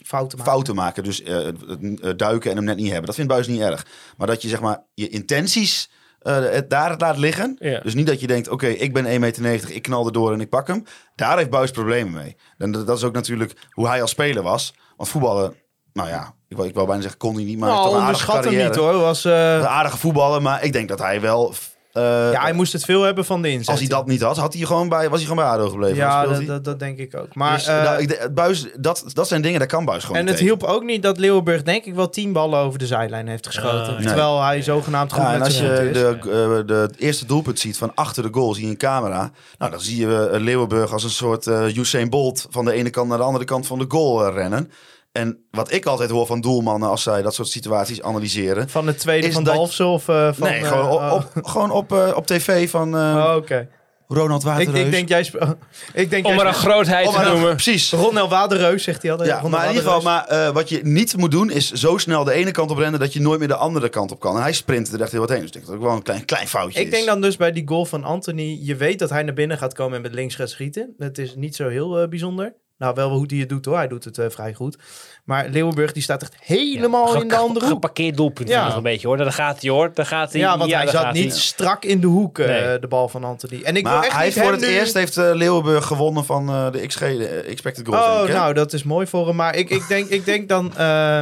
[SPEAKER 1] Fouten maken.
[SPEAKER 7] fouten maken. Dus eh, het- het, eh, duiken en hem net niet hebben. Dat vindt Buis niet erg. Maar dat je zeg maar je intenties eh, het, daar laat liggen.
[SPEAKER 6] Ja.
[SPEAKER 7] Dus niet dat je denkt, oké, ik ben 1,90 meter, ik knal erdoor en ik pak hem. Daar heeft Buis problemen mee. En dat, dat is ook natuurlijk hoe hij als speler was. Want voetballen, nou ja, ik wil, ik wil bijna zeggen, kon hij niet, maar hij heeft
[SPEAKER 1] Nou,
[SPEAKER 7] toch een aardige
[SPEAKER 1] onderschat hem
[SPEAKER 7] carrière.
[SPEAKER 1] niet hoor. Was, eh,
[SPEAKER 7] Een aardige voetballer, maar ik denk dat hij wel... eh,
[SPEAKER 1] ja, hij moest het veel hebben van de inzet.
[SPEAKER 7] als hij dat niet had, had hij gewoon bij, was hij gewoon bij ADO gebleven. Dan
[SPEAKER 1] Ja,
[SPEAKER 7] speelt
[SPEAKER 1] dat,
[SPEAKER 7] hij-
[SPEAKER 1] dat, dat denk ik ook. Maar,
[SPEAKER 7] Dus,
[SPEAKER 1] eh,
[SPEAKER 7] nou, ik denk- buis, dat, dat zijn dingen, daar kan Buis gewoon
[SPEAKER 1] en het
[SPEAKER 7] niet tegen.
[SPEAKER 1] hielp ook niet dat Leeuwenburg denk ik wel tien ballen over de zijlijn heeft geschoten.
[SPEAKER 7] nee.
[SPEAKER 1] Terwijl hij zogenaamd goed
[SPEAKER 7] Ja, nou, en
[SPEAKER 1] met
[SPEAKER 7] als
[SPEAKER 1] zijn
[SPEAKER 7] je
[SPEAKER 1] voeten is.
[SPEAKER 7] de, eh, de het eerste doelpunt ziet van achter de goal, zie je een camera. Nou, dan zie je eh, Leeuwenburg als een soort eh, Usain Bolt van de ene kant naar de andere kant van de goal eh, rennen. En wat ik altijd hoor van doelmannen als zij dat soort situaties analyseren.
[SPEAKER 1] Van de tweede
[SPEAKER 7] Is
[SPEAKER 1] van
[SPEAKER 7] dat-
[SPEAKER 1] Dalfsen of eh, van...
[SPEAKER 7] nee,
[SPEAKER 1] eh,
[SPEAKER 7] gewoon op,
[SPEAKER 1] oh. [LAUGHS]
[SPEAKER 7] op, gewoon op, eh, op tv van eh,
[SPEAKER 1] Oh, Oké.
[SPEAKER 7] Ronald
[SPEAKER 1] Ik,
[SPEAKER 7] Waterreus.
[SPEAKER 1] ik denk jij... sp- [LAUGHS] ik denk
[SPEAKER 6] om
[SPEAKER 1] jij
[SPEAKER 6] maar een
[SPEAKER 1] sp-
[SPEAKER 6] grootheid
[SPEAKER 7] Oh,
[SPEAKER 6] te
[SPEAKER 7] maar dan-
[SPEAKER 6] noemen.
[SPEAKER 7] precies.
[SPEAKER 1] Ronald Waderreus, zegt hij altijd.
[SPEAKER 7] Ja,
[SPEAKER 1] Ronald
[SPEAKER 7] maar in ieder geval,
[SPEAKER 1] Waderreus.
[SPEAKER 7] maar, eh, wat je niet moet doen is zo snel de ene kant op rennen dat je nooit meer de andere kant op kan. En hij sprint er echt heel wat heen. Dus ik denk dat ook wel een klein, klein foutje
[SPEAKER 1] Ik
[SPEAKER 7] is.
[SPEAKER 1] denk dan dus bij die goal van Anthony... Je weet dat hij naar binnen gaat komen en met links gaat schieten. Dat is niet zo heel eh, bijzonder. Nou, wel hoe die het doet hoor. Hij doet het eh, vrij goed. Maar Leeuwenburg die staat echt helemaal
[SPEAKER 6] Ge-
[SPEAKER 1] in de andere hoek.
[SPEAKER 6] Geparkeerd doelpunt
[SPEAKER 1] Ja.
[SPEAKER 6] ja. nog een beetje hoor. Daar gaat hij hoor. Daar gaat hij.
[SPEAKER 1] Ja, want hij
[SPEAKER 6] daar
[SPEAKER 1] zat
[SPEAKER 6] gaat hij.
[SPEAKER 1] niet strak in de hoek, eh,
[SPEAKER 6] Nee.
[SPEAKER 1] de bal van Anthony. En ik wil
[SPEAKER 7] maar
[SPEAKER 1] echt
[SPEAKER 7] hij
[SPEAKER 1] niet
[SPEAKER 7] voor
[SPEAKER 1] hem
[SPEAKER 7] het
[SPEAKER 1] nu-
[SPEAKER 7] eerst heeft eh, Leeuwenburg gewonnen van eh, de XG, de expected goals.
[SPEAKER 1] Oh,
[SPEAKER 7] denk ik, hè?
[SPEAKER 1] nou, dat is mooi voor hem. Maar ik, ik, denk, ik denk dan... eh,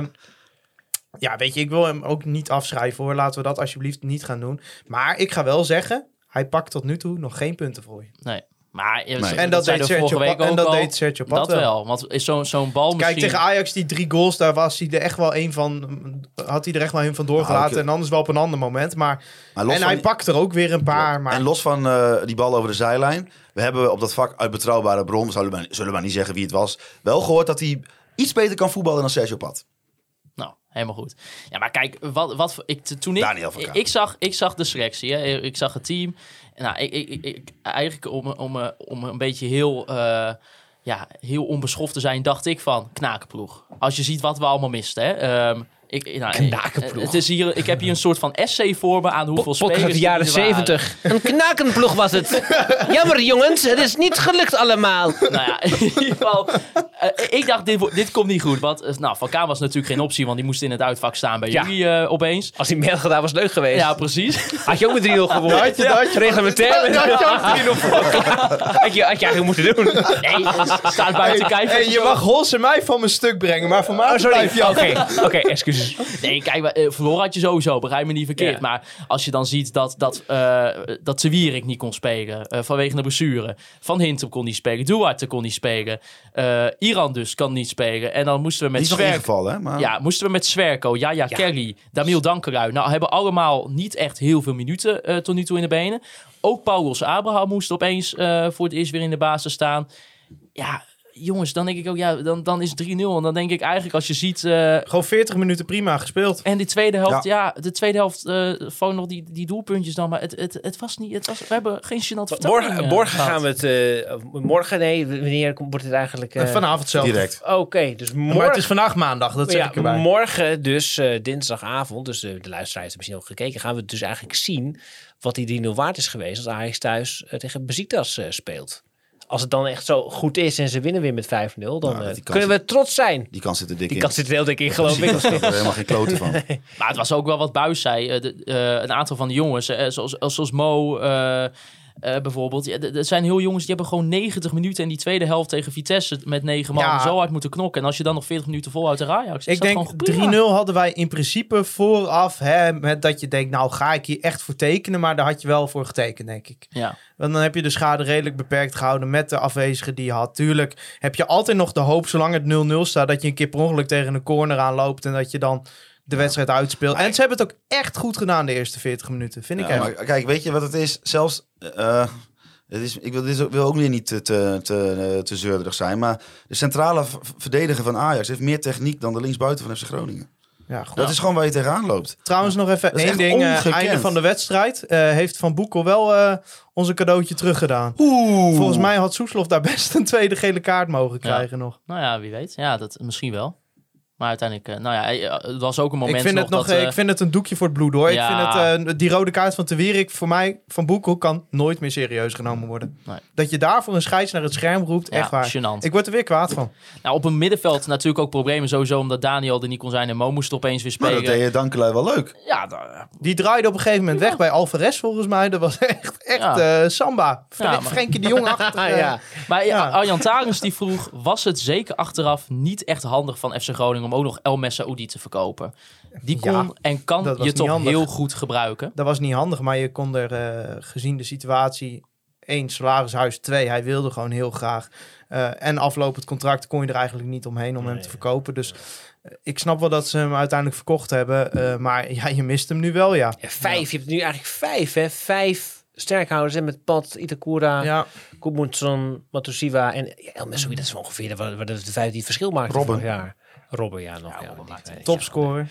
[SPEAKER 1] ja, weet je, ik wil hem ook niet afschrijven hoor. Laten we dat alsjeblieft niet gaan doen. Maar ik ga wel zeggen, hij pakt tot nu toe nog geen punten voor je.
[SPEAKER 5] Nee. Maar eh, eerlijk gezegd,
[SPEAKER 1] En dat
[SPEAKER 5] zeiden
[SPEAKER 1] deed
[SPEAKER 5] we
[SPEAKER 1] Sergio
[SPEAKER 5] vorige
[SPEAKER 1] Pa-
[SPEAKER 5] week
[SPEAKER 1] en
[SPEAKER 5] ook
[SPEAKER 1] dat
[SPEAKER 5] al.
[SPEAKER 1] deed Sergio Pat
[SPEAKER 5] Dat
[SPEAKER 1] wel.
[SPEAKER 5] wel. Want is zo'n zo'n bal
[SPEAKER 1] Kijk,
[SPEAKER 5] misschien...
[SPEAKER 1] tegen Ajax die drie goals, daar was hij er echt wel een van... Had hij er echt wel een van doorgelaten.
[SPEAKER 7] Nou, ik-
[SPEAKER 1] En anders wel op een ander moment. Maar,
[SPEAKER 7] Maar los
[SPEAKER 1] en
[SPEAKER 7] van
[SPEAKER 1] hij
[SPEAKER 7] die-
[SPEAKER 1] pakt er ook weer een paar. Maar
[SPEAKER 7] En los van eh, die bal over de zijlijn, we hebben op dat vak uit betrouwbare bron, we zullen maar, zullen maar niet zeggen wie het was, wel gehoord dat hij iets beter kan voetballen dan Sergio Pat.
[SPEAKER 5] Nou, helemaal goed. Ja, maar kijk, wat, wat voor- ik, toen ik,
[SPEAKER 7] Daniel van
[SPEAKER 5] ik,
[SPEAKER 7] Kaat.
[SPEAKER 5] ik zag, ik zag de selectie, hè. ik zag het team. Nou, ik, ik, ik- ik- eigenlijk om, om, eh, om een beetje heel, eh, ja, heel onbeschoft te zijn, dacht ik van knakenploeg. Als je ziet wat we allemaal misten, hè. Ehm, Ik, nou,
[SPEAKER 6] Knakenploeg.
[SPEAKER 5] Het is hier, ik heb hier een soort van essay voor me aan hoeveel
[SPEAKER 6] Podcast
[SPEAKER 5] spelers...
[SPEAKER 6] uit de
[SPEAKER 5] die
[SPEAKER 6] jaren
[SPEAKER 5] er waren.
[SPEAKER 6] 70. Een knakenploeg was
[SPEAKER 1] [LAUGHS]
[SPEAKER 6] het. Jammer jongens, het is niet gelukt allemaal.
[SPEAKER 5] Nou ja, [LAUGHS] in ieder geval. eh, ik dacht, dit, wo- dit komt niet goed. Want eh, nou, Van Kaan was natuurlijk geen optie, want die moest in het uitvak staan bij
[SPEAKER 6] Ja.
[SPEAKER 5] jullie eh, opeens.
[SPEAKER 6] Als hij meer had gedaan was het leuk geweest.
[SPEAKER 5] Ja,
[SPEAKER 6] [LAUGHS]
[SPEAKER 5] precies.
[SPEAKER 6] Had je ook met 3-0 gewonnen? Had je, had je. Reglementair. Had je ook 3-0 [LAUGHS] Had je eigenlijk moeten doen.
[SPEAKER 5] Nee, staat buiten kijf.
[SPEAKER 1] Hey, je mag Hols en mij van mijn stuk brengen, maar van mij
[SPEAKER 6] Oh, sorry.
[SPEAKER 1] blijf
[SPEAKER 6] Oké,
[SPEAKER 1] je af.
[SPEAKER 6] oké, excuses.
[SPEAKER 5] Nee, kijk, maar, eh, verloren had je sowieso, begrijp me niet verkeerd.
[SPEAKER 6] Ja.
[SPEAKER 5] Maar als je dan ziet dat, dat, eh dat Zwierik niet kon spelen eh, vanwege de blessure. Van Hintem kon niet spelen, Duarte kon niet spelen. eh, Iran dus kan niet spelen. En dan moesten we
[SPEAKER 7] Die
[SPEAKER 5] met
[SPEAKER 7] is nog
[SPEAKER 5] Zwerk...
[SPEAKER 7] ingevallen, hè? Maar...
[SPEAKER 5] Ja, moesten we met Zwerko, Jaja Kelly, Damiel Dankerui. Nou, hebben allemaal niet echt heel veel minuten eh, tot nu toe in de benen. Ook Paulus Abraham moest opeens eh, voor het eerst weer in de basis staan. Ja, jongens, dan denk ik ook, ja, dan, dan is het 3-0. En dan denk ik eigenlijk, als je ziet... eh,
[SPEAKER 1] Gewoon 40 minuten prima gespeeld.
[SPEAKER 5] en die tweede helft, ja, de tweede helft eh vallen nog die, die doelpuntjes dan. Maar het, het, het was niet, het was, we hebben geen gênant vertoning.
[SPEAKER 6] Morgen,
[SPEAKER 5] eh,
[SPEAKER 6] morgen
[SPEAKER 5] gehad.
[SPEAKER 6] gaan we het... eh, morgen, nee, wanneer komt- wordt het eigenlijk... eh,
[SPEAKER 1] Vanavond zelf.
[SPEAKER 7] Direct.
[SPEAKER 6] Oké, dus morgen...
[SPEAKER 1] Maar het is vandaag maandag, dat zeg
[SPEAKER 6] Ja,
[SPEAKER 1] ik erbij.
[SPEAKER 6] morgen, dus eh, dinsdagavond, dus eh, de luisteraar heeft er misschien al gekeken, gaan we dus eigenlijk zien wat die 3-0 waard is geweest als Ajax thuis eh, tegen Besiktas eh, speelt. Als het dan echt zo goed is en ze winnen weer met 5-0, dan eh,
[SPEAKER 7] die kans-
[SPEAKER 6] kunnen we trots zijn.
[SPEAKER 7] Die kans zit er dik
[SPEAKER 6] Die
[SPEAKER 7] in.
[SPEAKER 6] kans zit er heel dik in, geloof ik.
[SPEAKER 7] Daar snap ik er helemaal geen klote van.
[SPEAKER 5] Maar het was ook wel wat Buis zei. eh, de- eh, een aantal van de jongens, eh, zoals, zoals Mo eh, eh, bijvoorbeeld. Ja, d- Er zijn heel jongens die hebben gewoon 90 minuten in die tweede helft tegen Vitesse met 9 man
[SPEAKER 1] Ja.
[SPEAKER 5] zo hard moeten knokken. En als je dan nog 40 minuten volhoudt tegen Ajax, is
[SPEAKER 1] Ik
[SPEAKER 5] dat
[SPEAKER 1] denk
[SPEAKER 5] gewoon prima.
[SPEAKER 1] 3-0 hadden wij in principe vooraf. Hè, met dat je denkt, nou ga ik hier echt voor tekenen. Maar daar had je wel voor getekend, denk ik.
[SPEAKER 5] Ja.
[SPEAKER 1] Want dan heb je de schade redelijk beperkt gehouden met de afwezigen die je had. Tuurlijk heb je altijd nog de hoop, zolang het 0-0 staat, dat je een keer per ongeluk tegen een corner aanloopt. En dat je dan de wedstrijd uitspeelt. En ze hebben het ook echt goed gedaan de eerste 40 minuten, vind ik
[SPEAKER 7] Ja,
[SPEAKER 1] echt.
[SPEAKER 7] maar kijk, weet je wat het is? Zelfs. eh, het is, ik wil, dit is ook- wil ook weer niet te, te, te, te zeurderig zijn. Maar de centrale v- verdediger van Ajax heeft meer techniek dan de linksbuiten van FC Groningen.
[SPEAKER 1] Ja, goed.
[SPEAKER 7] Dat is gewoon waar je tegenaan loopt.
[SPEAKER 1] Trouwens nog even
[SPEAKER 7] Dat is
[SPEAKER 1] één
[SPEAKER 7] echt
[SPEAKER 1] ding. eh,
[SPEAKER 7] ongekend.
[SPEAKER 1] einde van de wedstrijd eh, heeft Van Boekel wel eh, ons een cadeautje teruggedaan. Volgens mij had Soeslof daar best een tweede gele kaart mogen krijgen nog.
[SPEAKER 5] Nou ja, wie weet. Ja, dat misschien wel. Maar uiteindelijk, eh, nou ja, eh, het was ook een moment
[SPEAKER 1] ik vind,
[SPEAKER 5] nog
[SPEAKER 1] het nog,
[SPEAKER 5] dat...
[SPEAKER 1] eh,
[SPEAKER 5] eh,
[SPEAKER 1] ik vind het een doekje voor het bloed hoor.
[SPEAKER 5] Ja.
[SPEAKER 1] Ik vind het, eh, die rode kaart van Te Wierik voor mij, van Boekel, kan nooit meer serieus genomen worden.
[SPEAKER 5] Nee.
[SPEAKER 1] Dat je daarvoor een scheids naar het scherm roept,
[SPEAKER 5] ja,
[SPEAKER 1] echt waar.
[SPEAKER 5] gênant.
[SPEAKER 1] Ik word er weer kwaad van.
[SPEAKER 5] Nou, op een middenveld natuurlijk ook problemen sowieso omdat Daniel er niet kon zijn en Mo moest opeens weer
[SPEAKER 1] Nou,
[SPEAKER 7] Maar
[SPEAKER 5] spelen.
[SPEAKER 7] dat deed je Dankelui wel leuk.
[SPEAKER 5] Ja, da-
[SPEAKER 1] Die draaide op een gegeven moment weg bij Alvarez volgens mij. Dat was [LAUGHS] echt, echt
[SPEAKER 5] Ja.
[SPEAKER 1] eh, samba. Fre
[SPEAKER 5] Ja, maar-
[SPEAKER 1] Frenkie de Jong
[SPEAKER 5] [LAUGHS]
[SPEAKER 1] achter.
[SPEAKER 6] Ah,
[SPEAKER 1] eh,
[SPEAKER 5] maar ja,
[SPEAKER 1] Ja.
[SPEAKER 5] Arjan Tarens die vroeg, was het zeker achteraf niet echt handig van FC Groningen om ook nog El Messaoudi te verkopen? Die kon
[SPEAKER 1] Ja,
[SPEAKER 5] en
[SPEAKER 1] dat
[SPEAKER 5] kan
[SPEAKER 1] was
[SPEAKER 5] je
[SPEAKER 1] niet
[SPEAKER 5] toch
[SPEAKER 1] handig.
[SPEAKER 5] heel goed gebruiken.
[SPEAKER 1] Dat was niet handig, maar je kon er eh, gezien de situatie... één salarishuis, twee, hij wilde gewoon heel graag. eh, en aflopend contract kon je er eigenlijk niet omheen om hem te verkopen. Dus eh, ik snap wel dat ze hem uiteindelijk verkocht hebben. eh, maar ja, je mist hem nu wel, ja.
[SPEAKER 6] Ja, vijf, je hebt nu eigenlijk vijf, hè. Vijf sterkhouders en met Pat, Itakura, ja.
[SPEAKER 1] Ja,
[SPEAKER 6] Koemoetson, Matusiwa en ja, El Messaoui. Dat is ongeveer waar, waar de vijf die het verschil maakte
[SPEAKER 7] Robben.
[SPEAKER 6] vorig jaar. Robben, ja, nog. Ja, die twee.
[SPEAKER 1] topscorer.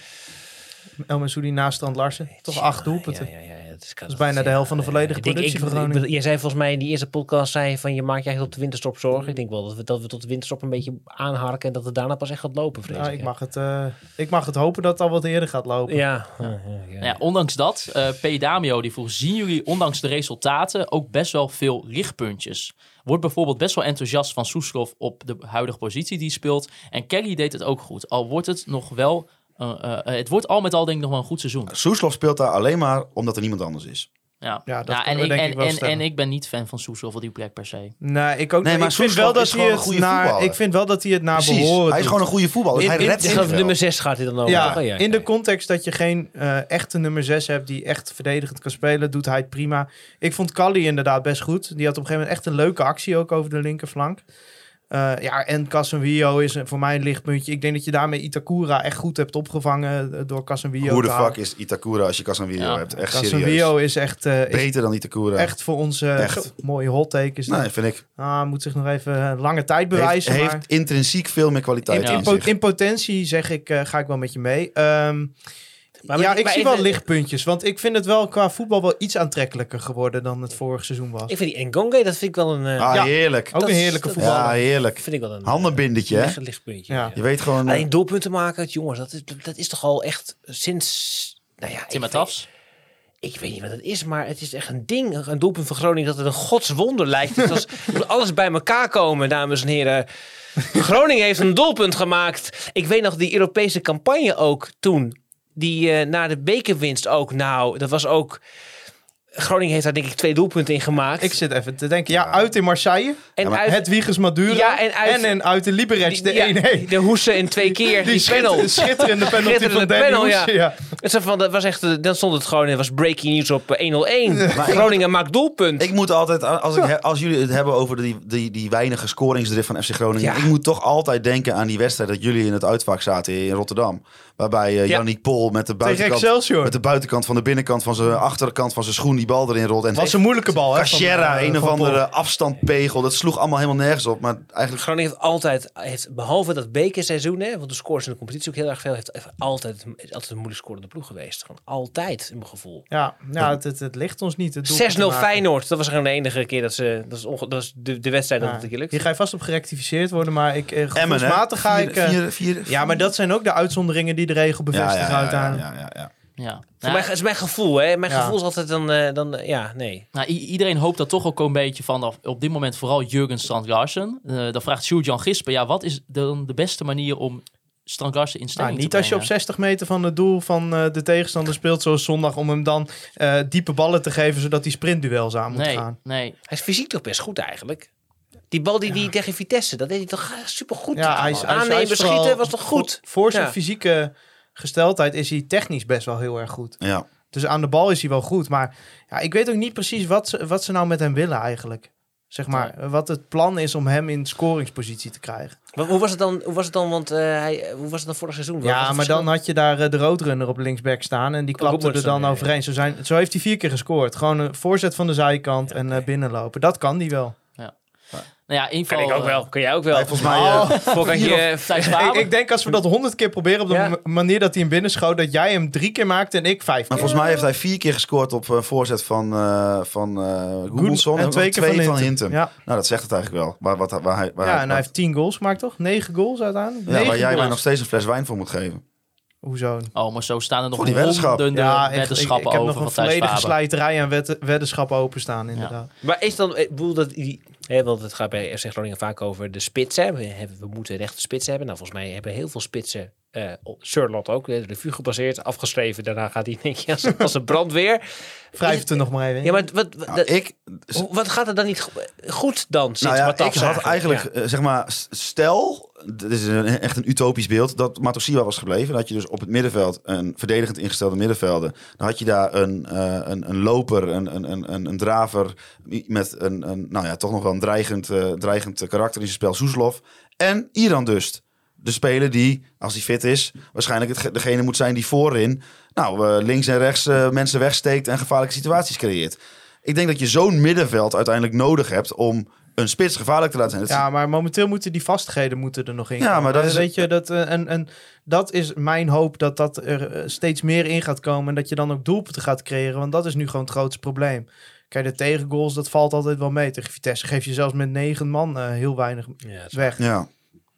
[SPEAKER 1] El Soedi naast Strand Larsen. Toch acht doelpunten.
[SPEAKER 6] Ja, ja, ja, ja, het is,
[SPEAKER 1] Dat is bijna de helft van de volledige productie van Groningen.
[SPEAKER 6] Jij zei volgens mij in die eerste podcast zei je van je maakt je eigenlijk op de winterstop zorgen. Ik denk wel dat we, dat we tot de winterstop een beetje aanharken en dat het daarna pas echt gaat lopen. Vrees
[SPEAKER 1] Nou,
[SPEAKER 6] ik,
[SPEAKER 1] ik,
[SPEAKER 6] hè.
[SPEAKER 1] mag het, eh, ik mag het hopen dat het al wat eerder gaat lopen.
[SPEAKER 6] [LAUGHS] Ja. ja, ja, ja.
[SPEAKER 5] Nou ja, ondanks dat, eh P. Damio die vroeg, zien jullie ondanks de resultaten ook best wel veel lichtpuntjes? Wordt bijvoorbeeld best wel enthousiast van Soeslof op de huidige positie die hij speelt. En Kelly deed het ook goed, al wordt het nog wel... eh, eh, het wordt al met al denk ik nog wel een goed seizoen.
[SPEAKER 7] Soeslof speelt daar alleen maar omdat er niemand anders is.
[SPEAKER 5] Ja,
[SPEAKER 1] Ja, dat
[SPEAKER 5] Nou, en,
[SPEAKER 1] kunnen we
[SPEAKER 5] ik,
[SPEAKER 1] denk
[SPEAKER 5] en,
[SPEAKER 1] ik wel
[SPEAKER 5] en,
[SPEAKER 1] stellen.
[SPEAKER 5] en ik ben niet fan van Soeslof op die plek per se.
[SPEAKER 1] Nee, ik ook
[SPEAKER 7] Nee,
[SPEAKER 1] niet.
[SPEAKER 7] maar
[SPEAKER 1] ik, vind
[SPEAKER 7] Soeslof
[SPEAKER 1] wel dat
[SPEAKER 7] is
[SPEAKER 1] hij
[SPEAKER 7] gewoon
[SPEAKER 1] het
[SPEAKER 7] een goede
[SPEAKER 1] naar,
[SPEAKER 7] voetballer.
[SPEAKER 1] ik vind wel dat hij het naar
[SPEAKER 7] Precies.
[SPEAKER 1] behoren
[SPEAKER 7] Hij is
[SPEAKER 1] doet.
[SPEAKER 7] gewoon een goede voetballer.
[SPEAKER 1] In-
[SPEAKER 7] hij
[SPEAKER 1] in-
[SPEAKER 7] redt
[SPEAKER 6] Ik geloof
[SPEAKER 7] in
[SPEAKER 6] nummer 6 gaat dit dan over.
[SPEAKER 1] Ja,
[SPEAKER 6] Oh, ja,
[SPEAKER 1] in de
[SPEAKER 6] ja.
[SPEAKER 1] context dat je geen eh, echte nummer 6 hebt die echt verdedigend kan spelen, doet hij het prima. Ik vond Kali inderdaad best goed. Die had op een gegeven moment echt een leuke actie ook over de linkerflank. Eh, ja, en Casemiro is een- voor mij een lichtpuntje. Ik denk dat je daarmee Itakura echt goed hebt opgevangen eh, door Casemiro.
[SPEAKER 7] Hoe de
[SPEAKER 1] te halen.
[SPEAKER 7] fuck is Itakura als je Casemiro
[SPEAKER 5] Ja.
[SPEAKER 7] hebt? Echt serieus.
[SPEAKER 1] Casemiro is echt, eh, is
[SPEAKER 7] Beter dan Itakura.
[SPEAKER 1] echt voor ons eh,
[SPEAKER 7] Echt.
[SPEAKER 1] mooie hot take. Is dat.
[SPEAKER 7] Nee, vind ik.
[SPEAKER 1] Ah, moet zich nog even eh, lange tijd
[SPEAKER 7] Heeft,
[SPEAKER 1] bewijzen. maar...
[SPEAKER 7] heeft intrinsiek veel meer kwaliteit
[SPEAKER 1] In,
[SPEAKER 7] in
[SPEAKER 1] in po-
[SPEAKER 7] zich.
[SPEAKER 1] in potentie zeg ik, eh, ga ik wel met je mee. Ehm,
[SPEAKER 6] Maar-
[SPEAKER 1] ja,
[SPEAKER 6] maar-
[SPEAKER 1] ik
[SPEAKER 6] maar
[SPEAKER 1] zie
[SPEAKER 6] even-
[SPEAKER 1] wel lichtpuntjes. Want ik vind het wel qua voetbal wel iets aantrekkelijker geworden dan het vorig seizoen was.
[SPEAKER 6] Ik vind die Ngonge, dat vind ik wel een... eh,
[SPEAKER 7] Ah,
[SPEAKER 1] Ja.
[SPEAKER 7] heerlijk.
[SPEAKER 1] Ook
[SPEAKER 6] dat
[SPEAKER 1] een
[SPEAKER 6] is-
[SPEAKER 1] heerlijke
[SPEAKER 6] dat-
[SPEAKER 1] voetballer.
[SPEAKER 7] Ja, heerlijk.
[SPEAKER 6] vind ik wel een...
[SPEAKER 7] Handenbindetje, hè?
[SPEAKER 6] Licht, lichtpuntje.
[SPEAKER 1] Ja.
[SPEAKER 7] Je weet gewoon... eh,
[SPEAKER 6] Alleen doelpunten maken, jongens, dat is, dat is toch al echt sinds... Nou ja,
[SPEAKER 5] Tim
[SPEAKER 6] ik,
[SPEAKER 5] Tafs.
[SPEAKER 6] weet, ik weet niet wat het is, maar het is echt een ding. Een doelpunt van Groningen dat het een godswonder lijkt. Het was- [LAUGHS] het moet alles bij elkaar komen, dames en heren. Groningen heeft een doelpunt gemaakt. Ik weet nog die Europese campagne ook toen. Die eh, na de bekerwinst ook. Nou, dat was ook... Groningen heeft daar denk ik twee doelpunten in gemaakt.
[SPEAKER 1] Ik zit even te denken. Ja, uit in Marseille.
[SPEAKER 6] en
[SPEAKER 7] Ja, maar
[SPEAKER 6] uit
[SPEAKER 1] Het Wiegers Maduro.
[SPEAKER 6] Ja, en uit-
[SPEAKER 1] en, en uit de Liberec, de
[SPEAKER 6] die- ja,
[SPEAKER 1] 1-1.
[SPEAKER 6] de hoesen in twee keer. Die,
[SPEAKER 1] Die
[SPEAKER 6] panel.
[SPEAKER 1] schitter- schitterende penalty
[SPEAKER 6] Schitterende
[SPEAKER 1] van Danny
[SPEAKER 6] panel,
[SPEAKER 1] Hoes,
[SPEAKER 6] ja.
[SPEAKER 1] ja.
[SPEAKER 6] Het is van, dat was echt, eh, dan stond het gewoon, het was breaking news op eh, 101. Groningen maakt doelpunt.
[SPEAKER 7] Ik moet altijd, als, ik, he- als jullie het hebben over die, die, die weinige scoringsdrift van FC Groningen.
[SPEAKER 6] Ja.
[SPEAKER 7] Ik moet toch altijd denken aan die wedstrijd dat jullie in het uitvak zaten in Rotterdam. Waarbij eh
[SPEAKER 6] Ja.
[SPEAKER 7] Yannick Pol met de,
[SPEAKER 1] Tegen
[SPEAKER 7] buitenkant,
[SPEAKER 1] Excelsior.
[SPEAKER 7] met de buitenkant van de binnenkant van zijn achterkant van zijn schoen die bal erin rolt. En
[SPEAKER 1] was een moeilijke bal, hè? van,
[SPEAKER 7] Cachera,
[SPEAKER 1] eh,
[SPEAKER 7] een
[SPEAKER 1] van
[SPEAKER 7] of
[SPEAKER 1] Pol.
[SPEAKER 7] andere afstandpegel. Dat sloeg allemaal helemaal nergens op. Maar eigenlijk
[SPEAKER 6] Groningen heeft altijd, heeft, behalve dat bekerseizoen, hè, want de scores in de competitie ook heel erg veel, heeft heeft altijd, is altijd een moeilijk scorende ploeg geweest. Gewoon altijd, in mijn gevoel.
[SPEAKER 1] Ja, nou, het, het, het ligt ons niet. het
[SPEAKER 6] 6-0
[SPEAKER 1] doelpunt te maken.
[SPEAKER 6] Feyenoord, dat was gewoon de enige keer dat ze, dat is, onge- dat is de, de wedstrijd dat
[SPEAKER 1] Ja.
[SPEAKER 6] het een keer lukt.
[SPEAKER 1] Hier ga je vast op gerectificeerd worden, maar ik, eh,
[SPEAKER 7] Emmen, hè?
[SPEAKER 1] gevoelsmatig ga
[SPEAKER 7] Vier-
[SPEAKER 1] ik... eh,
[SPEAKER 7] vier- vier-
[SPEAKER 1] ja, maar dat zijn ook de uitzonderingen die de regel
[SPEAKER 7] Ja,
[SPEAKER 1] bevestigt
[SPEAKER 7] ja, ja, ja,
[SPEAKER 1] uiteraard.
[SPEAKER 7] ja, ja, ja.
[SPEAKER 5] Ja.
[SPEAKER 6] Voor
[SPEAKER 5] Nou,
[SPEAKER 6] mij is mijn gevoel, hè. Mijn
[SPEAKER 1] Ja.
[SPEAKER 6] gevoel is altijd dan, eh, dan eh, ja, nee.
[SPEAKER 5] nou, i- iedereen hoopt daar toch ook een beetje van. af. Op dit moment vooral Jurgen Strand Larsen. Eh, dan vraagt Sjoerd-Jan Gispen, ja, wat is dan de beste manier om Strand Larsen in
[SPEAKER 1] Nou,
[SPEAKER 5] stelling te
[SPEAKER 1] niet als je op
[SPEAKER 5] brengen?
[SPEAKER 1] 60 meter van het doel van eh, de tegenstander speelt, zoals zondag, om hem dan eh, diepe ballen te geven, zodat die sprintduels aan moet
[SPEAKER 5] Nee,
[SPEAKER 1] gaan.
[SPEAKER 5] nee.
[SPEAKER 6] Hij is fysiek toch best goed eigenlijk. Die bal die, die tegen Vitesse, dat deed hij toch eh, supergoed.
[SPEAKER 1] Ja, hij is, hij is- hij
[SPEAKER 6] Aannemen,
[SPEAKER 1] is vooral-
[SPEAKER 6] schieten, Ah, was toch goed?
[SPEAKER 1] Voor zijn
[SPEAKER 6] Ja.
[SPEAKER 1] fysieke gesteldheid is hij technisch best wel heel erg goed.
[SPEAKER 7] Ja.
[SPEAKER 1] Dus aan de bal is hij wel goed. Maar ja, ik weet ook niet precies wat ze, wat ze nou met hem willen eigenlijk. Zeg maar, wat het plan is om hem in scoringspositie te krijgen.
[SPEAKER 6] Maar hoe was het dan? Hoe was het dan? Want eh, hij, eh, hoe was het dan vorig seizoen? Wat was
[SPEAKER 1] Ja,
[SPEAKER 6] het
[SPEAKER 1] maar
[SPEAKER 6] verschil?
[SPEAKER 1] dan had je daar eh, de roadrunner op linksback staan. En die klapte er
[SPEAKER 6] Robertson,
[SPEAKER 1] dan
[SPEAKER 6] ja, ja.
[SPEAKER 1] overheen. Zo, zijn, zo heeft hij vier keer gescoord. Gewoon een voorzet van de zijkant en eh, binnenlopen. Dat kan hij wel.
[SPEAKER 5] Nou ja, inval,
[SPEAKER 6] kan ik ook
[SPEAKER 5] eh,
[SPEAKER 6] wel. Kan jij ook
[SPEAKER 1] [LAUGHS]
[SPEAKER 6] wel?
[SPEAKER 7] Nee, volgens mij,
[SPEAKER 1] oh.
[SPEAKER 7] eh,
[SPEAKER 6] Volkantje,
[SPEAKER 5] Thijs
[SPEAKER 1] Ik,
[SPEAKER 5] Faber.
[SPEAKER 1] ik denk als we dat honderd keer proberen op de
[SPEAKER 6] Ja.
[SPEAKER 1] ma- manier dat hij hem binnenschoot... dat jij hem drie keer maakt en ik vijf
[SPEAKER 7] Maar
[SPEAKER 1] keer.
[SPEAKER 7] volgens mij heeft hij vier keer gescoord op een voorzet van, eh van eh
[SPEAKER 1] Goed-
[SPEAKER 7] Goedelson.
[SPEAKER 1] en twee keer van Hintem. Ja.
[SPEAKER 7] Nou, dat zegt het eigenlijk wel. Waar, wat, waar hij, waar
[SPEAKER 1] Ja,
[SPEAKER 7] hij,
[SPEAKER 1] en
[SPEAKER 7] waar-
[SPEAKER 1] hij heeft tien goals gemaakt, toch? Negen goals uiteindelijk.
[SPEAKER 7] ja,
[SPEAKER 1] Negen
[SPEAKER 7] waar jij mij
[SPEAKER 1] goals.
[SPEAKER 7] nog steeds een fles wijn voor moet geven.
[SPEAKER 1] Hoezo?
[SPEAKER 5] Oh, maar zo staan er nog
[SPEAKER 7] Voor die weddenschap.
[SPEAKER 5] honderden
[SPEAKER 1] Ja, echt, ik, ik
[SPEAKER 5] weddenschappen
[SPEAKER 1] heb nog
[SPEAKER 5] over
[SPEAKER 1] een
[SPEAKER 5] van Thijs
[SPEAKER 1] volledige
[SPEAKER 5] Faber.
[SPEAKER 1] slijterij aan wed- weddenschappen openstaan, inderdaad.
[SPEAKER 6] maar is dan, eh, ik bedoel dat die, hè, want het gaat bij FC Groningen vaak over de spitsen. We, hebben, we moeten rechte spitsen hebben. Nou, volgens mij hebben heel veel spitsen, eh, op Charlotte ook, de revue gebaseerd, afgeschreven. Daarna gaat hij denk ik als, als een brandweer.
[SPEAKER 1] Wrijf
[SPEAKER 6] Is
[SPEAKER 1] het er nog maar even in.
[SPEAKER 6] Ja, maar wat, wat,
[SPEAKER 7] Nou,
[SPEAKER 6] dat-
[SPEAKER 7] ik,
[SPEAKER 6] hoe- wat gaat er dan niet go- goed dan? Sinds
[SPEAKER 7] nou ja,
[SPEAKER 6] Matafs
[SPEAKER 7] ik had eigenlijk, eh, zeg maar, s- stel, dit is een, echt een utopisch beeld, dat Matosiwa was gebleven. Dan had je dus op het middenveld een verdedigend ingestelde middenvelder. Dan had je daar een, eh, een, een loper, een, een, een, een, een draver met een, een, nou ja, toch nog wel een dreigend, eh, dreigend karakter in zijn spel, Soeslof. En Iran Dust. De speler die, als hij fit is, waarschijnlijk het- degene moet zijn die voorin nou, eh, links en rechts eh, mensen wegsteekt en gevaarlijke situaties creëert. Ik denk dat je zo'n middenveld uiteindelijk nodig hebt om een spits gevaarlijk te laten zijn. Dat
[SPEAKER 1] Ja, maar momenteel moeten die vastigheden moeten er nog in.
[SPEAKER 7] Ja,
[SPEAKER 1] komen.
[SPEAKER 7] maar dat
[SPEAKER 1] Eh,
[SPEAKER 7] is-
[SPEAKER 1] Weet je, dat, eh, en, en dat is mijn hoop dat dat er eh, steeds meer in gaat komen. En dat je dan ook doelpunten gaat creëren. Want dat is nu gewoon het grootste probleem. Kijk, de tegengoals, dat valt altijd wel mee. Tegen Vitesse geef je zelfs met negen man eh, heel weinig weg.
[SPEAKER 7] Ja.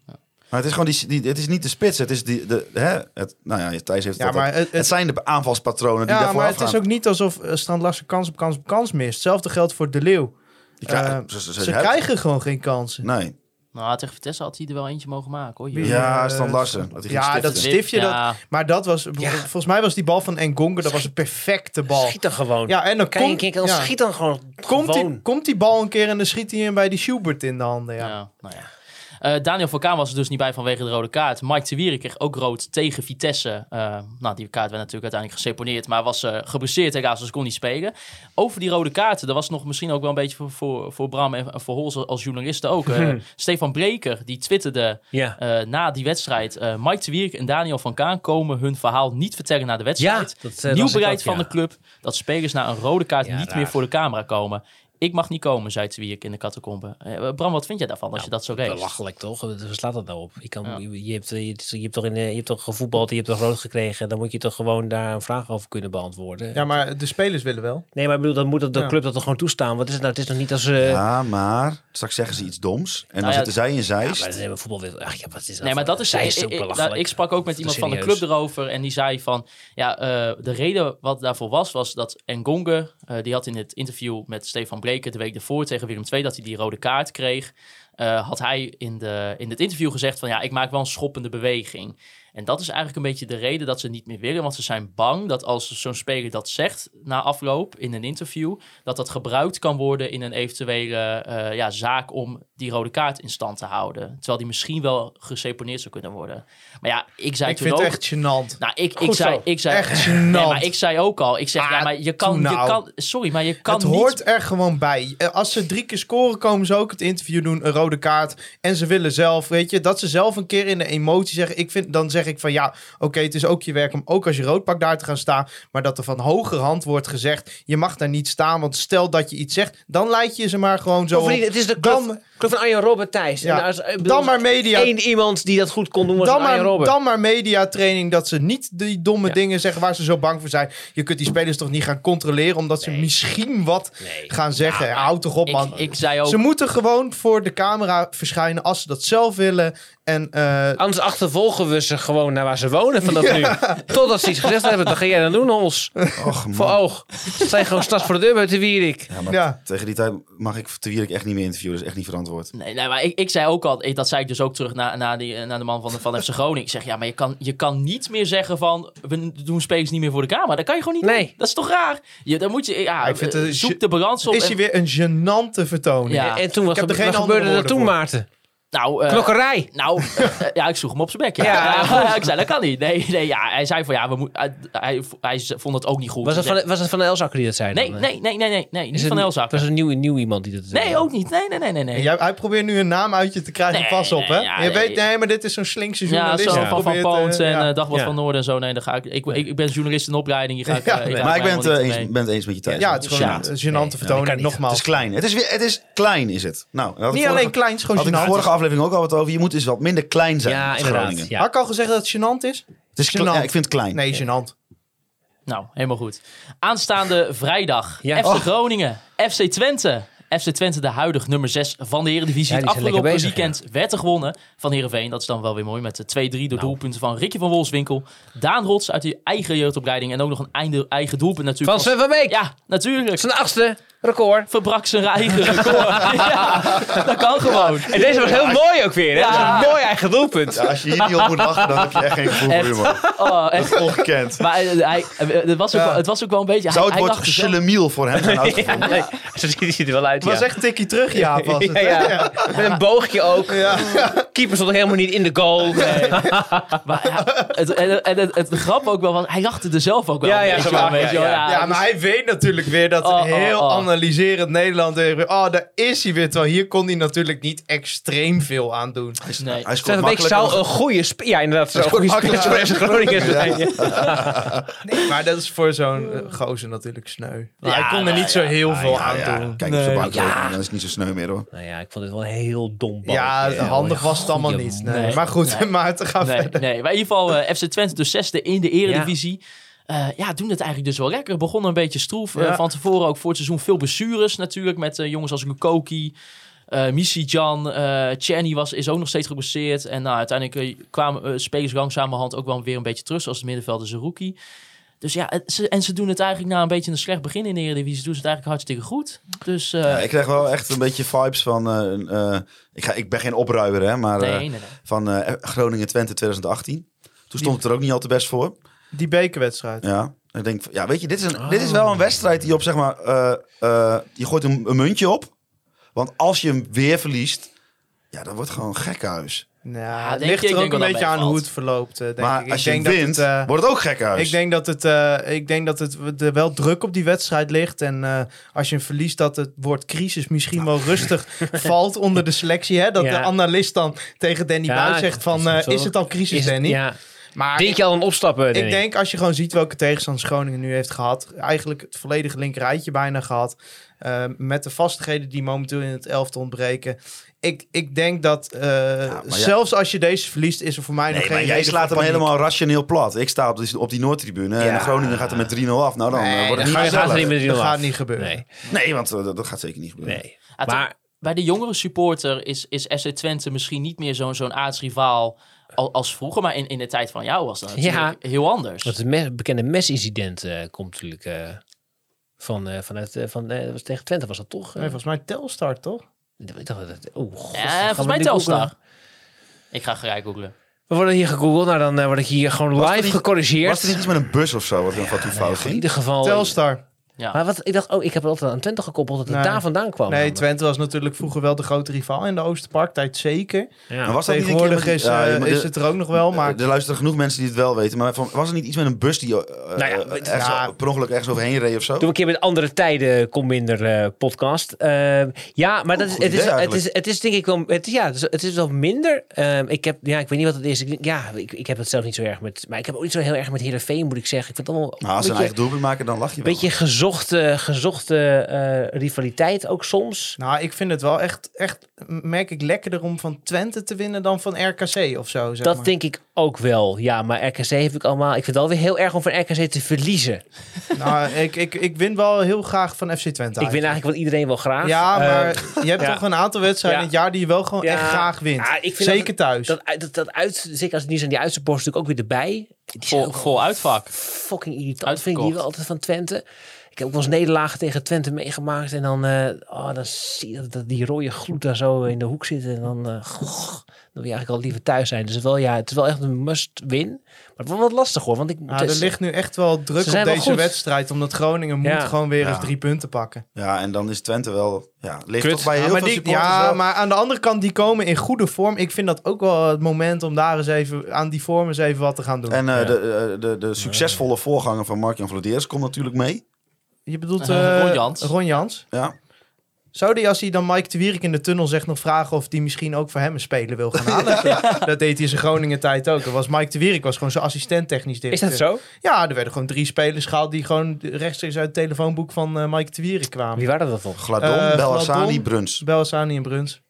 [SPEAKER 7] Maar het is gewoon die, die, het is niet de spits, het is die, de, hè, het, nou ja, Thijs heeft het
[SPEAKER 1] Ja,
[SPEAKER 7] altijd.
[SPEAKER 1] maar het-
[SPEAKER 7] het,
[SPEAKER 1] het-
[SPEAKER 7] zijn de aanvalspatronen die
[SPEAKER 1] Ja,
[SPEAKER 7] daarvoor
[SPEAKER 1] maar het
[SPEAKER 7] afgaan.
[SPEAKER 1] is ook niet alsof eh, Strand Larsen kans op kans op kans mist. Hetzelfde geldt voor De Leeuw.
[SPEAKER 7] Die krijgen-
[SPEAKER 1] eh,
[SPEAKER 7] ze, ze- ze
[SPEAKER 1] Ze
[SPEAKER 7] hebben-
[SPEAKER 1] krijgen gewoon geen kansen.
[SPEAKER 7] Nee,
[SPEAKER 5] Nou, tegen Vitesse had hij er wel eentje mogen maken, hoor.
[SPEAKER 1] Wie-
[SPEAKER 5] Jurgen.
[SPEAKER 7] ja,
[SPEAKER 1] eh,
[SPEAKER 7] Stan Larsen. Dat hij ging
[SPEAKER 1] ja, dat
[SPEAKER 7] stiften.
[SPEAKER 1] stift je dat.
[SPEAKER 5] Ja.
[SPEAKER 1] Maar dat was, volgens mij was die bal van Engonga, dat was een perfecte bal.
[SPEAKER 6] Schiet dan gewoon.
[SPEAKER 1] Ja, en dan
[SPEAKER 6] Kijk,
[SPEAKER 1] komt-
[SPEAKER 6] kijk, dan
[SPEAKER 1] ja.
[SPEAKER 6] schiet dan gewoon.
[SPEAKER 1] Komt
[SPEAKER 6] gewoon.
[SPEAKER 1] die, komt die bal een keer en dan schiet hij hem bij die Schubert in de handen. Ja.
[SPEAKER 5] Ja. nou ja. Eh, Daniel Valkaan was er dus niet bij vanwege de rode kaart. Mike de Wierik kreeg ook rood tegen Vitesse. Eh, nou, die kaart werd natuurlijk uiteindelijk geseponeerd, maar was eh geblesseerd helaas, dus kon niet spelen. Over die rode kaarten, dat was nog misschien ook wel een beetje voor, voor, voor Bram en en voor Hols als journalisten ook. Eh, Stefan Breker, die twitterde
[SPEAKER 6] Ja.
[SPEAKER 5] eh, na die wedstrijd... eh, Mike de Wierik en Daniel Valkaan komen hun verhaal niet vertellen na de wedstrijd.
[SPEAKER 6] Ja, dat, eh, las
[SPEAKER 5] Nieuw
[SPEAKER 6] ik
[SPEAKER 5] beleid
[SPEAKER 6] ook,
[SPEAKER 5] van
[SPEAKER 6] ja.
[SPEAKER 5] de club dat spelers na een rode kaart
[SPEAKER 6] Ja,
[SPEAKER 5] niet
[SPEAKER 6] raar.
[SPEAKER 5] meer voor de camera komen. Ik mag niet komen, zei Zwierik in de catacombe. Eh, Bram, wat vind jij daarvan
[SPEAKER 6] Nou,
[SPEAKER 5] als je dat zo leest?
[SPEAKER 6] Belachelijk toch? Wat wat slaat dat nou op? Je, kan, je, je hebt, eh, je, je hebt toch in, eh, je hebt toch gevoetbald, je hebt toch rood gekregen. Dan moet je toch gewoon daar een vraag over kunnen beantwoorden.
[SPEAKER 1] Ja, maar de spelers willen wel.
[SPEAKER 6] Nee, maar ik bedoel, dan moet dat de
[SPEAKER 1] Ja.
[SPEAKER 6] club dat toch gewoon toestaan. Wat is het nou? Het is nog niet als... eh,
[SPEAKER 7] Ja, maar straks zeggen ze iets doms. En dan
[SPEAKER 5] ja,
[SPEAKER 7] zitten zij in
[SPEAKER 6] Nou Ja,
[SPEAKER 7] Zeist.
[SPEAKER 6] maar dat hebben voetbalwereld. Ach ja, wat is dat? eh,
[SPEAKER 5] Nee, maar dat is... eh,
[SPEAKER 6] Zij
[SPEAKER 5] Ik,
[SPEAKER 6] is zo
[SPEAKER 5] ik- ik-
[SPEAKER 6] belachelijk.
[SPEAKER 5] nou, ik sprak ook met
[SPEAKER 6] Te
[SPEAKER 5] iemand van de
[SPEAKER 6] serieus.
[SPEAKER 5] club erover en die zei van... Ja, eh, de reden wat daarvoor was, was dat Engonge... eh, die had in het interview met Stefan Breken de week ervoor tegen Willem II... dat hij die rode kaart kreeg. eh, had hij in, de, in het interview gezegd van... ja, ik maak wel een schoppende beweging. En dat is eigenlijk een beetje de reden dat ze niet meer willen. Want ze zijn bang dat als zo'n speler dat zegt na afloop in een interview, dat dat gebruikt kan worden in een eventuele eh, ja, zaak om die rode kaart in stand te houden. Terwijl die misschien wel geseponeerd zou kunnen worden. Maar ja, ik zei
[SPEAKER 1] Ik
[SPEAKER 5] toen
[SPEAKER 1] vind het
[SPEAKER 5] ook.
[SPEAKER 1] echt gênant.
[SPEAKER 5] Nou, ik, ik
[SPEAKER 1] Goed
[SPEAKER 5] zei,
[SPEAKER 1] zo.
[SPEAKER 5] ik zei
[SPEAKER 1] Echt
[SPEAKER 5] [LAUGHS] nee,
[SPEAKER 1] gênant.
[SPEAKER 5] maar ik zei ook al. Ik zeg, ja,
[SPEAKER 1] Ah,
[SPEAKER 5] maar je
[SPEAKER 1] doe
[SPEAKER 5] kan, je
[SPEAKER 1] nou.
[SPEAKER 5] kan, sorry, maar je kan
[SPEAKER 1] het
[SPEAKER 5] niet
[SPEAKER 1] hoort er gewoon bij. Eh, Als ze drie keer scoren, komen ze ook het interview doen, een rode kaart. En ze willen zelf, weet je, dat ze zelf een keer in de emotie zeggen. Ik vind, dan zeg ik van ja, oké, het is ook je werk om ook als je rood pakt daar te gaan staan. Maar dat er van hoger hand wordt gezegd, je mag daar niet staan. Want stel dat je iets zegt, dan leid je ze maar gewoon zo
[SPEAKER 6] Bovendien,
[SPEAKER 1] op.
[SPEAKER 6] het is de club,
[SPEAKER 1] Dan-
[SPEAKER 6] club van Arjen Robert Thijs.
[SPEAKER 1] Ja.
[SPEAKER 6] En als- ik bedoel,
[SPEAKER 1] Dan maar media.
[SPEAKER 6] Eén iemand die dat goed kon doen was
[SPEAKER 1] Dan
[SPEAKER 6] Arjen
[SPEAKER 1] maar,
[SPEAKER 6] Robert.
[SPEAKER 1] dan maar mediatraining dat ze niet die domme dingen zeggen waar ze zo bang voor zijn. Je kunt die spelers toch niet gaan controleren omdat ze misschien wat
[SPEAKER 6] Nee.
[SPEAKER 1] gaan zeggen. Houd toch op,
[SPEAKER 5] Ik,
[SPEAKER 1] man.
[SPEAKER 5] ik zei ook.
[SPEAKER 1] Ze moeten gewoon voor de camera verschijnen als ze dat zelf willen. En eh,
[SPEAKER 6] Anders achtervolgen we ze gewoon naar waar ze wonen vanaf nu. Totdat ze iets gezegd hebben. Dan ga jij dan doen, ons.
[SPEAKER 7] Och, man.
[SPEAKER 6] Voor oog. Ze zijn gewoon straks voor de deur bij de Wierik.
[SPEAKER 7] Ja, maar
[SPEAKER 1] Ja.
[SPEAKER 7] Tegen die tijd mag ik te Wierik echt niet meer interviewen. Dat is echt niet verantwoord.
[SPEAKER 5] Nee, nee, maar ik, ik zei ook al, ik, dat zei ik dus ook terug naar na die- naar de man van, de- van FC Groningen. Ik zeg, ja, maar je kan, je kan niet meer zeggen van, we doen spelers niet meer voor de camera. Dat kan je gewoon niet
[SPEAKER 6] Nee.
[SPEAKER 5] doen. Dat is toch raar? Je, dan moet je, ja,
[SPEAKER 1] Ik vind het een ge-
[SPEAKER 5] zoek de balans op.
[SPEAKER 1] is
[SPEAKER 5] en-
[SPEAKER 1] hij weer een gênante vertoning.
[SPEAKER 5] Ja.
[SPEAKER 6] En toen was,
[SPEAKER 1] Ik heb er geen
[SPEAKER 6] wat
[SPEAKER 1] andere
[SPEAKER 6] gebeurde er
[SPEAKER 1] woorden
[SPEAKER 6] toen,
[SPEAKER 1] voor.
[SPEAKER 6] Maarten?
[SPEAKER 5] nou, eh,
[SPEAKER 6] Knokkerij.
[SPEAKER 5] nou eh, ja, ik sloeg hem op zijn bek. Ja.
[SPEAKER 6] [LAUGHS] Ja.
[SPEAKER 5] Ja, ja, ik zei, dat kan niet. Nee, nee, ja, hij zei van, ja, we moet, hij, hij, hij vond het ook niet goed. Dus
[SPEAKER 6] Was dat
[SPEAKER 5] Ik zeg,
[SPEAKER 6] van, was dat van de Elzakker die dat zei?
[SPEAKER 5] nee,
[SPEAKER 6] dan, hè?
[SPEAKER 5] nee, nee, nee, nee, nee,
[SPEAKER 6] Is
[SPEAKER 5] niet van
[SPEAKER 6] het-
[SPEAKER 5] Elzak.
[SPEAKER 6] Was er een nieuw, nieuw iemand die dat zei?
[SPEAKER 5] Nee, ook niet. Nee, nee, nee, nee, nee.
[SPEAKER 1] En jij, hij probeert nu een naam uit je te krijgen.
[SPEAKER 5] Nee,
[SPEAKER 1] Pas op, hè?
[SPEAKER 5] nee, ja,
[SPEAKER 1] je
[SPEAKER 5] nee.
[SPEAKER 1] weet, nee, maar dit is zo'n slinkse
[SPEAKER 5] Ja,
[SPEAKER 1] journalist.
[SPEAKER 5] zo
[SPEAKER 1] die
[SPEAKER 5] van Van
[SPEAKER 1] probeert, eh,
[SPEAKER 5] Poont en
[SPEAKER 1] ja.
[SPEAKER 5] eh, Dagblad
[SPEAKER 6] Ja.
[SPEAKER 5] van Noorden en zo. Nee, daar ga ik, ik, ik, ik ben journalist in opleiding. Hier ga ik, eh, ik ga
[SPEAKER 7] maar ik
[SPEAKER 5] mij
[SPEAKER 7] ben het,
[SPEAKER 5] helemaal
[SPEAKER 7] eh,
[SPEAKER 5] niet
[SPEAKER 7] eens,
[SPEAKER 5] mee.
[SPEAKER 7] ben het eens met je thuis.
[SPEAKER 1] Ja, het
[SPEAKER 7] het,
[SPEAKER 1] is gewoon
[SPEAKER 5] Gênant.
[SPEAKER 1] een gênante vertoning,
[SPEAKER 7] is
[SPEAKER 1] nogmaals.
[SPEAKER 7] klein. Het is, weer, het is klein, is het. Nou, daar had ik
[SPEAKER 1] Niet
[SPEAKER 7] vorige-
[SPEAKER 1] alleen klein, het is
[SPEAKER 7] Had ik
[SPEAKER 1] gewoon
[SPEAKER 7] in de vorige
[SPEAKER 1] gênant.
[SPEAKER 7] aflevering ook al wat over. Je moet eens wat minder klein zijn.
[SPEAKER 6] Ja,
[SPEAKER 7] als
[SPEAKER 6] inderdaad.
[SPEAKER 7] Groningen.
[SPEAKER 1] Had
[SPEAKER 6] Ja.
[SPEAKER 1] ik al gezegd dat het gênant is?
[SPEAKER 7] Het is kle-
[SPEAKER 1] Gênant.
[SPEAKER 7] ja, ik vind het klein.
[SPEAKER 1] Nee, gênant.
[SPEAKER 5] Nou, helemaal goed. Aanstaande [LAUGHS] vrijdag.
[SPEAKER 6] Ja.
[SPEAKER 5] FC
[SPEAKER 6] Oh.
[SPEAKER 5] Groningen. FC Twente. FC Twente, de huidig nummer 6 van de Eredivisie.
[SPEAKER 6] Ja, die zijn
[SPEAKER 5] het afgelopen
[SPEAKER 6] lekker bezig,
[SPEAKER 5] weekend werd er gewonnen van Heerenveen. Dat is dan wel weer mooi met eh, de 2-3 door
[SPEAKER 6] Nou.
[SPEAKER 5] doelpunten van Rikje van Wolfswinkel. Daan Rots uit die eigen jeugdopleiding. En ook nog een einde, eigen doelpunt
[SPEAKER 6] Van
[SPEAKER 5] natuurlijk.
[SPEAKER 6] Sven van Beek.
[SPEAKER 5] Ja, natuurlijk.
[SPEAKER 6] Zijn achtste record.
[SPEAKER 5] Verbrak zijn eigen record. [LAUGHS] ja, dat kan gewoon.
[SPEAKER 6] En deze was heel mooi ook weer. Hè? Dat
[SPEAKER 5] Ja.
[SPEAKER 6] is een mooi eigen doelpunt.
[SPEAKER 7] Ja, als je hier niet op moet lachen, dan heb je echt geen gevoel voor
[SPEAKER 5] Echt.
[SPEAKER 7] humor.
[SPEAKER 5] Oh, echt.
[SPEAKER 7] Ongekend.
[SPEAKER 5] Maar eh, hij, eh, het, was ook wel, het was ook wel een beetje... hij,
[SPEAKER 7] Zou het
[SPEAKER 5] hij
[SPEAKER 7] woord
[SPEAKER 5] dacht zelf-
[SPEAKER 7] chelemiel voor hem zijn uitgevonden?
[SPEAKER 6] Nee, Zo ziet hij er wel uit,
[SPEAKER 1] Het was
[SPEAKER 6] ja.
[SPEAKER 1] echt een tikkie terug, [LAUGHS] ja. Was het.
[SPEAKER 6] Ja, ja. Met een boogje ook. Keeper stond nog helemaal niet in de goal.
[SPEAKER 5] Maar ja, het, en, en het, het, de grap ook wel, want hij lachte er zelf ook wel
[SPEAKER 6] Ja,
[SPEAKER 5] een
[SPEAKER 6] ja,
[SPEAKER 5] beetje
[SPEAKER 6] zo
[SPEAKER 5] om,
[SPEAKER 6] wel,
[SPEAKER 5] weet je wel.
[SPEAKER 6] ja, ja.
[SPEAKER 1] Ja, maar hij weet natuurlijk weer dat
[SPEAKER 5] Oh, oh,
[SPEAKER 1] heel
[SPEAKER 5] oh.
[SPEAKER 1] analyserend Nederland. weer- Oh, daar is hij weer. Terwijl hier kon hij natuurlijk niet extreem veel aan doen.
[SPEAKER 5] Nee.
[SPEAKER 7] Hij scoort
[SPEAKER 6] Sven van Beek
[SPEAKER 7] makkelijk.
[SPEAKER 6] zou een goede spe- Ja, inderdaad. Zou een goede speler voor FC Groningen zijn.
[SPEAKER 1] Nee, maar dat is voor zo'n eh, gozer natuurlijk sneu. Maar
[SPEAKER 5] Ja,
[SPEAKER 1] hij kon er
[SPEAKER 5] nou
[SPEAKER 1] niet zo heel veel
[SPEAKER 7] Ja,
[SPEAKER 1] aan
[SPEAKER 7] ja,
[SPEAKER 1] doen.
[SPEAKER 7] Kijk op zijn bank, lopen, dan is het niet zo sneu meer hoor.
[SPEAKER 6] Nou ja, ik vond het wel een heel dom balletje.
[SPEAKER 1] Ja, handig
[SPEAKER 6] hoor.
[SPEAKER 1] was het allemaal
[SPEAKER 6] Goeie
[SPEAKER 1] niet. Nee.
[SPEAKER 5] Nee.
[SPEAKER 1] Maar goed, [LAUGHS] Maarten gaat
[SPEAKER 5] Nee,
[SPEAKER 1] verder.
[SPEAKER 5] nee, maar in ieder geval eh, FC Twente dus zesde in de eredivisie. Eh, ja, doen het eigenlijk dus wel lekker. Begonnen een beetje stroef. eh,
[SPEAKER 1] Ja.
[SPEAKER 5] van tevoren ook voor het seizoen veel blessures natuurlijk. Met eh, jongens als Lukoki, eh Misijan, eh Czerny was is ook nog steeds geblesseerd. En nou, uiteindelijk eh, kwamen eh, spelers langzamerhand ook wel weer een beetje terug. Zoals de middenvelder Zerouki. Dus ja, het- ze, en ze doen het eigenlijk na een beetje een slecht begin in de eredivisie. Doen ze het eigenlijk hartstikke goed. Dus eh,
[SPEAKER 7] Ja, ik krijg wel echt een beetje vibes van. eh, eh, ik, ga, ik ben geen opruimer, hè, maar.
[SPEAKER 5] nee,
[SPEAKER 7] eh,
[SPEAKER 5] nee, nee.
[SPEAKER 7] van eh, Groningen Twente 2018. Toen stond het er ook niet al te best voor.
[SPEAKER 1] Die bekerwedstrijd.
[SPEAKER 7] Ja. Ik denk, van, ja, weet je, dit is, een, dit is
[SPEAKER 1] Oh.
[SPEAKER 7] wel een wedstrijd die op zeg maar. eh, eh, je gooit een, een muntje op. Want als je hem weer verliest. Ja, dat wordt gewoon een gekkenhuis.
[SPEAKER 1] Nou, het
[SPEAKER 5] denk
[SPEAKER 1] ligt
[SPEAKER 5] je- ik
[SPEAKER 1] er ook
[SPEAKER 5] denk
[SPEAKER 1] een
[SPEAKER 5] wel dat
[SPEAKER 1] beetje aan
[SPEAKER 5] meevalt.
[SPEAKER 1] hoe het verloopt. eh, denk
[SPEAKER 7] maar
[SPEAKER 1] ik. Ik
[SPEAKER 7] als je hem
[SPEAKER 1] denk dat
[SPEAKER 7] wint,
[SPEAKER 1] het, eh,
[SPEAKER 7] wordt het ook gekkenhuis.
[SPEAKER 1] Ik denk dat, het, eh, ik denk dat het, er wel druk op die wedstrijd ligt. En eh, als je hem verliest, dat het woord crisis
[SPEAKER 7] Nou.
[SPEAKER 1] misschien wel
[SPEAKER 7] [LAUGHS]
[SPEAKER 1] rustig valt onder de selectie. Hè? Dat
[SPEAKER 6] Ja.
[SPEAKER 1] de analist dan tegen Danny
[SPEAKER 6] Ja,
[SPEAKER 1] Buis zegt van,
[SPEAKER 6] dat is
[SPEAKER 1] eh,
[SPEAKER 6] zo.
[SPEAKER 1] is het al crisis,
[SPEAKER 6] Is het-
[SPEAKER 1] Danny?
[SPEAKER 6] Ja,
[SPEAKER 1] Maar
[SPEAKER 6] Denk je al een opstappen?
[SPEAKER 1] Ik denk als je gewoon ziet welke tegenstanders Groningen nu heeft gehad. Eigenlijk het volledige linkerrijtje bijna gehad. eh, met de vastigheden die momenteel in het elftal ontbreken. Ik, ik denk dat eh,
[SPEAKER 7] maar ja-
[SPEAKER 1] zelfs als je deze verliest, is er voor mij nog
[SPEAKER 7] Nee,
[SPEAKER 1] geen
[SPEAKER 7] maar jij
[SPEAKER 1] reden
[SPEAKER 7] slaat
[SPEAKER 1] voor
[SPEAKER 7] hem
[SPEAKER 1] paniek.
[SPEAKER 7] helemaal rationeel plat. Ik sta op, de- op die Noordtribune en Groningen gaat er met 3-0 af. Nou, dan eh, wordt het
[SPEAKER 6] dan ga je-
[SPEAKER 7] niet
[SPEAKER 6] gaat er niet
[SPEAKER 7] gezellig.
[SPEAKER 6] meer
[SPEAKER 1] Dat
[SPEAKER 6] af.
[SPEAKER 1] gaat niet gebeuren.
[SPEAKER 6] Nee,
[SPEAKER 7] Nee, want eh, dat, dat gaat zeker niet gebeuren.
[SPEAKER 6] nee.
[SPEAKER 1] Ah,
[SPEAKER 5] Ja, toch-
[SPEAKER 6] Maar
[SPEAKER 5] bij de jongere supporter is, is FC Twente misschien niet meer zo'n zo'n aardsrivaal als, als vroeger. Maar in, in de tijd van jou was dat natuurlijk heel anders.
[SPEAKER 6] dat me- bekende mesincident eh, komt natuurlijk eh, van, eh, vanuit, eh, van, eh, was tegen Twente was dat toch? eh?
[SPEAKER 1] Nee, volgens mij Telstar, toch?
[SPEAKER 6] Ik dacht dat het- oh, god,
[SPEAKER 5] Ja,
[SPEAKER 6] gaan we
[SPEAKER 5] volgens mij
[SPEAKER 6] nu
[SPEAKER 5] Telstar.
[SPEAKER 6] googlen?
[SPEAKER 5] Ik ga gelijk googlen.
[SPEAKER 6] We worden hier gegoogeld, nou dan eh, word ik hier gewoon live
[SPEAKER 7] Was
[SPEAKER 6] gecorrigeerd.
[SPEAKER 7] er iets met een bus of zo wat dan van toe fout
[SPEAKER 6] in
[SPEAKER 7] ging?
[SPEAKER 6] ieder geval.
[SPEAKER 1] Telstar.
[SPEAKER 6] Maar wat, ik dacht, oh, ik heb het altijd aan Twente gekoppeld dat het
[SPEAKER 1] Nee.
[SPEAKER 6] daar vandaan kwam.
[SPEAKER 1] Nee, Twente was natuurlijk vroeger wel de grote rivaal in de Oosterparktijd, zeker.
[SPEAKER 7] Maar was dat niet een keer
[SPEAKER 1] Tegenwoordig
[SPEAKER 7] met-
[SPEAKER 1] is,
[SPEAKER 7] ja,
[SPEAKER 1] eh,
[SPEAKER 7] maar
[SPEAKER 1] is
[SPEAKER 7] de-
[SPEAKER 1] het er ook nog wel, maar...
[SPEAKER 7] Er luisteren genoeg mensen die het wel weten. Maar van- was er niet iets met een bus die eh,
[SPEAKER 6] ja,
[SPEAKER 7] eh,
[SPEAKER 6] het-
[SPEAKER 7] ergens
[SPEAKER 1] ja.
[SPEAKER 7] al- per ongeluk ergens overheen reed of zo?
[SPEAKER 6] Doe een keer met andere tijden kom minder eh, podcast. Eh, ja, maar dat is,
[SPEAKER 7] Oh, goed
[SPEAKER 6] het, is,
[SPEAKER 7] idee
[SPEAKER 6] het,
[SPEAKER 7] eigenlijk.
[SPEAKER 6] is, het is denk ik wel. Het, ja, het is, het is wel minder. Ehm, ik heb, ja, ik weet niet wat het is. Ik, ja, ik, ik heb het zelf niet zo erg met. Maar ik heb ook niet zo heel erg met Heerenveen, moet ik zeggen. Ik vind het allemaal
[SPEAKER 7] Nou, als ze
[SPEAKER 6] een beetje,
[SPEAKER 7] een eigen doelpunt maken, dan lach je wel.
[SPEAKER 6] beetje gezochte, gezochte eh, rivaliteit ook soms.
[SPEAKER 1] Nou, ik vind het wel echt, echt, merk ik lekkerder om van Twente te winnen dan van RKC of zo. Zeg
[SPEAKER 6] Dat
[SPEAKER 1] maar.
[SPEAKER 6] denk ik ook wel. Ja, maar RKC heb ik allemaal. Ik vind het alweer heel erg om van RKC te verliezen.
[SPEAKER 1] Nou, ik, ik, ik win wel heel graag van FC Twente.
[SPEAKER 6] Ik win
[SPEAKER 1] uit.
[SPEAKER 6] eigenlijk wat iedereen wel graag.
[SPEAKER 1] Ja,
[SPEAKER 6] Eh,
[SPEAKER 1] maar je hebt
[SPEAKER 6] ja.
[SPEAKER 1] toch een aantal wedstrijden
[SPEAKER 6] Ja.
[SPEAKER 1] in het jaar die je wel gewoon
[SPEAKER 6] Ja.
[SPEAKER 1] echt graag wint.
[SPEAKER 6] Ja, ik vind
[SPEAKER 1] Zeker
[SPEAKER 6] dat-
[SPEAKER 1] thuis.
[SPEAKER 6] dat, uit- dat, dat uit, zeker als het niet zijn, die uitsupporters natuurlijk ook weer erbij. Die zijn
[SPEAKER 5] Vol,
[SPEAKER 6] ook
[SPEAKER 5] vol uitvak.
[SPEAKER 6] fucking irritant vind ik
[SPEAKER 5] Uitverkocht.
[SPEAKER 6] die wel altijd van Twente. Ik heb ook wel eens nederlagen tegen Twente meegemaakt. En dan, eh, oh, dan zie je dat, dat die rode gloed daar zo in de hoek zit. En dan, eh, goh, dan wil je eigenlijk al liever thuis zijn. Dus het, is wel, ja, het is wel echt een must win. Maar het wordt wel lastig hoor. Want ik,
[SPEAKER 1] Nou,
[SPEAKER 6] het
[SPEAKER 1] er
[SPEAKER 6] is-
[SPEAKER 1] ligt nu echt wel druk
[SPEAKER 6] Ze
[SPEAKER 1] op
[SPEAKER 6] zijn wel
[SPEAKER 1] deze
[SPEAKER 6] goed.
[SPEAKER 1] wedstrijd, omdat Groningen moet
[SPEAKER 6] Ja.
[SPEAKER 1] gewoon weer
[SPEAKER 7] Ja.
[SPEAKER 1] eens drie punten pakken.
[SPEAKER 7] Ja, en dan is Twente wel... Ja, ligt
[SPEAKER 6] Kut.
[SPEAKER 7] toch bij
[SPEAKER 1] Ja,
[SPEAKER 7] heel
[SPEAKER 1] maar,
[SPEAKER 7] veel
[SPEAKER 1] die-
[SPEAKER 7] supporters
[SPEAKER 1] ja,
[SPEAKER 7] wel-
[SPEAKER 1] maar aan de andere kant, die komen in goede vorm. Ik vind dat ook wel het moment om daar eens even aan die vorm eens even wat te gaan doen.
[SPEAKER 7] En eh, de, eh, de, de succesvolle voorganger van Mark-Jan Vladeers komt natuurlijk mee.
[SPEAKER 1] je bedoelt
[SPEAKER 5] Eh,
[SPEAKER 1] eh,
[SPEAKER 5] Ron Jans.
[SPEAKER 1] Ron Jans.
[SPEAKER 7] Ja.
[SPEAKER 1] Zou die, als hij dan Mike de Wierik in de tunnel zegt, nog vragen of die misschien ook voor hem een speler wil gaan
[SPEAKER 6] [LAUGHS]
[SPEAKER 1] halen? Dat deed hij in zijn Groningen tijd ook. Dat was Mike de Wierik was gewoon zijn assistent technisch
[SPEAKER 6] is
[SPEAKER 1] directeur.
[SPEAKER 6] dat zo?
[SPEAKER 1] Ja, er werden gewoon drie spelers gehaald die gewoon rechtstreeks uit het telefoonboek van eh, Mike de Wierik kwamen.
[SPEAKER 6] Wie waren dat dan?
[SPEAKER 7] Gladon,
[SPEAKER 1] Eh,
[SPEAKER 7] Bellassani,
[SPEAKER 1] Gladon.
[SPEAKER 7] Bruns.
[SPEAKER 1] Belzani en Bruns.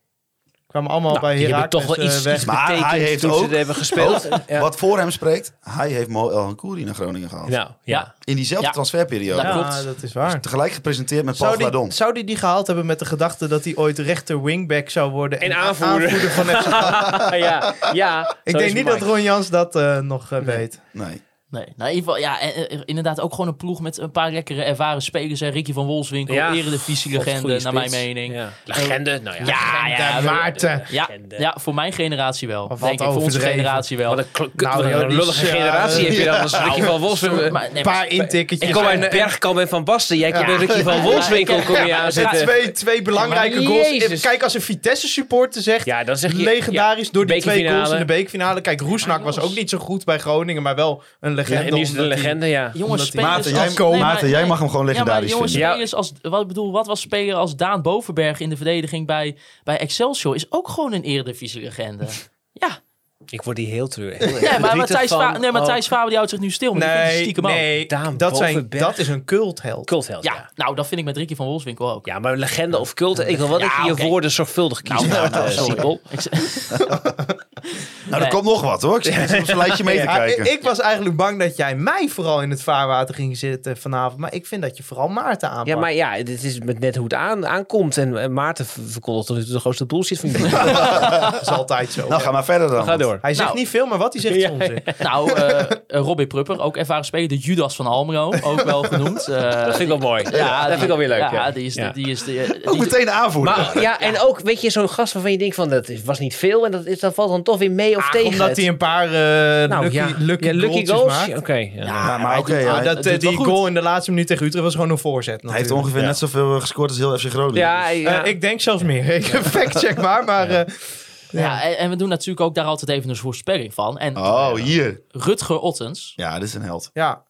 [SPEAKER 1] Kwamen allemaal bij
[SPEAKER 6] die hebben
[SPEAKER 1] Heracles
[SPEAKER 6] Nou, toch wel
[SPEAKER 1] eh,
[SPEAKER 6] iets,
[SPEAKER 1] weg.
[SPEAKER 6] iets
[SPEAKER 7] Maar hij
[SPEAKER 6] betekend
[SPEAKER 7] heeft
[SPEAKER 6] toen ze
[SPEAKER 7] ook- Oh,
[SPEAKER 6] het hebben gespeeld. ja.
[SPEAKER 7] Wat voor hem spreekt, hij heeft Mo El Hankouri naar Groningen gehaald.
[SPEAKER 6] Nou, ja.
[SPEAKER 5] Ja.
[SPEAKER 7] In diezelfde
[SPEAKER 5] Ja.
[SPEAKER 7] transferperiode.
[SPEAKER 5] Ja.
[SPEAKER 1] Ja,
[SPEAKER 5] klopt.
[SPEAKER 1] dat is waar.
[SPEAKER 7] Tegelijk gepresenteerd met Paul
[SPEAKER 1] Zou die,
[SPEAKER 7] Gladon.
[SPEAKER 1] zou die die gehaald hebben met de gedachte dat hij ooit rechter wingback zou worden?
[SPEAKER 6] En aanvoerder. [LAUGHS]
[SPEAKER 1] van FC
[SPEAKER 6] Ah, ja. ja. Zo
[SPEAKER 1] Ik
[SPEAKER 6] is
[SPEAKER 1] denk niet
[SPEAKER 6] Mike.
[SPEAKER 1] dat Ron Jans dat eh, nog eh, weet.
[SPEAKER 7] Nee.
[SPEAKER 5] Nee, nou, in ieder geval, ja, en, eh, inderdaad ook gewoon een ploeg met een paar lekkere ervaren spelers. Hè. Ricky van Wolfswinkel,
[SPEAKER 6] Ja. God,
[SPEAKER 5] eredivisie-legende,
[SPEAKER 6] goede
[SPEAKER 5] naar mijn
[SPEAKER 6] spits.
[SPEAKER 5] mening.
[SPEAKER 6] Ja. Legende, nou ja.
[SPEAKER 5] Ja, ja,
[SPEAKER 1] Daar Maarten.
[SPEAKER 5] ja, ja, voor mijn generatie wel.
[SPEAKER 1] Wat
[SPEAKER 5] Denk ik, voor onze
[SPEAKER 1] overdreven.
[SPEAKER 5] generatie wel.
[SPEAKER 6] Wat een, kl- kut,
[SPEAKER 1] Nou,
[SPEAKER 6] wat een
[SPEAKER 1] joh, die
[SPEAKER 6] lullige
[SPEAKER 1] is, eh, Nou,
[SPEAKER 6] generatie heb je dan
[SPEAKER 1] [LAUGHS]
[SPEAKER 6] als Ricky van Wolfswinkel.
[SPEAKER 5] Maar- nee,
[SPEAKER 1] Een
[SPEAKER 5] maar-
[SPEAKER 1] paar intikketjes.
[SPEAKER 6] Ik kom uit Bergkamp en Van Basten. Jij komt bij Ricky van Wolfswinkel kom je aanzetten.
[SPEAKER 1] twee, twee belangrijke
[SPEAKER 6] Ja, maar
[SPEAKER 1] goals.
[SPEAKER 6] Jezus.
[SPEAKER 1] Kijk, als een Vitesse supporter zegt,
[SPEAKER 6] Ja, dan zeg je...
[SPEAKER 1] legendarisch door die twee
[SPEAKER 6] bekerfinale.
[SPEAKER 1] goals in de beekfinale. Kijk, Roesnak was ook niet zo goed bij Groningen, maar wel een
[SPEAKER 6] Ja,
[SPEAKER 1] legende.
[SPEAKER 6] en nu is het een
[SPEAKER 1] omdat hij-
[SPEAKER 6] legende, ja.
[SPEAKER 5] Jongens,
[SPEAKER 1] Omdat die-
[SPEAKER 5] spelers
[SPEAKER 7] Maarten, jij-
[SPEAKER 5] als- nee,
[SPEAKER 7] Maarten,
[SPEAKER 5] maar-
[SPEAKER 7] jij
[SPEAKER 5] nee.
[SPEAKER 7] mag hem gewoon legendarisch
[SPEAKER 5] ja, maar jongens,
[SPEAKER 7] vinden.
[SPEAKER 6] Ja.
[SPEAKER 5] spelers als, wat, ik bedoel, wat was speler als Daan Bovenberg in de verdediging bij, bij Excelsior? Is ook gewoon een eredivisie-legende. ja.
[SPEAKER 6] Ik word hier heel treurig. heel erg
[SPEAKER 5] Nee, maar, maar
[SPEAKER 6] verdrietig
[SPEAKER 5] Thijs,
[SPEAKER 6] van.
[SPEAKER 5] Fa- nee, maar
[SPEAKER 6] Oh,
[SPEAKER 5] Thijs Faber die houdt zich nu stil. Maar nee,
[SPEAKER 1] Nee,
[SPEAKER 5] stiekem ook.
[SPEAKER 1] nee
[SPEAKER 6] Daan
[SPEAKER 1] dat, zijn,
[SPEAKER 6] Bovenberg.
[SPEAKER 1] dat is een cultheld.
[SPEAKER 6] Cultheld, ja.
[SPEAKER 5] Ja, nou, dat vind ik met Ricky van Wolfswinkel ook.
[SPEAKER 6] Ja, maar legende of cult. Ik wil wel dat je
[SPEAKER 5] Ja,
[SPEAKER 6] je
[SPEAKER 5] oké.
[SPEAKER 6] woorden zorgvuldig kiest.
[SPEAKER 5] Nou,
[SPEAKER 6] eh,
[SPEAKER 5] sorry.
[SPEAKER 6] Siepel.
[SPEAKER 5] Ik z-
[SPEAKER 7] Nou, er
[SPEAKER 5] Nee.
[SPEAKER 7] komt nog wat hoor. Ik zit op zijn lijstje mee te
[SPEAKER 1] Ja, ik,
[SPEAKER 7] kijken.
[SPEAKER 1] ik was eigenlijk bang dat jij mij vooral in het vaarwater ging zitten vanavond. Maar ik vind dat je vooral Maarten aanpakt.
[SPEAKER 6] Ja, maar ja, dit is met net hoe het aan, aankomt. En eh, Maarten v- verkondigt tot nu toe de grootste bullshit [LAUGHS] van die
[SPEAKER 1] Dat is altijd zo.
[SPEAKER 7] Nou, ga maar verder dan.
[SPEAKER 6] Ga door.
[SPEAKER 1] Hij zegt
[SPEAKER 5] Nou.
[SPEAKER 1] niet veel, maar wat hij zegt is onzin.
[SPEAKER 5] [LAUGHS] nou, eh eh, Robin Prupper, ook ervaren speler. De Judas van Almelo, ook wel genoemd. Eh,
[SPEAKER 6] Dat vind ik wel mooi. Ja, dat
[SPEAKER 5] die-
[SPEAKER 6] vind ik wel weer leuk.
[SPEAKER 5] Ja,
[SPEAKER 6] ja.
[SPEAKER 5] die is... de-
[SPEAKER 6] Ja.
[SPEAKER 5] Die is de, eh,
[SPEAKER 7] Ook
[SPEAKER 5] die-
[SPEAKER 7] meteen de aanvoerder.
[SPEAKER 6] Maar ja, en ook, weet je, zo'n gast waarvan je denkt van dat is- was niet veel en dat, is, dat valt dan toch weer mee of
[SPEAKER 1] Ach,
[SPEAKER 6] tegen.
[SPEAKER 1] Ah, omdat
[SPEAKER 6] het.
[SPEAKER 1] hij een paar eh,
[SPEAKER 6] Nou,
[SPEAKER 1] lucky,
[SPEAKER 6] ja.
[SPEAKER 1] lucky,
[SPEAKER 6] Ja, lucky
[SPEAKER 1] goaltjes
[SPEAKER 6] goals.
[SPEAKER 1] maakt.
[SPEAKER 6] Oké. ja.
[SPEAKER 7] Ja, maar oké.
[SPEAKER 1] Ah,
[SPEAKER 7] hij-
[SPEAKER 1] dat,
[SPEAKER 5] doet
[SPEAKER 1] eh, die
[SPEAKER 5] wel goed.
[SPEAKER 1] goal in de laatste minuut tegen Utrecht was gewoon een voorzet.
[SPEAKER 7] Hij heeft
[SPEAKER 1] natuurlijk.
[SPEAKER 7] ongeveer net zoveel eh, gescoord als heel FC Groningen. Dus-
[SPEAKER 6] Ja, ja.
[SPEAKER 1] Eh, ik denk zelfs meer. [LAUGHS] Ik fact check maar. maar eh,
[SPEAKER 5] Ja, en, en we doen natuurlijk ook daar altijd even een voorspelling van. En
[SPEAKER 7] Oh, hier.
[SPEAKER 5] Rutger Ottens,
[SPEAKER 7] Ja, dit is een held.
[SPEAKER 1] ja,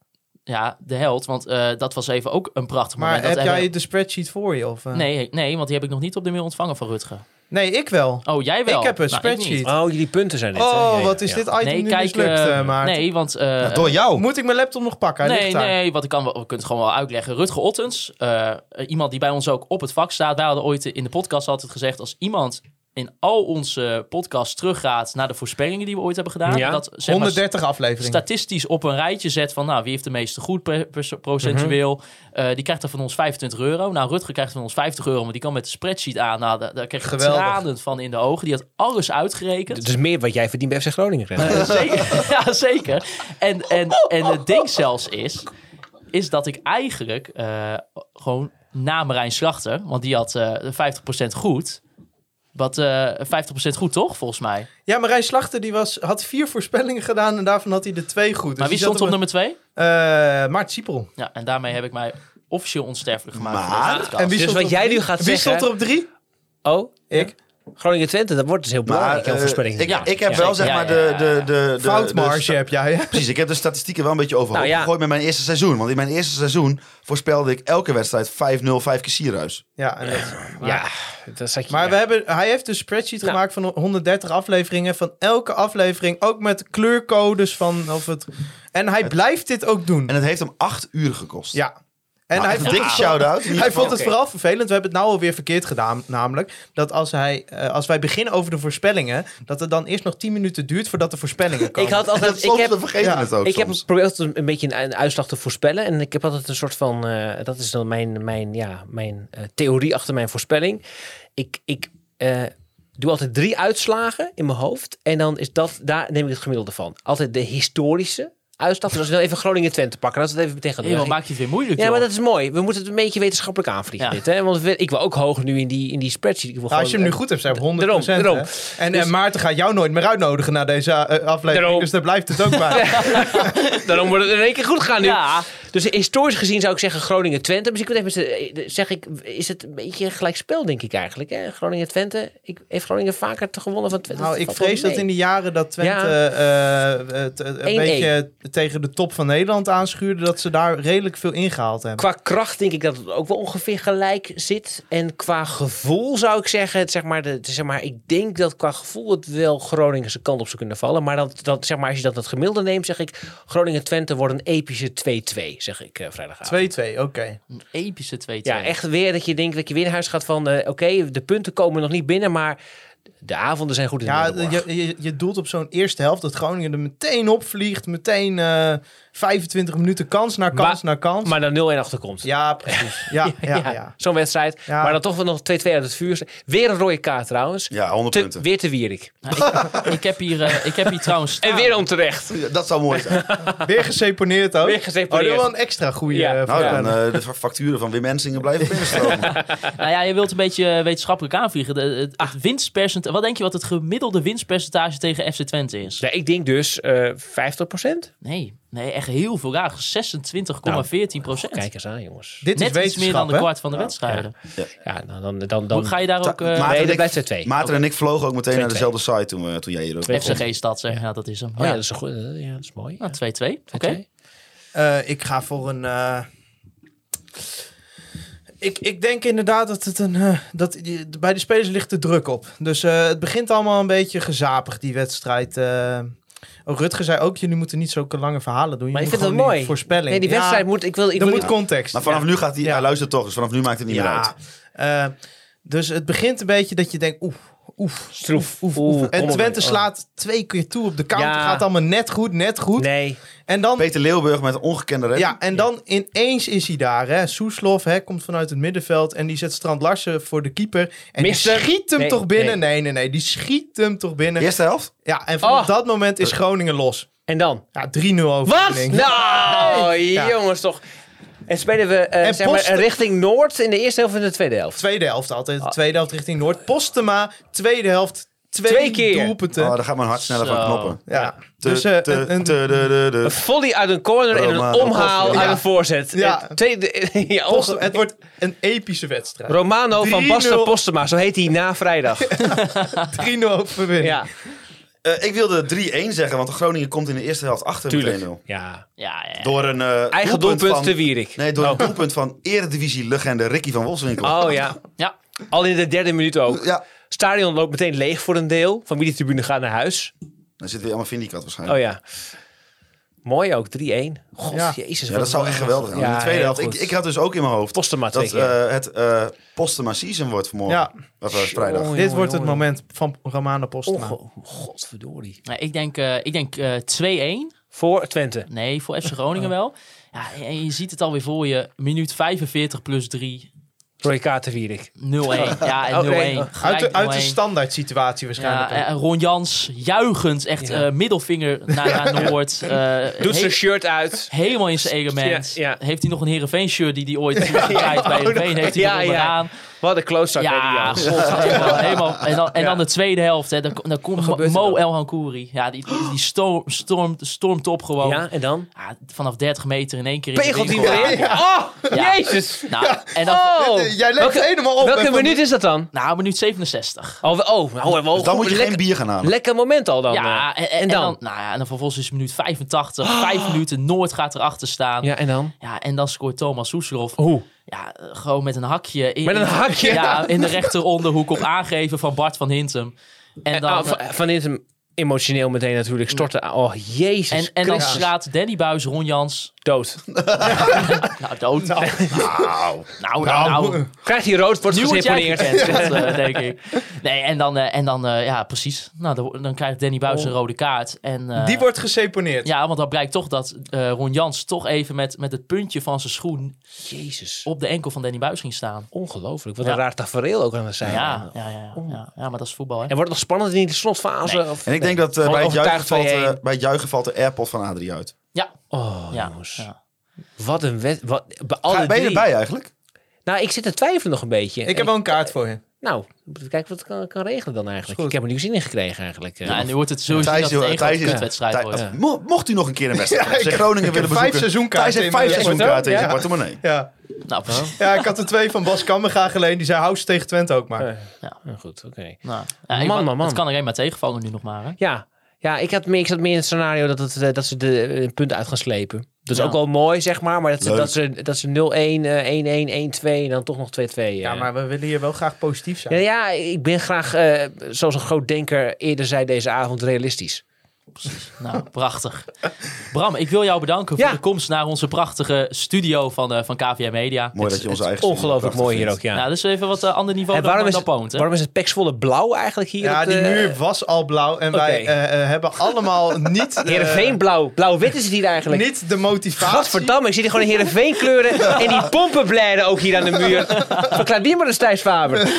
[SPEAKER 5] ja, de held, want eh, dat was even ook een prachtig
[SPEAKER 1] maar
[SPEAKER 5] moment.
[SPEAKER 1] heb
[SPEAKER 5] dat
[SPEAKER 1] jij
[SPEAKER 5] hebben-
[SPEAKER 1] de spreadsheet voor je? Of, eh?
[SPEAKER 5] Nee, nee, want die heb ik nog niet op de mail ontvangen van Rutger.
[SPEAKER 1] Nee, ik wel.
[SPEAKER 5] Oh, jij wel.
[SPEAKER 1] Ik heb een
[SPEAKER 5] Maar ik niet.
[SPEAKER 1] spreadsheet.
[SPEAKER 6] Oh, jullie punten zijn dit. hè? Ja,
[SPEAKER 1] Oh,
[SPEAKER 6] ja,
[SPEAKER 1] wat is
[SPEAKER 6] ja.
[SPEAKER 1] dit item
[SPEAKER 5] Nee,
[SPEAKER 1] nu
[SPEAKER 5] kijk.
[SPEAKER 1] mislukt,
[SPEAKER 5] eh,
[SPEAKER 1] eh, Maarten?
[SPEAKER 5] nee, want. eh,
[SPEAKER 7] Door jou.
[SPEAKER 1] Moet ik mijn laptop nog pakken? Hij
[SPEAKER 5] Nee,
[SPEAKER 1] ligt daar.
[SPEAKER 5] nee, wat ik kan wel, we kunnen het gewoon wel uitleggen. Rutger Ottens, eh, iemand die bij ons ook op het vak staat. Wij hadden ooit in de podcast altijd gezegd... als iemand in al onze podcasts teruggaat... naar de voorspellingen die we ooit hebben gedaan...
[SPEAKER 6] Ja.
[SPEAKER 5] dat zeg maar,
[SPEAKER 1] 130 afleveringen.
[SPEAKER 5] statistisch op een rijtje zet van... nou, wie heeft de meeste goed per- per- procentueel? Eh, die krijgt er van ons 25 euro. Nou, Rutger krijgt van ons 50 euro... maar die kan met de spreadsheet aan. Nou, daar, daar kreeg ik
[SPEAKER 1] Geweldig.
[SPEAKER 5] tranen van in de ogen. Die had alles uitgerekend.
[SPEAKER 6] Het is meer wat jij verdient bij FC Groningen. Renze.
[SPEAKER 5] [LAUGHS] zeker. ja, zeker. En, en, en het ding zelfs is, is dat ik eigenlijk eh, gewoon na Marijn Slachter, want die had eh 50% goed. Wat, eh 50% goed toch, volgens mij?
[SPEAKER 1] Ja, Marijn Slachter die was, had vier voorspellingen gedaan en daarvan had hij de twee goed. Dus
[SPEAKER 5] maar wie
[SPEAKER 1] die zat
[SPEAKER 5] stond op nummer 2?
[SPEAKER 1] Eh, Maart
[SPEAKER 6] Oh,
[SPEAKER 1] Siepel.
[SPEAKER 5] Ja, en daarmee heb ik mij officieel onsterfelijk gemaakt. voor
[SPEAKER 7] Maar-
[SPEAKER 5] deze podcast.
[SPEAKER 1] En wie
[SPEAKER 6] Dus
[SPEAKER 1] stond
[SPEAKER 6] wat
[SPEAKER 1] er op
[SPEAKER 6] jij nu
[SPEAKER 1] drie?
[SPEAKER 6] gaat
[SPEAKER 1] Wie
[SPEAKER 6] zeggen...
[SPEAKER 1] stond er op drie?
[SPEAKER 6] Oh,
[SPEAKER 1] Ik.
[SPEAKER 6] Groningen Twente, dat wordt dus heel
[SPEAKER 7] Maar
[SPEAKER 6] belangrijk, jouw
[SPEAKER 7] eh,
[SPEAKER 6] voorspelling.
[SPEAKER 7] ik,
[SPEAKER 5] Ja.
[SPEAKER 7] ik heb
[SPEAKER 5] Ja, zeker.
[SPEAKER 7] wel zeg maar
[SPEAKER 5] Ja, ja,
[SPEAKER 7] de,
[SPEAKER 5] ja, ja.
[SPEAKER 7] de, de, de
[SPEAKER 1] Foutmarge
[SPEAKER 7] de-
[SPEAKER 1] heb jij, hè?
[SPEAKER 7] Precies, ik heb de statistieken wel een beetje overhoop
[SPEAKER 6] Nou ja.
[SPEAKER 7] gegooid met mijn eerste seizoen. Want in mijn eerste seizoen voorspelde ik elke wedstrijd 5-0, 5 keer Sierhuis.
[SPEAKER 1] Ja, en dat-
[SPEAKER 6] ja, dat zat je...
[SPEAKER 1] maar
[SPEAKER 6] ja.
[SPEAKER 1] we hebben, hij heeft een spreadsheet
[SPEAKER 6] Nou.
[SPEAKER 1] gemaakt van 130 afleveringen. Van elke aflevering, ook met kleurcodes van... Of het, en hij blijft dit ook doen.
[SPEAKER 7] En het heeft hem 8 uur gekost.
[SPEAKER 1] ja. En
[SPEAKER 7] Nou,
[SPEAKER 1] hij,
[SPEAKER 7] echt een dikke shout-out.
[SPEAKER 1] Hij vond het
[SPEAKER 6] Oké.
[SPEAKER 1] vooral vervelend. We hebben het nou alweer verkeerd gedaan. Namelijk dat als, hij, eh, als wij beginnen over de voorspellingen. dat het dan eerst nog 10 minuten duurt voordat de voorspellingen komen.
[SPEAKER 6] [LAUGHS] Ik
[SPEAKER 1] [LAUGHS]
[SPEAKER 6] had
[SPEAKER 7] dat
[SPEAKER 6] altijd...
[SPEAKER 7] soms,
[SPEAKER 6] Ik heb,
[SPEAKER 7] we vergeten
[SPEAKER 1] ja,
[SPEAKER 7] het ook
[SPEAKER 6] ik heb
[SPEAKER 7] soms.
[SPEAKER 6] geprobeerd een, een beetje een, een uitslag te voorspellen. En ik heb altijd een soort van... eh, dat is dan mijn, mijn, ja, mijn eh, theorie achter mijn voorspelling. Ik, ik eh, doe altijd drie uitslagen in mijn hoofd. En dan is dat... Daar neem ik het gemiddelde van. Altijd de historische uitslag. Dus als we dan even Groningen-Twente pakken. Laten we het even meteen gaan doen.
[SPEAKER 5] Hey, wat maak je het weer moeilijk,
[SPEAKER 6] Ja,
[SPEAKER 5] joh.
[SPEAKER 6] maar dat is mooi. We moeten het een beetje wetenschappelijk aanvliegen.
[SPEAKER 5] Ja.
[SPEAKER 6] Dit, hè? Want we- ik wil ook hoog nu in die, in die spreadsheet. Ik wil
[SPEAKER 1] Nou, als je hem
[SPEAKER 6] gewoon,
[SPEAKER 1] nu goed hebt, zijn we 100%.
[SPEAKER 6] daarom,
[SPEAKER 1] hè? En,
[SPEAKER 6] Dus-
[SPEAKER 1] en Maarten gaat jou nooit meer uitnodigen na deze eh, aflevering.
[SPEAKER 6] Daarom.
[SPEAKER 1] Dus daar blijft het ook
[SPEAKER 6] [LAUGHS]
[SPEAKER 1] bij.
[SPEAKER 6] eh, daarom wordt het in één keer goed gaan nu.
[SPEAKER 5] Ja,
[SPEAKER 6] Dus historisch gezien zou ik zeggen Groningen-Twente. Misschien moet ik even met z'n- zeg ik, is het een beetje een gelijk spel, denk ik eigenlijk. hè? Groningen-Twente. Ik, heeft Groningen vaker te gewonnen van Twente?
[SPEAKER 1] nou,
[SPEAKER 6] Dat
[SPEAKER 1] ik
[SPEAKER 6] valt wel
[SPEAKER 1] vrees dat
[SPEAKER 6] mee.
[SPEAKER 1] in de jaren dat Twente
[SPEAKER 6] Ja.
[SPEAKER 1] eh, eh, het- het een
[SPEAKER 6] 1-1.
[SPEAKER 1] beetje tegen de top van Nederland aanschuurde. dat ze daar redelijk veel ingehaald hebben.
[SPEAKER 6] Qua kracht denk ik dat het ook wel ongeveer gelijk zit. En qua gevoel zou ik zeggen, het, zeg maar, de, het, zeg maar, ik denk dat qua gevoel het wel Groningen zijn kant op zou kunnen vallen. Maar, dat, dat, zeg maar als je dat het gemiddelde neemt, zeg ik Groningen-Twente wordt een epische 2-2, zeg ik eh, vrijdagavond.
[SPEAKER 1] 2-2, oké.
[SPEAKER 5] een epische 2-2.
[SPEAKER 6] Ja, echt weer dat je denkt dat je weer naar huis gaat van, eh, oké, de punten komen nog niet binnen, maar de avonden zijn goed in
[SPEAKER 1] Ja,
[SPEAKER 6] de middelborg.
[SPEAKER 1] je, je, je doelt op zo'n eerste helft dat Groningen er meteen opvliegt. Meteen eh, 25 minuten kans naar kans naar kans.
[SPEAKER 6] Maar dan 0-1 achterkomt.
[SPEAKER 1] Ja, precies. Ja, ja, ja.
[SPEAKER 6] Zo'n wedstrijd.
[SPEAKER 1] Ja.
[SPEAKER 6] Maar dan toch wel nog 2-2 uit het vuur. Weer een rode kaart trouwens.
[SPEAKER 7] Ja, 100
[SPEAKER 6] Te-
[SPEAKER 7] punten.
[SPEAKER 6] weer te Wierik.
[SPEAKER 5] Ik heb hier, eh, ik heb hier trouwens...
[SPEAKER 6] [LAUGHS] En
[SPEAKER 5] staan.
[SPEAKER 6] weer onterecht.
[SPEAKER 1] Oh.
[SPEAKER 7] Ja, Dat zou mooi zijn.
[SPEAKER 1] Weer geseponeerd ook.
[SPEAKER 6] Weer geseponeerd.
[SPEAKER 1] Oh, dat was een extra goede
[SPEAKER 6] Ja.
[SPEAKER 1] ja.
[SPEAKER 7] [LAUGHS] Nou, dan eh, de fa- facturen van Wim Ensingen blijven binnenstromen.
[SPEAKER 5] Nou ja, je wilt een beetje eh, wetenschappelijk aanvliegen. De, het het winstpercentage... Wat denk je wat het gemiddelde winstpercentage tegen FC Twente is?
[SPEAKER 6] Ja, ik denk dus eh 50%.
[SPEAKER 5] Nee, nee, echt heel veel lager. 26,14
[SPEAKER 1] Oh,
[SPEAKER 5] procent.
[SPEAKER 6] Nou, Kijk eens aan, jongens.
[SPEAKER 1] Dit is
[SPEAKER 5] Net iets meer
[SPEAKER 1] wetenschap,
[SPEAKER 5] dan de
[SPEAKER 1] hè?
[SPEAKER 5] kwart van de wedstrijden.
[SPEAKER 6] Ja, nou, dan, dan, dan,
[SPEAKER 5] Ga je daar ook... eh,
[SPEAKER 7] Maarten,
[SPEAKER 6] nee,
[SPEAKER 7] en
[SPEAKER 6] dat
[SPEAKER 7] ik,
[SPEAKER 6] blijft 2-2.
[SPEAKER 7] Maarten en ik vlogen ook meteen naar
[SPEAKER 6] 2-2.
[SPEAKER 7] dezelfde site toen, we- toen jij hier ook
[SPEAKER 6] Twee-
[SPEAKER 5] FCG stad zeggen, ja. dat is hem.
[SPEAKER 6] Oh ja,
[SPEAKER 5] ja.
[SPEAKER 6] dat is, een goed, ja, dat is mooi.
[SPEAKER 1] Ah,
[SPEAKER 5] Nou, 2-2. Oké.
[SPEAKER 6] Oké.
[SPEAKER 1] Eh, ik ga voor een... eh, Ik, ik denk inderdaad dat het een. eh, dat, die- bij de spelers ligt de druk op. Dus eh, het begint allemaal een beetje gezapig, die wedstrijd. eh. oh, Rutger zei ook: jullie moeten niet zulke lange verhalen doen. Je
[SPEAKER 6] Maar ik
[SPEAKER 1] moet
[SPEAKER 6] vind dat
[SPEAKER 1] gewoon die
[SPEAKER 6] mooi.
[SPEAKER 1] Voorspelling.
[SPEAKER 6] Nee, die
[SPEAKER 1] Ja,
[SPEAKER 6] wedstrijd moet... Ik wil, ik
[SPEAKER 1] er
[SPEAKER 6] wil
[SPEAKER 1] moet context.
[SPEAKER 7] Maar vanaf nu gaat hij...
[SPEAKER 1] Ja.
[SPEAKER 7] Hij luistert toch, dus vanaf nu maakt het niet meer uit.
[SPEAKER 1] Eh, dus het begint een beetje dat je denkt, oeh, oeh.
[SPEAKER 6] Stroef. Oeh, kom
[SPEAKER 1] En
[SPEAKER 6] op,
[SPEAKER 1] Twente
[SPEAKER 6] man.
[SPEAKER 1] slaat twee keer toe op de counter.
[SPEAKER 6] Ja.
[SPEAKER 1] Gaat allemaal net goed, net goed.
[SPEAKER 6] Oh. Nee.
[SPEAKER 1] En dan,
[SPEAKER 7] Peter Leeuwburg met een ongekende redding.
[SPEAKER 1] ja, en dan ineens is hij daar. Hè. Soeslof hè, komt vanuit het middenveld en die zet Strand Larsen voor de keeper. En
[SPEAKER 6] Mist hem.
[SPEAKER 1] die schiet hem
[SPEAKER 6] Nee,
[SPEAKER 1] toch binnen?
[SPEAKER 6] nee.
[SPEAKER 1] Nee. nee, nee, Die schiet hem toch binnen?
[SPEAKER 7] Eerste helft?
[SPEAKER 1] Ja, en vanaf
[SPEAKER 6] Oh.
[SPEAKER 1] dat moment is Groningen los.
[SPEAKER 6] En dan?
[SPEAKER 1] Ja, 3-0
[SPEAKER 6] Wat?
[SPEAKER 1] overwinning.
[SPEAKER 6] Nou,
[SPEAKER 1] Ja.
[SPEAKER 6] jongens toch. En spelen we eh,
[SPEAKER 1] En
[SPEAKER 6] zeg maar,
[SPEAKER 1] Posten-
[SPEAKER 6] richting Noord in de eerste helft en de tweede helft.
[SPEAKER 1] Tweede helft altijd.
[SPEAKER 6] Ah.
[SPEAKER 1] Tweede helft richting Noord. Postema, tweede helft. Twee,
[SPEAKER 6] Twee keer.
[SPEAKER 1] doelpunten.
[SPEAKER 7] Oh, daar gaat mijn hart sneller
[SPEAKER 5] Zo.
[SPEAKER 7] van knoppen.
[SPEAKER 1] ja.
[SPEAKER 7] Te-
[SPEAKER 1] Dus eh,
[SPEAKER 7] te-
[SPEAKER 1] een- een-
[SPEAKER 7] te- de- de- de-
[SPEAKER 6] Een volley uit een corner en een
[SPEAKER 7] Romano
[SPEAKER 6] omhaal
[SPEAKER 7] Koster.
[SPEAKER 6] uit
[SPEAKER 1] Ja.
[SPEAKER 6] een voorzet.
[SPEAKER 1] Ja.
[SPEAKER 6] Eh, Tweede, [LAUGHS] ja,
[SPEAKER 1] Post-
[SPEAKER 6] Post-
[SPEAKER 1] het wordt een epische wedstrijd.
[SPEAKER 6] Romano van
[SPEAKER 1] 3-0.
[SPEAKER 6] Basten Postema, zo heet hij na vrijdag.
[SPEAKER 1] 3-0 overwinning.
[SPEAKER 6] ja.
[SPEAKER 7] Eh, ik wilde 3-1 zeggen, want Groningen komt in de eerste helft achter met 1-0.
[SPEAKER 6] ja.
[SPEAKER 5] Ja, ja.
[SPEAKER 7] Door een eh,
[SPEAKER 6] Eigen doelpunt
[SPEAKER 7] van,
[SPEAKER 6] te Wierik.
[SPEAKER 7] Nee, door een doelpunt van eredivisie legende Ricky van Wolfswinkel.
[SPEAKER 6] Oh ja.
[SPEAKER 5] Ja.
[SPEAKER 6] Al in de derde minuut ook.
[SPEAKER 7] Ja,
[SPEAKER 6] Stadion loopt meteen leeg voor een deel. Familietribune gaat naar huis.
[SPEAKER 7] Dan zitten we allemaal Vindicat
[SPEAKER 6] Oh
[SPEAKER 7] waarschijnlijk.
[SPEAKER 6] ja. Mooi ook, 3-1. God,
[SPEAKER 1] Ja.
[SPEAKER 6] jezus.
[SPEAKER 7] ja.
[SPEAKER 6] wat
[SPEAKER 7] dat zou
[SPEAKER 6] een-
[SPEAKER 7] echt geweldig zijn. in de tweede
[SPEAKER 6] heel
[SPEAKER 7] helft. Ik,
[SPEAKER 6] goed.
[SPEAKER 7] ik had dus ook in mijn hoofd
[SPEAKER 6] Postema twee
[SPEAKER 7] dat
[SPEAKER 6] keer.
[SPEAKER 7] eh, het eh Postema season wordt vanmorgen.
[SPEAKER 1] Ja.
[SPEAKER 7] Of eh, vrijdag.
[SPEAKER 6] Jongen,
[SPEAKER 1] Dit wordt het
[SPEAKER 6] jongen.
[SPEAKER 1] moment van Romano Postma.
[SPEAKER 6] Onge- Godverdorie.
[SPEAKER 5] Nou, ik denk, eh, ik denk eh, 2-1.
[SPEAKER 6] Voor Twente.
[SPEAKER 5] Nee, voor FC Groningen
[SPEAKER 6] [LAUGHS] Oh.
[SPEAKER 5] wel. Ja, en je ziet het alweer voor je. Minuut 45 plus 3. 0-1.
[SPEAKER 6] Roy Kater Wierik. [LAUGHS]
[SPEAKER 5] Ja, en 0-1.
[SPEAKER 6] Oh, nee.
[SPEAKER 1] Uit
[SPEAKER 5] Gelijk
[SPEAKER 1] de, uit de
[SPEAKER 5] 0-1.
[SPEAKER 1] standaard situatie
[SPEAKER 5] Ja,
[SPEAKER 1] waarschijnlijk. ook.
[SPEAKER 5] en Ron Jans juichend, echt
[SPEAKER 6] Ja.
[SPEAKER 5] eh, middelvinger naar,
[SPEAKER 6] [LAUGHS]
[SPEAKER 5] naar Noord. eh,
[SPEAKER 6] Doet
[SPEAKER 5] he-
[SPEAKER 6] zijn shirt uit.
[SPEAKER 5] helemaal in zijn element.
[SPEAKER 6] Ja, ja.
[SPEAKER 5] Heeft hij nog een Heerenveen shirt die hij
[SPEAKER 6] [LAUGHS]
[SPEAKER 5] ooit krijgt bij Heerenveen? Heeft hij
[SPEAKER 6] Ja,
[SPEAKER 5] er
[SPEAKER 6] ja.
[SPEAKER 5] onderaan?
[SPEAKER 6] Wat een klootzak.
[SPEAKER 5] Ja,
[SPEAKER 6] Ja.
[SPEAKER 5] godverdomme,
[SPEAKER 6] [LAUGHS]
[SPEAKER 5] helemaal. En dan, en dan de tweede helft, hè, dan, dan komt Mo-
[SPEAKER 6] gebeurt er
[SPEAKER 5] Mo
[SPEAKER 6] dan?
[SPEAKER 5] El Hankouri. Ja, die, die, die storm, stormt, stormt op gewoon.
[SPEAKER 6] ja, en dan?
[SPEAKER 5] Ja, vanaf 30 meter in één keer. in de
[SPEAKER 6] Pegelt hij
[SPEAKER 5] winkel.
[SPEAKER 6] weer in? Oh,
[SPEAKER 5] Ja.
[SPEAKER 6] jezus.
[SPEAKER 5] Nou, en dan,
[SPEAKER 6] [LAUGHS] Oh.
[SPEAKER 1] Eh, Jij legt
[SPEAKER 6] Welke-
[SPEAKER 1] helemaal op.
[SPEAKER 6] Welke
[SPEAKER 1] hè, van-
[SPEAKER 6] minuut is dat dan?
[SPEAKER 5] nou, minuut 67.
[SPEAKER 6] Oh, we- oh, oh, oh,
[SPEAKER 7] Dus dan moet je
[SPEAKER 6] lekker,
[SPEAKER 7] geen bier gaan halen.
[SPEAKER 6] lekker moment al dan.
[SPEAKER 5] ja,
[SPEAKER 6] eh.
[SPEAKER 5] en, en- en dan? nou ja, en dan vervolgens is het minuut 85. Vijf
[SPEAKER 6] [GASPS]
[SPEAKER 5] minuten, Noord gaat erachter staan. Ja.
[SPEAKER 6] Ja, en dan?
[SPEAKER 5] en dan scoort Thomas Soeslof.
[SPEAKER 6] Hoe?
[SPEAKER 5] Ja, eh, gewoon met een hakje. In,
[SPEAKER 6] Met een hakje?
[SPEAKER 5] Ja, in de rechteronderhoek op aangeven van Bart van Hintem. En dan, eh,
[SPEAKER 6] Ah, van, van dit hem emotioneel meteen natuurlijk storten. Oh, jezus
[SPEAKER 5] en, en dan
[SPEAKER 6] Christus.
[SPEAKER 5] slaat Danny Buis, Ron Jans.
[SPEAKER 6] dood.
[SPEAKER 5] Nou, dood. Nou, nou, nou.
[SPEAKER 6] Krijgt hij rood, wordt
[SPEAKER 5] Nu word jij
[SPEAKER 6] geseponeerd.
[SPEAKER 5] gekend, dat, eh, denk ik. Nee, en dan, eh, en dan eh, ja, precies. Nou, dan, dan krijgt Danny Buis
[SPEAKER 6] Oh.
[SPEAKER 5] een rode kaart. En, eh,
[SPEAKER 1] Die wordt geseponeerd.
[SPEAKER 5] Ja, want dan blijkt toch dat eh, Ron Jans toch even met, met het puntje van zijn schoen
[SPEAKER 6] [LAUGHS] Jezus,
[SPEAKER 5] op de enkel van Danny Buis ging staan.
[SPEAKER 6] ongelooflijk. Wat
[SPEAKER 5] Ja.
[SPEAKER 6] een raar tafereel ook aan het zijn.
[SPEAKER 5] Ja, ja, ja, ja, ja. Ja, maar dat is voetbal, hè?
[SPEAKER 6] En wordt het nog spannend in de slotfase?
[SPEAKER 5] Nee.
[SPEAKER 6] Of,
[SPEAKER 7] En ik denk dat eh,
[SPEAKER 6] Gewoon
[SPEAKER 7] bij, het juichen
[SPEAKER 6] overtuigd
[SPEAKER 7] valt,
[SPEAKER 6] 2-1.
[SPEAKER 7] eh, bij het juichen valt de airpod van Adrie uit.
[SPEAKER 5] Ja,
[SPEAKER 6] Oh,
[SPEAKER 5] ja,
[SPEAKER 6] jongens.
[SPEAKER 5] ja.
[SPEAKER 6] Wat een wet. Wat, bij alle
[SPEAKER 7] Ga, ben je
[SPEAKER 6] drie.
[SPEAKER 7] erbij eigenlijk?
[SPEAKER 6] Nou, ik zit te twijfelen nog een beetje.
[SPEAKER 1] Ik heb wel een kaart voor je.
[SPEAKER 6] Nou, moeten we kijken wat ik kan, kan regelen dan eigenlijk.
[SPEAKER 1] goed.
[SPEAKER 6] Ik heb er nu zin in gekregen eigenlijk. Eh,
[SPEAKER 5] Nou, en nu wordt het sowieso
[SPEAKER 7] Thijs,
[SPEAKER 5] dat het
[SPEAKER 7] joh,
[SPEAKER 5] een
[SPEAKER 7] Thijs
[SPEAKER 5] grote
[SPEAKER 7] is-
[SPEAKER 5] kutwedstrijd
[SPEAKER 7] Thij-
[SPEAKER 5] wordt.
[SPEAKER 6] Oh.
[SPEAKER 7] eh, mo- mocht u nog een keer een wedstrijd
[SPEAKER 1] Ja, ik
[SPEAKER 7] tegen
[SPEAKER 1] heb-
[SPEAKER 7] Groningen
[SPEAKER 1] ik heb
[SPEAKER 7] willen
[SPEAKER 1] vijf
[SPEAKER 7] bezoeken.
[SPEAKER 1] seizoenkaarten
[SPEAKER 7] Thijs heeft
[SPEAKER 1] in mijn
[SPEAKER 7] vijf
[SPEAKER 1] laptop.
[SPEAKER 7] seizoenkaarten in zijn
[SPEAKER 1] Ja.
[SPEAKER 7] portemonnee.
[SPEAKER 1] Ja.
[SPEAKER 5] Nou, precies.
[SPEAKER 1] ja, ik had er twee van Bas Kammerga geleend. Die zei, hou ze tegen Twente ook maar.
[SPEAKER 6] Eh. nou, goed, oké.
[SPEAKER 5] Nou, ja, ik-
[SPEAKER 6] Man, man, man.
[SPEAKER 5] Het kan er één maar tegenvallen nu nog maar, hè?
[SPEAKER 6] Ja, ja ik, had meer, ik zat meer in het scenario dat, het, eh, dat ze de eh, een punt uit gaan slepen. Dat is
[SPEAKER 5] Ja.
[SPEAKER 6] ook wel mooi, zeg maar. Maar dat ze,
[SPEAKER 7] Leuk.
[SPEAKER 6] dat ze, dat ze 0-1, eh, 1-1, 1-2 en dan toch nog 2-2. eh.
[SPEAKER 1] Ja, maar we willen hier wel graag positief
[SPEAKER 6] Ja,
[SPEAKER 1] zijn.
[SPEAKER 6] ja, ik ben graag, eh, zoals een groot denker eerder zei deze avond, realistisch.
[SPEAKER 5] Nou, prachtig. Bram, ik wil jou bedanken
[SPEAKER 6] Ja.
[SPEAKER 5] voor de komst naar onze prachtige studio van, eh van KVM Media.
[SPEAKER 7] Mooi
[SPEAKER 5] Het-
[SPEAKER 7] dat je onze
[SPEAKER 5] het-
[SPEAKER 7] eigen
[SPEAKER 6] Ongelooflijk mooi hier ook, ja.
[SPEAKER 5] Nou, dat is even wat eh, ander niveau
[SPEAKER 6] en
[SPEAKER 5] dan,
[SPEAKER 6] waarom
[SPEAKER 5] dan,
[SPEAKER 6] is,
[SPEAKER 5] dan
[SPEAKER 6] het,
[SPEAKER 5] Poont, hè?
[SPEAKER 6] waarom is het peksvolle blauw eigenlijk hier?
[SPEAKER 1] Ja,
[SPEAKER 6] op
[SPEAKER 1] die
[SPEAKER 6] de-
[SPEAKER 1] muur was al blauw. En wij
[SPEAKER 6] Oké.
[SPEAKER 1] eh, eh, hebben allemaal niet, eh,
[SPEAKER 6] [LAUGHS] Heerenveen blauw. Blauw-wit is het hier eigenlijk.
[SPEAKER 1] niet de motivatie.
[SPEAKER 6] Gadverdamme, ik zie hier gewoon een Heerenveen kleuren
[SPEAKER 1] [LAUGHS]
[SPEAKER 6] en die pompen blijden ook hier aan de muur. Verklaar die maar eens Thijs Faber. Oké,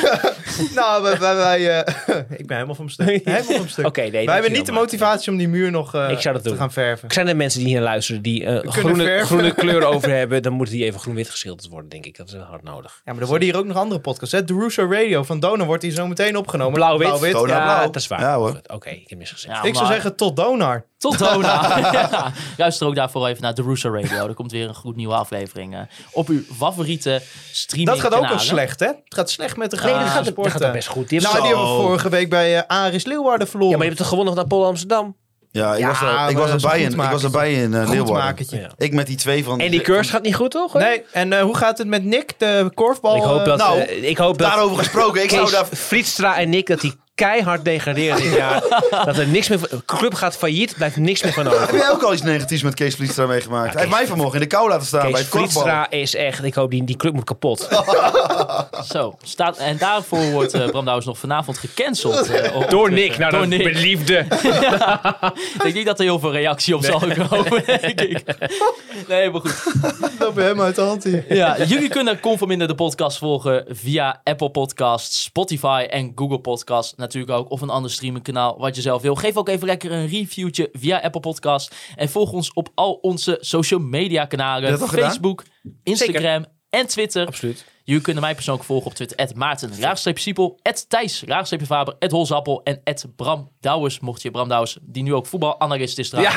[SPEAKER 1] Nou, wij, wij, wij, eh, [LAUGHS] ik ben helemaal van mijn
[SPEAKER 6] [LAUGHS]
[SPEAKER 1] stuk. Helemaal van mijn stuk.
[SPEAKER 6] nee.
[SPEAKER 1] wij hebben
[SPEAKER 6] dankjewel,
[SPEAKER 1] niet de
[SPEAKER 6] maar-
[SPEAKER 1] motivatie om die muur nog eh,
[SPEAKER 6] Ik zou dat
[SPEAKER 1] te
[SPEAKER 6] doen.
[SPEAKER 1] gaan verven.
[SPEAKER 6] Zijn er mensen die hier luisteren die eh, groene,
[SPEAKER 1] verven.
[SPEAKER 6] groene kleur over hebben, dan moeten die even groen-wit geschilderd worden, denk ik. Dat is wel hard nodig.
[SPEAKER 1] Ja, maar er worden hier ook nog andere podcasts. Hè? De Russo Radio van Donar wordt hier zo meteen opgenomen.
[SPEAKER 6] Blauw-wit.
[SPEAKER 7] Donar.
[SPEAKER 6] ja,
[SPEAKER 1] nou,
[SPEAKER 7] blauw.
[SPEAKER 6] dat is waar.
[SPEAKER 7] Ja, hoor.
[SPEAKER 6] Goed, Oké, ik heb misgezegd.
[SPEAKER 5] Ja,
[SPEAKER 1] Ik zou
[SPEAKER 5] maar-
[SPEAKER 1] zeggen tot Donar.
[SPEAKER 5] Tot
[SPEAKER 6] [LAUGHS]
[SPEAKER 5] Dona. ja. Luister ook daarvoor even naar de Russo Radio. Er komt weer een goed nieuwe aflevering eh, op uw favoriete streaming
[SPEAKER 1] Dat gaat ook al slecht, hè? Het gaat slecht met de
[SPEAKER 6] Nee,
[SPEAKER 1] grote
[SPEAKER 6] dat gaat, dat
[SPEAKER 1] sporten.
[SPEAKER 6] gaat toch best goed. Die hebben
[SPEAKER 1] Nou, die
[SPEAKER 6] ze-
[SPEAKER 1] hebben we vorige week bij eh, Aris Leeuwarden
[SPEAKER 6] Oh. Ja,
[SPEAKER 1] verloren.
[SPEAKER 6] maar je hebt toch gewonnen van Apollo Amsterdam?
[SPEAKER 7] Ja, ik
[SPEAKER 1] Ja,
[SPEAKER 7] was er- ik
[SPEAKER 1] maar
[SPEAKER 7] was
[SPEAKER 1] dat is
[SPEAKER 7] erbij
[SPEAKER 1] een
[SPEAKER 7] in, ik was erbij in eh,
[SPEAKER 1] Goed
[SPEAKER 7] Leeuwarden.
[SPEAKER 1] makertje.
[SPEAKER 6] Ja.
[SPEAKER 7] Ik met die twee van...
[SPEAKER 6] En die cursus gaat niet goed, toch? hoor?
[SPEAKER 1] Nee, en eh, hoe gaat het met Nick, de korfbal?
[SPEAKER 6] Ik hoop
[SPEAKER 1] eh,
[SPEAKER 6] dat,
[SPEAKER 7] nou,
[SPEAKER 6] eh, ik hoop dat
[SPEAKER 7] Daarover gesproken, ik zou
[SPEAKER 6] Kees
[SPEAKER 7] daar...
[SPEAKER 6] Frietstra en ik dat die keihard degraderen dit jaar. dat er niks meer van... De club gaat failliet, blijft niks meer van over.
[SPEAKER 7] Heb jij ook al iets negatiefs met Kees Vlietstra meegemaakt? Hij heeft mij vanmorgen in de kou laten staan bij
[SPEAKER 6] Kees
[SPEAKER 7] het korfbal.
[SPEAKER 6] Frietstra is echt... Ik hoop, die, die club moet kapot.
[SPEAKER 5] Zo, staat, en daarvoor wordt eh Bram Douwens nog vanavond gecanceld. eh, op
[SPEAKER 6] Door
[SPEAKER 5] Twitter.
[SPEAKER 6] Nick. Nou,
[SPEAKER 5] Door
[SPEAKER 6] dan
[SPEAKER 5] Nick.
[SPEAKER 6] met liefde.
[SPEAKER 5] Ik denk dat er heel veel reactie op zal komen, [LAUGHS] denk ik. Nee, maar goed.
[SPEAKER 1] dat bij hem uit de hand hier.
[SPEAKER 5] Ja, jullie kunnen Conforminder de podcast volgen via Apple Podcasts, Spotify en Google Podcasts natuurlijk ook. Of een ander streamingkanaal wat je zelf wil. Geef ook even lekker een reviewtje via Apple Podcasts. En volg ons op al onze social media kanalen.
[SPEAKER 7] Heb je dat al
[SPEAKER 5] Facebook, Instagram en Twitter.
[SPEAKER 6] Absoluut.
[SPEAKER 5] Jullie kunnen mij persoonlijk volgen op Twitter. Maarten, raagstreepje Siepel, Thijs, raagstreepje Faber, Holzappel en Bram Douwers. Mocht je Bram Douwers, die nu ook voetbalanalist is trouwens.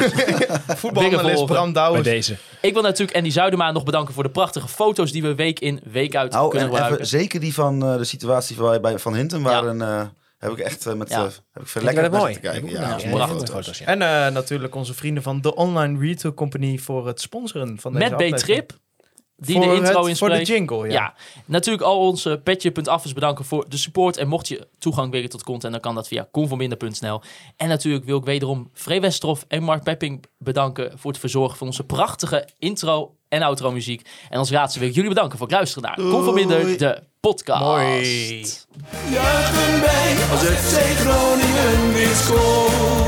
[SPEAKER 1] Voetbalanalist
[SPEAKER 5] volgen.
[SPEAKER 1] Bram
[SPEAKER 6] Bij
[SPEAKER 1] Douwens.
[SPEAKER 6] deze.
[SPEAKER 5] Ik wil natuurlijk Andy Zuidema nog bedanken voor de prachtige foto's die we week in, week uit
[SPEAKER 7] Nou,
[SPEAKER 5] kunnen
[SPEAKER 7] en
[SPEAKER 5] gebruiken.
[SPEAKER 7] even, zeker die van eh, de situatie van, bij Van Hinten, waar
[SPEAKER 5] Ja.
[SPEAKER 7] een, eh, heb ik echt eh, met
[SPEAKER 5] Ja.
[SPEAKER 7] eh, heb ik veel
[SPEAKER 6] Vind ik
[SPEAKER 7] lekker
[SPEAKER 6] wel
[SPEAKER 7] naar
[SPEAKER 6] mooi.
[SPEAKER 7] te kijken. Ja,
[SPEAKER 5] dat is
[SPEAKER 7] mooie
[SPEAKER 5] prachtige
[SPEAKER 7] foto's.
[SPEAKER 6] foto's. ja.
[SPEAKER 1] En eh, natuurlijk onze vrienden van de Online Retail Company voor het sponsoren van deze
[SPEAKER 5] Met
[SPEAKER 1] aflevering.
[SPEAKER 5] B-Trip. die de
[SPEAKER 1] Voor
[SPEAKER 5] intro
[SPEAKER 1] het- Voor de
[SPEAKER 5] inspreekt.
[SPEAKER 1] jingle,
[SPEAKER 5] ja.
[SPEAKER 1] ja.
[SPEAKER 5] natuurlijk al onze petje.af is bedanken voor de support. En mocht je toegang willen tot content, dan kan dat via conforminder.nl. En natuurlijk wil ik wederom Free Westroff en Mark Pepping bedanken voor het verzorgen van onze prachtige intro en outro muziek. En als laatste wil ik jullie bedanken voor het luisteren naar Conforminder, de podcast.
[SPEAKER 1] Mooi.
[SPEAKER 2] Juichen wij als FC Groningen weer scoort.